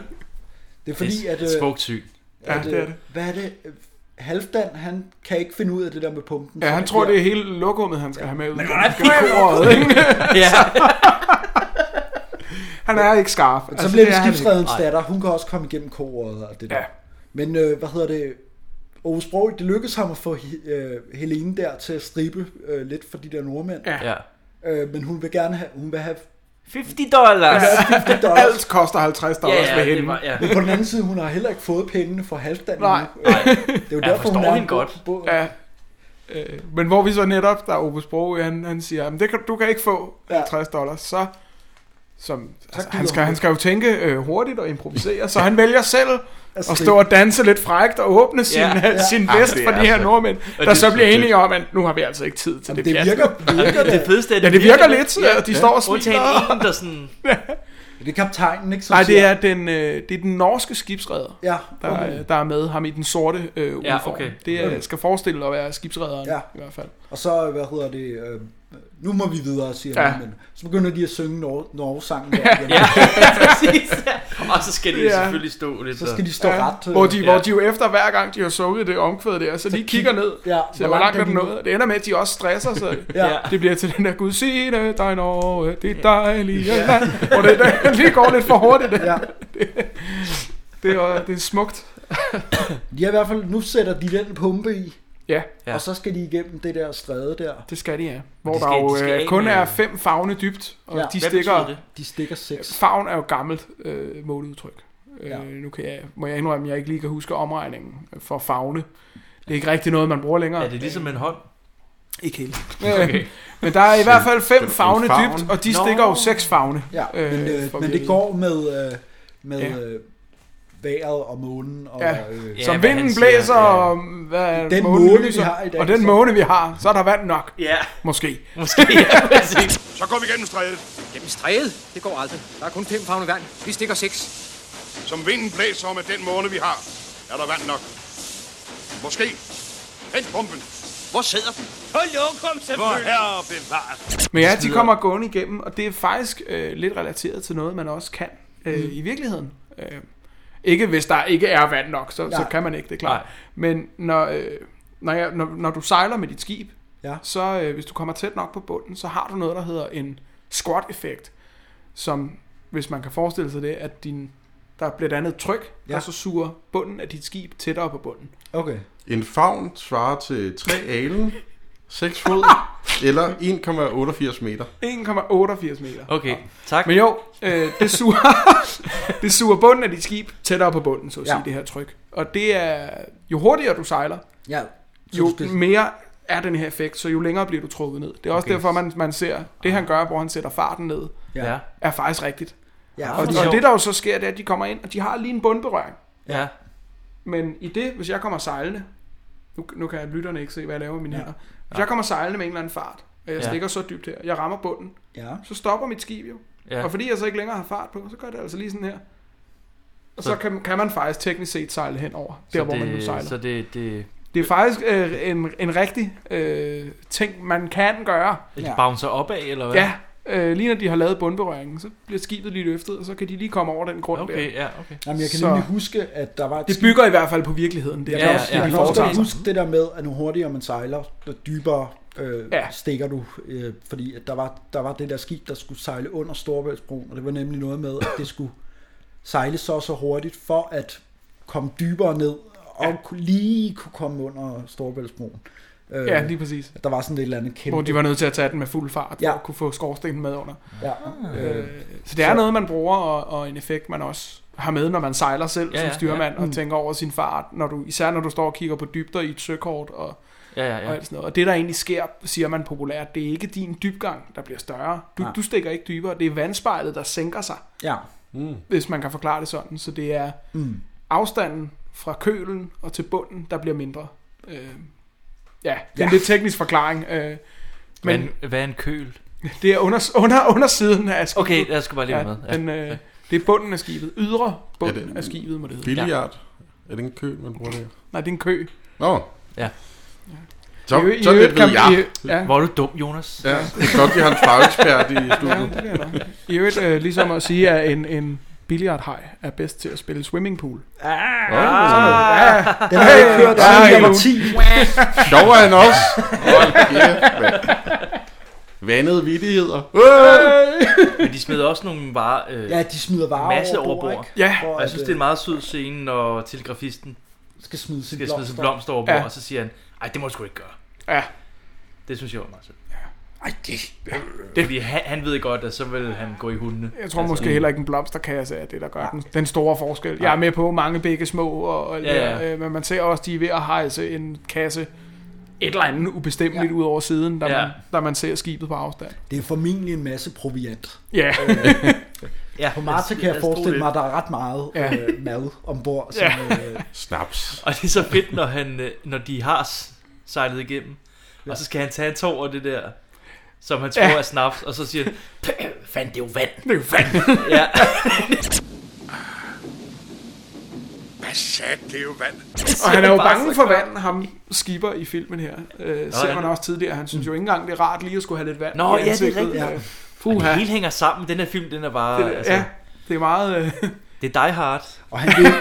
B: Det er fordi, at... øh,
C: Det er smukt syn.
B: at, øh, Hvad er det? Øh, Halfdan, han kan ikke finde ud af det der med pumpen.
F: Ja,
B: så
F: han
B: det
F: tror,
B: bliver-
F: det er hele lokummet, han skal have med ud. Men
B: hvordan får jeg lokummet? Ja.
F: Han altså, er ikke skarp.
B: Men så bliver det skibsredens datter. Hun kan også komme igennem koret og det der.
F: Ja.
B: Men øh, hvad hedder det? Ove Sprog, det lykkedes ham at få He- øh, Helene der til at stribe øh, lidt for de der nordmænd.
F: Ja.
C: Ja.
B: Øh, men hun vil gerne have... Hun vil have
C: 50 dollars.
B: Ja, 50 dollars.
F: Alt koster 50 dollars
C: Ja, ja,
F: med
C: det
F: hende.
C: var- ja.
B: Men på den anden side, hun har heller ikke fået pengene fra Halvdan
F: Nej.
B: endnu. Øh, Det er jo
F: Jeg
B: derfor, hun
F: forstår
B: er
F: hende godt. Ja. Øh, Men hvor vi så netop, der er Ove Sprogø, han, han siger, at det kan, du kan ikke få 50 dollars, så... Som, altså,
B: gider
F: han, skal,
B: hun
F: han skal jo tænke øh, hurtigt og improvisere, så han vælger selv
B: At
F: at stå
B: stribe.
F: og danse lidt frægt og åbne sin,
B: Ja.
F: ja. sin
B: Ja.
F: vest
B: Ej, det
F: for
B: er
F: de her
B: altså-
F: nordmænd,
B: Og
F: der
B: det-
F: så bliver
B: det-
F: enige om, at nu har vi altså ikke tid til
B: Jamen,
F: det
B: det
F: pjat.
B: virker- virker det. Det fedeste er, at
F: ja,
B: det
F: det virker
B: virker
F: lidt,
B: det.
F: ja, de
B: Ja.
F: står og smiler.
C: Undtagen en, der sådan...
B: Det er kaptajnen, ikke? som
F: Nej, det
B: siger-
F: er den, øh, det er den norske skibsredder,
B: Ja,
F: der, øh,
B: okay.
F: der er med ham i den sorte øh, uniform.
B: okay.
F: Det
B: Okay.
F: øh, skal forestille at være skibsredderen ja. i hvert fald.
B: Og så, hvad hedder det, øh, nu må vi videre, siger ja.
F: Ja.
B: han, men så begynder de at synge Nor- Norge-sangen.
C: Ja, præcis. Og så skal de selvfølgelig stå lidt
B: Så
C: og-
B: skal de stå
C: Ja.
B: ret. øh,
F: Hvor de, hvor de jo efter hver gang, de har sunget det omkvæd der, så, de kigger ned,
B: ja,
F: så hvor langt er den nået. Det ender med, at de også stresser, så
B: Ja.
F: ja. det bliver til den der, Gud sine dig Norge, det dejlige ja. land. Hvor det der, lige går lidt for hurtigt.
B: Ja.
F: Det, det, er, det er smukt.
B: De er i hvert fald, nu sætter de den pumpe i.
F: Ja.
B: Og så skal de igennem det der stræde der.
F: Det skal de, ja. Hvor der jo øh, kun er fem favne dybt, og
B: Ja.
F: ja. de
B: Hvad
F: stikker...
B: betyder det? De stikker seks.
F: Favn er jo gammelt øh, måleudtryk. Øh,
B: Ja.
F: Nu kan jeg, må jeg indrømme, at jeg ikke lige kan huske omregningen for favne. Det er ikke rigtig noget, man bruger længere.
C: Er det ligesom en hånd?
F: Ikke helt.
C: Okay.
F: Okay. Men der er i hvert fald
C: En
F: fem favne
C: favn.
F: dybt, og de
C: Nå.
F: stikker jo seks favne.
B: Ja, men, øh,
F: for
B: men
F: vinden.
B: det går med, øh, med
F: Ja.
B: øh, vejret og månen. Og,
F: Ja.
B: øh,
F: Som vinden blæser, og hvad,
B: Den
F: månen
B: måne, vi
F: lyser,
B: har i dag,
F: og den
B: så-
F: måne, vi har, så er der vand nok.
C: Ja.
F: Måske.
C: Måske,
P: ja,
C: præcis.
E: Så går vi gennem strædet.
P: Gennem strædet? Det går aldrig. Der er kun fem favne vand. Vi stikker seks.
E: Som vinden blæser med den måne, vi har, er der vand nok. Måske. Hent pumpen.
P: Hvor sidder den?
G: På lokum
E: Hvor
G: selvfølgelig.
E: herre bevares.
F: Men ja, de kommer gående igennem, og det er faktisk øh, lidt relateret til noget, man også kan øh,
B: Mm.
F: i virkeligheden. Øh, ikke hvis der ikke er vand nok, så, så
B: Nej.
F: kan man ikke, det er klart. Men når, øh, når, jeg, når, når du sejler med dit skib,
B: ja.
F: så øh, hvis du kommer tæt nok på bunden, så har du noget, der hedder en squat-effekt, som, hvis man kan forestille sig det, at din, der bliver et andet tryk, ja. der så suger bunden af dit skib tættere på bunden.
B: Okay.
D: En favn svarer til 3 alen, 6 fod eller 1,88 meter.
F: 1,88 meter.
C: Okay, tak.
F: Men jo, øh, det, suger, det suger bunden af dit skib tættere på bunden, så at
B: Ja.
F: ja. sige, det her tryk. Og det er, jo hurtigere du sejler,
B: Ja, så
F: jo mm.
B: du skal-
F: mere er den her effekt, så jo længere bliver du trukket ned. Det er også okay.
B: Okay.
F: derfor, man, man ser, det han gør, hvor han sætter farten ned,
C: Ja.
F: er faktisk rigtigt.
B: Ja,
F: og,
B: for
F: og
B: sjov.
F: det der jo så sker, det er, at de kommer ind, og de har lige en bundberøring.
C: Ja.
F: Men i det, hvis jeg kommer sejlende, nu, nu kan lytterne ikke se, hvad jeg laver med mine
B: Ja.
F: ja. hænder. Hvis jeg kommer sejlende med en eller anden fart, og jeg
B: Ja.
F: stikker så dybt her, jeg rammer bunden,
B: Ja.
F: så stopper mit skib jo.
B: Ja.
F: Ja. Og fordi jeg så ikke længere har fart på, så gør det altså lige sådan her. Og så,
C: Så-
F: så kan, kan man faktisk teknisk set sejle henover, der
C: Så
F: hvor man nu
C: det-
F: sejler.
C: Så det, det,
F: Det er faktisk øh, en, en rigtig øh, ting, man kan gøre.
C: det ja. bouncer opad, eller hvad?
F: Ja, øh, lige når de har lavet bundberøringen, så bliver skibet lige løftet, og så kan de lige komme over den grund
C: Okay,
F: der.
C: ja, okay.
B: Jamen, jeg kan
F: Så
B: nemlig huske, at der var et
F: Det
B: skib-
F: bygger i hvert fald på virkeligheden. Det
B: jeg
F: er
B: kan
F: ja,
B: også,
F: ja,
B: jeg
F: det,
B: kan
F: de
B: også
F: foretager
B: godt
F: sig.
B: huske det der med, at nu hurtigere man sejler, jo dybere øh, ja.
F: Ja.
B: stikker du. Øh, fordi at der, var, der var det der skib, der skulle sejle under Storebæltsbroen, og det var nemlig noget med, at det skulle sejle så og så hurtigt, for at komme dybere ned, og ja. lige kunne komme under Storebæltsbroen. Øh,
F: Ja, lige præcis.
B: Der var sådan et eller andet kæmpe...
F: Hvor de var nødt til at tage den med fuld fart,
B: Ja.
F: ja. for at kunne få skorstenen med under.
B: Ja.
F: Øh,
B: Øh,
F: så det er
B: så-
F: noget, man bruger, og, og en effekt, man også har med, når man sejler selv
C: Ja,
F: ja, som
C: ja, Mm.
F: styrmand,
C: ja.
F: ja. og tænker over sin fart, når du, især når du står og kigger på dybder i et søkort og,
C: Ja, ja, ja.
F: og alt sådan noget. Og det, der egentlig sker, siger man populært, det er ikke din dybgang, der bliver større. Du,
B: Nej.
F: du stikker ikke dybere, det er vandspejlet, der sænker sig,
B: Ja.
D: Mm.
F: hvis man kan forklare det sådan. Så det er
B: Mm.
F: afstanden fra kølen og til bunden, der bliver mindre. Øh, ja, det er
C: Ja.
F: en lidt teknisk forklaring. Øh,
C: Men, men hvad er en køl?
F: det er under, under, undersiden af skibet.
C: Okay, jeg skal bare lige med. Ja.
F: Ja, den, øh, det er bunden af skibet. Ydre bunden
D: Er det-
F: af skibet, må det hedde.
D: Billiard. Er det en kø, man bruger der?
F: Nej, det er en kø.
D: Nå.
C: Ja.
D: Så,
F: I øvrigt-
D: så
F: i
D: lidt
F: øvrigt
D: ved
F: kan- i
D: jeg.
F: øvrigt- ja.
C: Hvor er du dum, Jonas.
D: Ja, det er godt, vi har en fagekspert i studiet.
F: Ja, det er nok. I øvrigt, øh, ligesom at sige, at en, en billiardhaj er bedst til at spille swimmingpool. Ah,
D: Åh.
B: Den har jeg ikke hørt, siden jeg var 10.
D: Dog er han også. Hold kæft, mand. Vandede vittigheder.
C: Men de smider også nogle varer... Øh,
B: Ja, de smider varer
C: masse
B: over bord,
C: overbord.
B: ikke? Ja. For
C: Og
B: at, øh,
C: jeg synes, det er en meget sød scene, når telegrafisten
B: skal smide sin
C: skal smide sin
B: blomster.
C: blomster over bord,
B: Ja.
C: og så siger han, ej, det må du sgu ikke gøre.
F: Ja.
C: Det synes jeg var meget sødt.
B: Ej, det...
C: det. Fordi han, han ved godt, at så vil han gå i hundene. Altså,
F: Jeg tror måske heller ikke en blomsterkasse er det, der gør den, den store forskel. Jeg er med på mange begge små, og, og
C: Ja, ja.
F: ja, ja. men man ser også, de er ved at hejse en kasse et eller andet ubestemmeligt ja. ud over siden, da,
C: Ja.
F: ja. man, da man ser skibet på afstand.
B: Det er formentlig en masse proviant.
F: Ja.
C: Ja, altså,
B: På Marta
C: lad os-
B: kan
C: lad
B: jeg
C: os tro
B: forestille
C: det.
B: mig, at der er ret meget
C: Ja.
B: øh, mad ombord. Som,
C: Ja.
B: øh,
D: Snaps.
C: Og det er så fedt, når, han, øh, når de har s- sejlet igennem, ja. og så skal han tage en tår af det der, som han tror
G: Ja.
C: ja. er snaps, og så siger han, "Pæh, fand, det er jo vand.
G: Det er jo vand.
C: ja.
E: Hvad sagde det er jo vand?
F: Og han er jo
E: Bare
F: bange
E: så
F: for
E: klart.
F: vand, ham skipper i filmen her. Øh,
C: er
F: ser man
C: han-
F: også tidligere. Han synes jo ikke engang, det er rart lige at skulle have lidt vand. i
C: Nå, ja, det er
F: ansigtet.
C: rigtigt. Ja.
F: Øh,
C: Puh,
F: puha.
C: det hele hænger sammen. Den her film, den er bare... altså,
F: Det- ja, altså. det er meget... Øh...
C: Det er Die Hard.
B: Og han vil,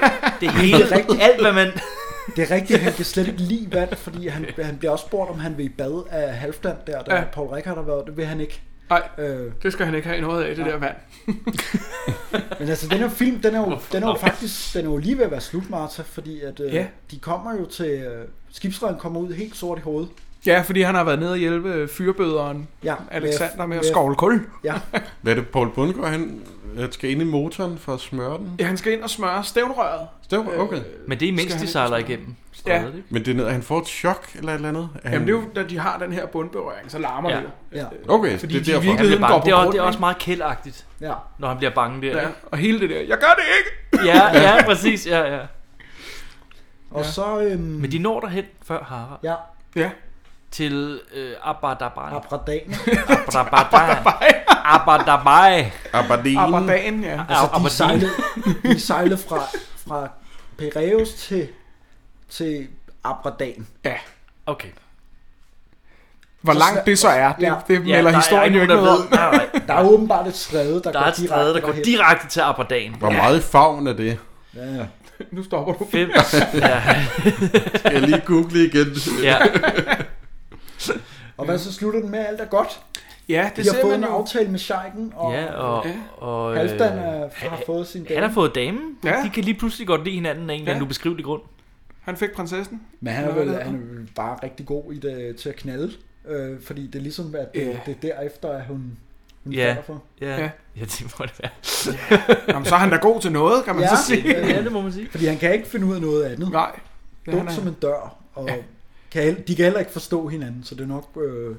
C: det hele,
B: Det er rigtigt.
C: alt hvad man...
B: det er rigtigt, han kan slet ikke lide vand, fordi han, han bliver også spurgt, om han vil i bad af Halfdan der, da ja.
F: Ja.
B: Paul Rickard har været. Det vil han ikke.
F: Nej,
B: øh,
F: det skal han ikke have noget af, det
B: Nej.
F: der vand.
B: Men altså, den her film, den er jo, den er jo faktisk den er jo lige ved at være slut, Martha, fordi at, øh,
F: Ja.
B: de kommer jo til... Øh, skibsreden kommer ud helt sort i hovedet.
F: Ja, fordi han har været nede og hjælpe øh, fyrbøderen
B: Ja,
F: ja, Alexander med at
B: med-
F: skovle kul.
B: Ja.
D: Hvad er det, Paul Bundgaard, han øh, skal ind i motoren for at smøre den?
F: ja, han skal ind og smøre stævnrøret.
D: Stævn, okay.
C: Men det er
F: Skal
C: imens,
F: han
C: de
F: ikke
C: sejler
F: forstå?
C: igennem.
F: Ja.
C: strædet, ikke?
D: Men det er noget, han får et chok eller et eller andet? Er
F: Jamen det er jo, da de har den her bundberøring, så larmer
C: Ja.
F: det jo.
B: Ja.
D: Okay, det
F: fordi
D: er
F: de i
D: derfor.
C: Han bliver
F: virkeligheden
C: bange.
F: går på
C: Det er,
F: grund.
C: også- det er
F: ikke?
C: også meget kældagtigt,
B: Ja.
C: når han bliver bange der.
F: Ja,
C: Ja,
F: og hele det der, jeg gør det ikke!
C: ja, ja præcis. Ja, ja.
B: Og ja. så... Øhm,
C: Men de når derhen før Harald.
B: Ja.
F: Ja.
C: Til øh, Abadaban.
B: Abradan.
C: Abradaban. Abadabai.
D: Aberdeen.
F: Aberdeen, ja.
B: Altså, de
C: Aberdeen.
B: sejlede, de sejlede fra, fra Piraeus til, til Abradan.
F: Ja.
C: Okay.
F: Hvor langt det så er, det, ja. det melder historien jo ikke noget om.
B: Der er åbenbart et stræde, der,
C: Der
B: går
C: er et stræde, der går
B: derhen.
C: direkte til Aberdagen.
D: Hvor meget favn er det?
B: Ja, ja.
F: Nu stopper du.
C: Fem. Ja.
D: Skal jeg lige google igen?
C: Ja.
B: Og hvad så slutter den med, at alt er godt?
F: Ja, det
B: de har
F: ser
B: fået
F: man
B: en
F: jo.
B: aftale med Scheiken, og,
C: Ja, og... og
B: Halfdan
C: øh,
B: er, har fået sin dame.
C: Han har fået damen.
F: Ja.
C: Ja. De kan lige pludselig godt lide hinanden af en
F: Ja.
C: eller anden ubeskrivelig grund.
F: Han fik prinsessen.
B: Men han er,
F: Eller hvad
B: vel,
F: det
B: han er vel bare rigtig god i det, til at knalde, øh, fordi det er ligesom, at det,
F: Ja.
B: det er derefter, at hun, hun
C: Ja.
B: falder for.
C: Ja. ja. Ja, det må det være.
F: Jamen, så er han da god til noget, kan man så sige.
C: må man sige.
B: Fordi han kan ikke finde ud af noget andet.
F: Nej. Ja, han
B: Dum
F: er-
B: som en dør, og
F: Ja.
B: ja. kan, heller- de kan heller ikke forstå hinanden, så det er nok... Øh,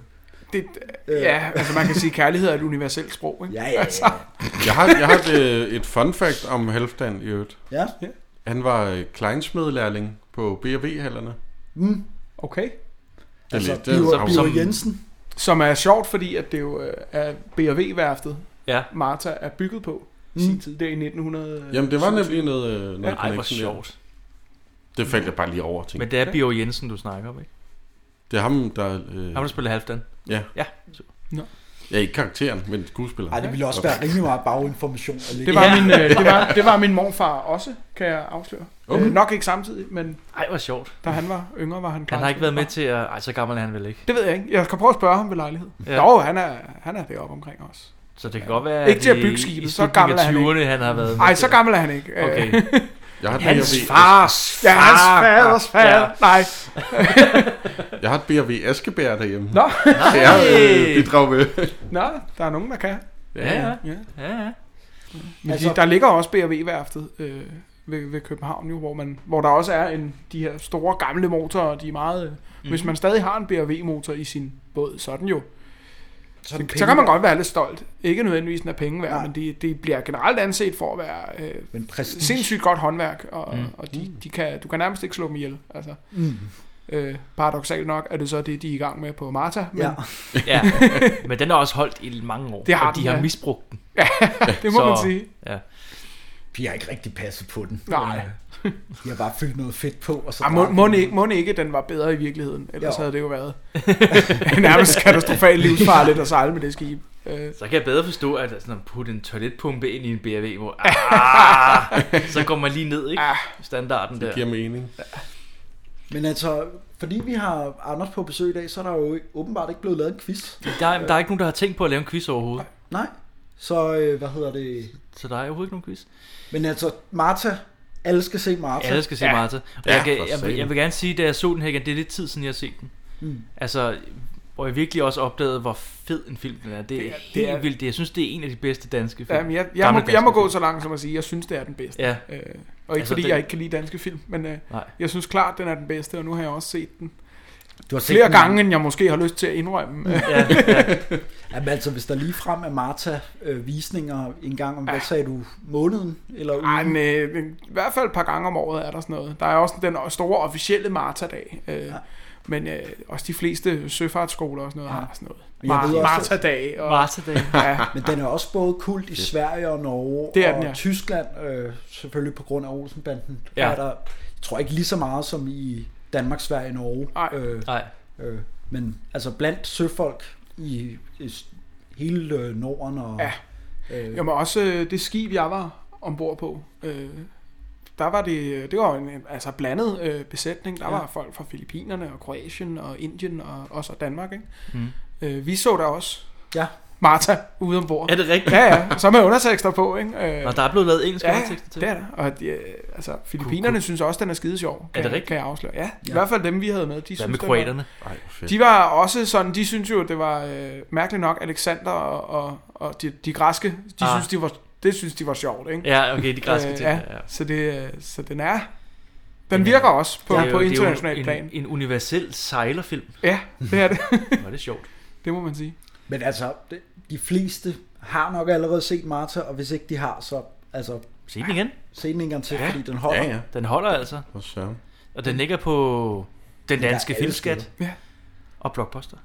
F: det, Ja, altså man kan sige, at kærlighed er et universelt sprog, ikke?
B: Ja, ja, ja.
F: Altså.
D: Jeg har, jeg har et, et fun fact om Halfdan i øvrigt.
B: Ja.
D: Han var øh, kleinsmedlærling på B&V-hallerne.
B: Mm.
F: Okay.
D: er
F: Altså,
D: lidt- øh, det er afs-
F: Som er sjovt, fordi at det jo øh, er B&V-værftet,
C: Ja.
F: Martha er bygget på i
B: Mm.
F: sin tid. Det er i 1900...
D: Jamen, det var nemlig noget, øh, noget
F: Ja.
D: connection der. Det faldt jeg bare lige over til.
C: Men det er Bio Jensen, du snakker om, ikke?
D: Det er ham, der... Øh...
C: Ham, der spiller Halfdan.
D: Ja.
C: Ja.
F: Nå.
D: Ja, ikke karakteren, men skuespilleren.
B: Ej, det ville også være rimelig meget baginformation. at lægge.
F: Det var, min, øh, det, var, det var min morfar også, kan jeg afsløre. Okay.
C: Okay.
F: Øh, nok ikke samtidig, men...
C: Ej, hvor sjovt.
F: Da han var yngre, var han
C: Han har ikke været med til at... Ej, så gammel er han vel ikke.
F: Det ved jeg ikke. Jeg kan prøve at spørge ham ved lejlighed. Ja.
C: Ja.
F: Jo, han er, han er deroppe omkring også.
C: Så det kan godt være,
F: Ikke til at
C: det
F: bygge
C: i- i
F: skibet, så
C: slutningen
F: gammel er
C: af
F: han ikke.
C: 20'erne, han har været med
F: Nej,
C: til
F: så
C: det.
F: gammel er han ikke. Øh,
C: Okay.
D: Jeg har
F: hans
D: B&V.
F: fars Ja, hans
D: far.
F: faders fader.
D: Ja.
F: Nej.
D: Jeg har et B&V Askebær derhjemme.
F: Nå.
D: Det er øh, bidrag med.
F: Nå, der er nogen, der kan.
D: Ja, ja.
C: ja. ja.
F: Men altså,
B: Altså-
F: de, der ligger også B&V-værftet øh, ved, ved København, jo, hvor, man, hvor der også er en, de her store gamle motorer, de er meget... Mm.
C: Mhm.
F: Hvis man stadig har en B&V-motor i sin båd, sådan jo,
B: så,
F: så,
B: den
F: så
B: penge
F: kan man
B: værd.
F: godt være lidt stolt. Ikke nødvendigvis den er penge værd, men det de bliver generelt anset for at være øh,
B: Men prestige.
F: sindssygt godt håndværk, og, mm.
B: Mm.
F: og de, de kan, du kan nærmest ikke slå dem ihjel. Altså.
B: Mm.
F: Øh, paradoxalt nok er det så det, de er i gang med på Marta. Men,
C: ja. Men den har også holdt i mange år.
F: Det har
C: og de
F: den,
C: har
F: ja.
C: misbrugt den.
F: Ja, det må man sige.
C: Ja.
B: De har ikke rigtig passet på den. Øh,
F: Nej.
B: De har bare fyldt noget fedt på, og så...
F: Ah, må,
B: drak
F: må,
B: den.
F: ikke, må ikke, den var bedre i virkeligheden. Ellers
B: Jo.
F: havde det jo været nærmest katastrofalt livsfarligt at sejle med det skib. Øh,
C: Så kan jeg bedre forstå, at sådan at putte en toiletpumpe ind i en BRV, hvor ah, så går man lige ned, ikke? Standarden der.
D: Det giver mening.
B: Men altså, fordi vi har Anders på besøg i dag, så er der jo ikke- åbenbart ikke blevet lavet en quiz.
C: Der er, der er ikke nogen, der har tænkt på at lave en quiz overhovedet.
B: Nej. Så, øh, hvad hedder det?
C: Så der er overhovedet ikke nogen quiz.
B: Men altså, Martha, alle skal se Martha.
C: Alle skal se ja. Martha. Og ja, jeg, kan, jeg, vil- jeg vil gerne sige, da jeg så den her igen, det er lidt tid siden, jeg har set den.
B: Mm.
C: Altså, hvor jeg virkelig også opdagede, hvor fed en film den er. Det er, det er helt
F: er-
C: vildt. Jeg synes, det er en af de bedste danske film.
F: Jamen, jeg, jeg,
C: Gamle
F: må, jeg må
C: danske
F: gå så langt som at sige, at jeg synes, det er den bedste.
C: Ja.
F: Øh, og ikke altså,
C: Altså,
F: fordi
C: den-
F: jeg ikke kan lide danske film, men øh,
C: Nej.
F: jeg synes klart, den er den bedste, og nu har jeg også set den
B: Du har set
F: flere
B: den-
F: gange, end jeg måske har lyst til at indrømme.
B: Ja, ja. Jamen altså, hvis der lige frem er Martha øh, visninger en gang om, hvad sagde du, måneden eller ugen?
F: Ej, men, øh, men i hvert fald et par gange om året er der sådan noget. Der er også den store officielle Marta-dag. Øh, Men øh, også de fleste søfartsskoler og sådan noget ja. har sådan noget.
B: Men jeg ved
F: Mar-
B: også-
F: Marta-dag. Og,
B: Ja.
F: Ja.
B: Men den er også både kult i Sverige og Norge
F: Det er
B: og
F: den, ja.
B: Tyskland, øh, selvfølgelig på grund af Olsenbanden.
F: Ja.
B: Ja. Er der, jeg tror ikke lige så meget som i Danmark, Sverige og Norge. Øh,
C: Nej.
B: Øh, men altså blandt søfolk i, i s- hele øh, Norden og...
F: Ja.
B: Øh,
F: Jamen også øh, det skib, jeg var ombord på, øh, der var det, det var jo en øh, altså blandet øh, besætning. Der ja.
B: Ja.
F: var folk fra Filippinerne og Kroatien og Indien og også og Danmark. Ikke?
C: Mm.
F: Øh, vi så der også
B: ja.
F: Marta ude ombord.
C: Er det rigtigt?
F: Ja, ja. Så med undertekster på. Ikke? Øh,
C: Nå, der er blevet lavet engelske
F: ja,
C: undertekster til.
F: det er der. Og de, øh, altså, Filippinerne synes også, den er skide sjov. Kan,
C: det
F: jeg-
C: rigtigt?
F: Kan jeg afsløre. Ja, i
C: Ja.
F: hvert fald dem, vi havde med. De synes,
C: med
F: den
C: kroaterne?
F: Var,
C: Ej, hvor fedt.
F: de var også sådan, de synes jo, det var øh, mærkeligt nok, Alexander og, og, og de, de græske, de ah.
C: Ah.
F: synes, de var, det synes de var sjovt, ikke? Øh,
C: Ja, okay, de græske ting,
F: ja.
C: ja, ja.
F: Så, det, øh, så den er, den virker også på,
C: Det
F: ja,
C: er jo-
F: på
C: det er jo
F: international
C: en,
F: plan.
C: En, en universel sejlerfilm.
F: Ja, det er det.
C: Var det sjovt.
F: Det må man sige.
B: Men altså, de, de fleste har nok allerede set Martha, og hvis ikke de har, så... Altså,
C: se den igen.
B: Se den en gang til, ja. fordi den holder.
C: Den holder altså.
D: For søren.
C: Og den ligger på den
B: Den er
C: danske
B: elsket.
C: filmskat.
F: Ja.
C: Og Blockbuster.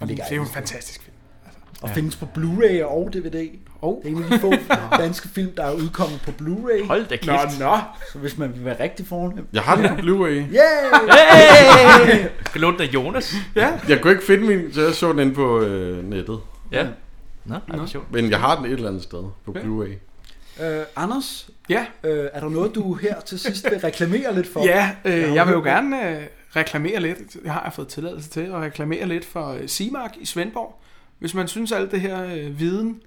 F: Og det,
B: ligger
F: det er jo en
B: altid.
F: fantastisk film.
B: Og ja. findes på Blu-ray og DVD.
F: Oh.
B: Det er en af de få danske film, der er udkommet på Blu-ray.
C: Hold da kæft.
F: Nå, nå.
B: Så hvis man vil være rigtig fornem.
D: Jeg har den på Blu-ray.
C: Hey! Kan låne dig Jonas?
F: Ja.
D: Jeg kunne ikke finde min, så jeg så den inde på øh, nettet.
C: Ja.
F: Mm.
C: Nå, ej, hvor sjovt.
D: Men jeg har den et eller andet sted på Blu-ray.
B: Øh, Anders,
F: ja.
B: øh, er der noget, du her til sidst vil reklamere lidt for?
F: Ja,
B: Der
F: øh,
B: er
F: jeg vil jo
B: noget-
F: gerne øh, reklamere lidt. Det har jeg fået tilladelse til at reklamere lidt for øh, Simark i Svendborg. Hvis man synes alt det her øh, viden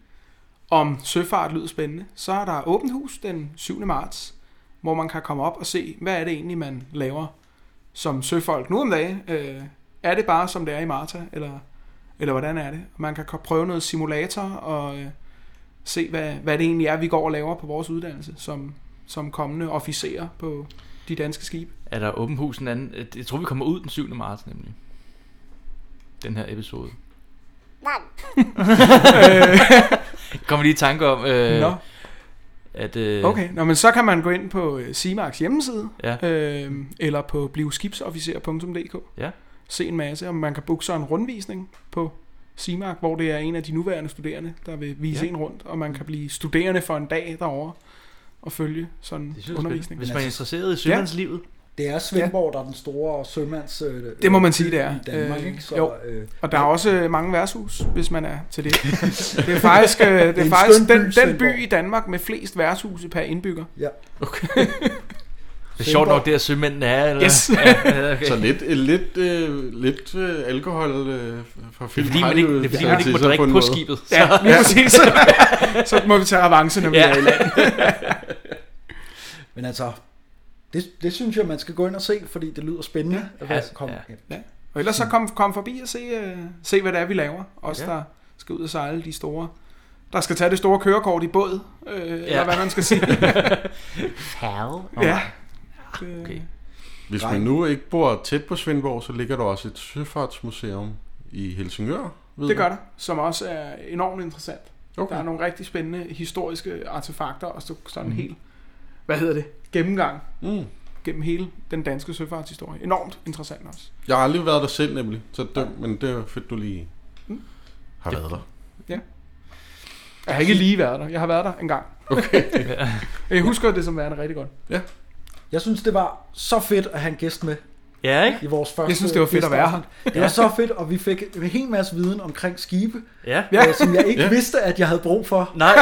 F: om søfart lyder spændende, så er der åbent hus den 7. marts, hvor man kan komme op og se, hvad er det egentlig, man laver som søfolk nu om dagen. Øh, er det bare, som det er i Marta, eller, eller hvordan er det? Man kan ko- prøve noget simulator og øh, se, hvad, hvad det egentlig er, vi går og laver på vores uddannelse som, som kommende officerer på de danske skibe.
C: Er der åben hus en anden? Øh, Jeg tror, vi kommer ud den 7. marts nemlig. Den her episode. Kommer lige i tanke om, øh,
F: Øh. Nå.
C: at... Øh,
F: Okay, Nå, men så kan man gå ind på øh, CIMARKs hjemmeside,
C: Ja.
F: øh, eller på blivskibsofficer.dk,
C: Ja.
F: se en masse, og man kan booke sig en rundvisning på CIMARK, hvor det er en af de nuværende studerende, der vil vise
C: Ja. Mm.
F: ja. en rundt, og man kan blive studerende for en dag derovre og følge sådan
C: spændende.
F: undervisning.
C: Hvis man er interesseret i
B: sømandslivet. Det er Svendborg, der er den store sømands... Øh,
F: Det må man sige, det er.
B: I Danmark,
F: Øh,
B: ikke? Så,
F: jo.
B: øh,
F: og der er også øh, mange værtshus, hvis man er til det. Det er faktisk, øh, det
B: Det er
F: er
B: en
F: faktisk
B: skøn by,
F: den, den
B: Svendborg.
F: by i Danmark med flest værtshuse per indbygger.
B: Ja.
F: Okay.
C: Det er sjovt nok, det er sømændene er, eller?
F: Yes.
C: Ja, okay.
D: Så lidt, øh, lidt, øh, lidt øh, alkohol øh, fra
C: Det er
D: film.
C: fordi, man ikke, det er, fordi man ikke må drikke på, skibet.
F: Ja, lige præcis. Så må vi tage avance, når vi er i land.
B: Men altså, det, det synes jeg, man skal gå ind og se, fordi det lyder spændende. Ja, altså, kom, ja.
F: Ja. Og ellers så kom, kom forbi og se, øh, se, hvad det er, vi laver. Os,
B: Ja.
F: der skal ud og sejle de store... Der skal tage det store kørekort i båd, øh, ja. eller hvad man skal sige.
C: Færge.
F: Ja.
C: Okay.
D: Hvis
F: Nej.
D: man nu ikke bor tæt på Svendborg, så ligger der også et søfartsmuseum i Helsingør. ved
F: Det
D: jeg.
F: gør der, som også er enormt interessant.
D: Okay.
F: Der er nogle rigtig spændende historiske artefakter, og så- sådan en
D: Mhm.
F: hel, hvad hedder det, gennemgang
D: mm.
F: gennem hele den danske søfartshistorie. Enormt interessant også.
D: Jeg har aldrig været der selv nemlig, så det, men det er fedt, du lige
C: Mm.
D: har været der.
F: Ja. Jeg har ikke lige været der. Jeg har været der en gang. Okay. jeg husker det som værende rigtig godt.
D: Ja.
B: Jeg synes, det var så fedt at have en gæst med.
C: Ja, ikke?
B: I vores første
F: Jeg synes, det var fedt at være her.
B: gæsteafsnit. Det
F: Ja.
B: var så fedt, og vi fik en hel masse viden omkring skibe,
C: Ja.
B: øh, som jeg ikke
C: Ja.
B: vidste, at jeg havde brug for.
C: Nej,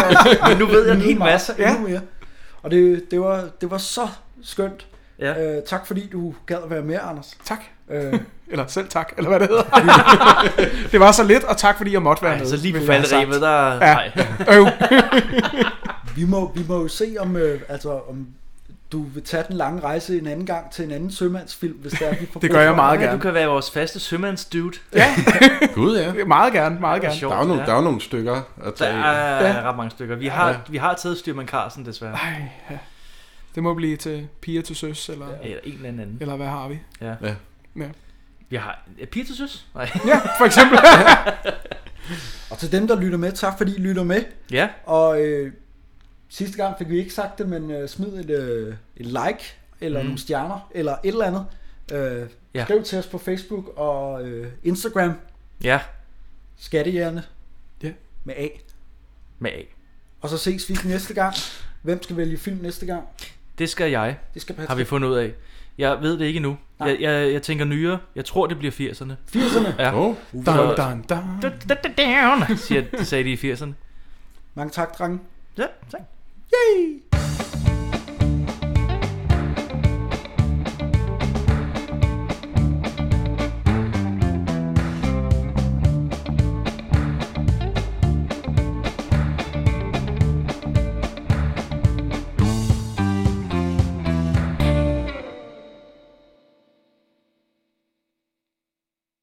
C: men nu ved jeg en hel
B: Meget,
C: masse.
B: endnu mere. Og det, det, var, det var så skønt.
C: Ja.
B: Øh, tak fordi du gad at være med, Anders.
F: Tak.
B: Øh,
F: Eller selv tak, eller hvad det hedder. det var så lidt, og tak fordi jeg måtte være
C: Ej,
F: med.
C: så lige på
F: vil jeg have Øh, sagt.
C: falderæbet, der-
F: Ja.
C: Nej.
F: Øv.
B: vi, må, vi må jo se, om, øh, altså, om du vil tage den lange rejse en anden gang til en anden sømandsfilm, hvis der er vi får brug for-
C: Ja, Du kan være vores faste sømandsdude.
F: Ja.
D: Gud, ja.
F: Meget gerne, meget
C: Det er
F: gerne.
C: sjovt,
D: Der er jo nogle,
C: ja.
D: der er jo nogle stykker at
C: Der
D: tage
C: er
D: af.
C: ret mange stykker. Vi har,
D: Ja.
C: vi har taget styrmand Carlsen, desværre.
F: Ej, ja. Det må blive til piger til søs, eller,
C: Ja, eller en eller anden.
F: eller hvad har vi?
C: Ja.
D: Ja.
F: ja.
C: Vi har... Er piger til søs? Nej.
F: Ja, for eksempel.
B: Og til dem, der lytter med, tak fordi I lytter med.
C: Ja.
B: Og øh, sidste gang fik vi ikke sagt det, men øh, smid et, øh, et like, eller
C: Mm.
B: mm. nogle stjerner, eller et eller andet. Øh,
C: Ja.
B: ja. Skriv til os på Facebook og øh, Instagram,
C: ja.
B: Skattehjerne
F: ja.
B: med A.
C: Med A.
B: Og så ses vi næste gang. Hvem skal vælge film næste gang?
C: Det skal jeg.
B: Det skal Patrick.
C: Har vi fundet ud af. Jeg ved det ikke endnu.
B: Nej.
C: Jeg, jeg, jeg tænker nyere. Jeg tror, det bliver 80'erne.
B: 80'erne?
C: Ja.
B: Oh.
F: Dun, dun,
C: dun. Siger, sagde de i 80'erne.
B: Mange tak, drenge.
C: Ja, tak.
B: Yay!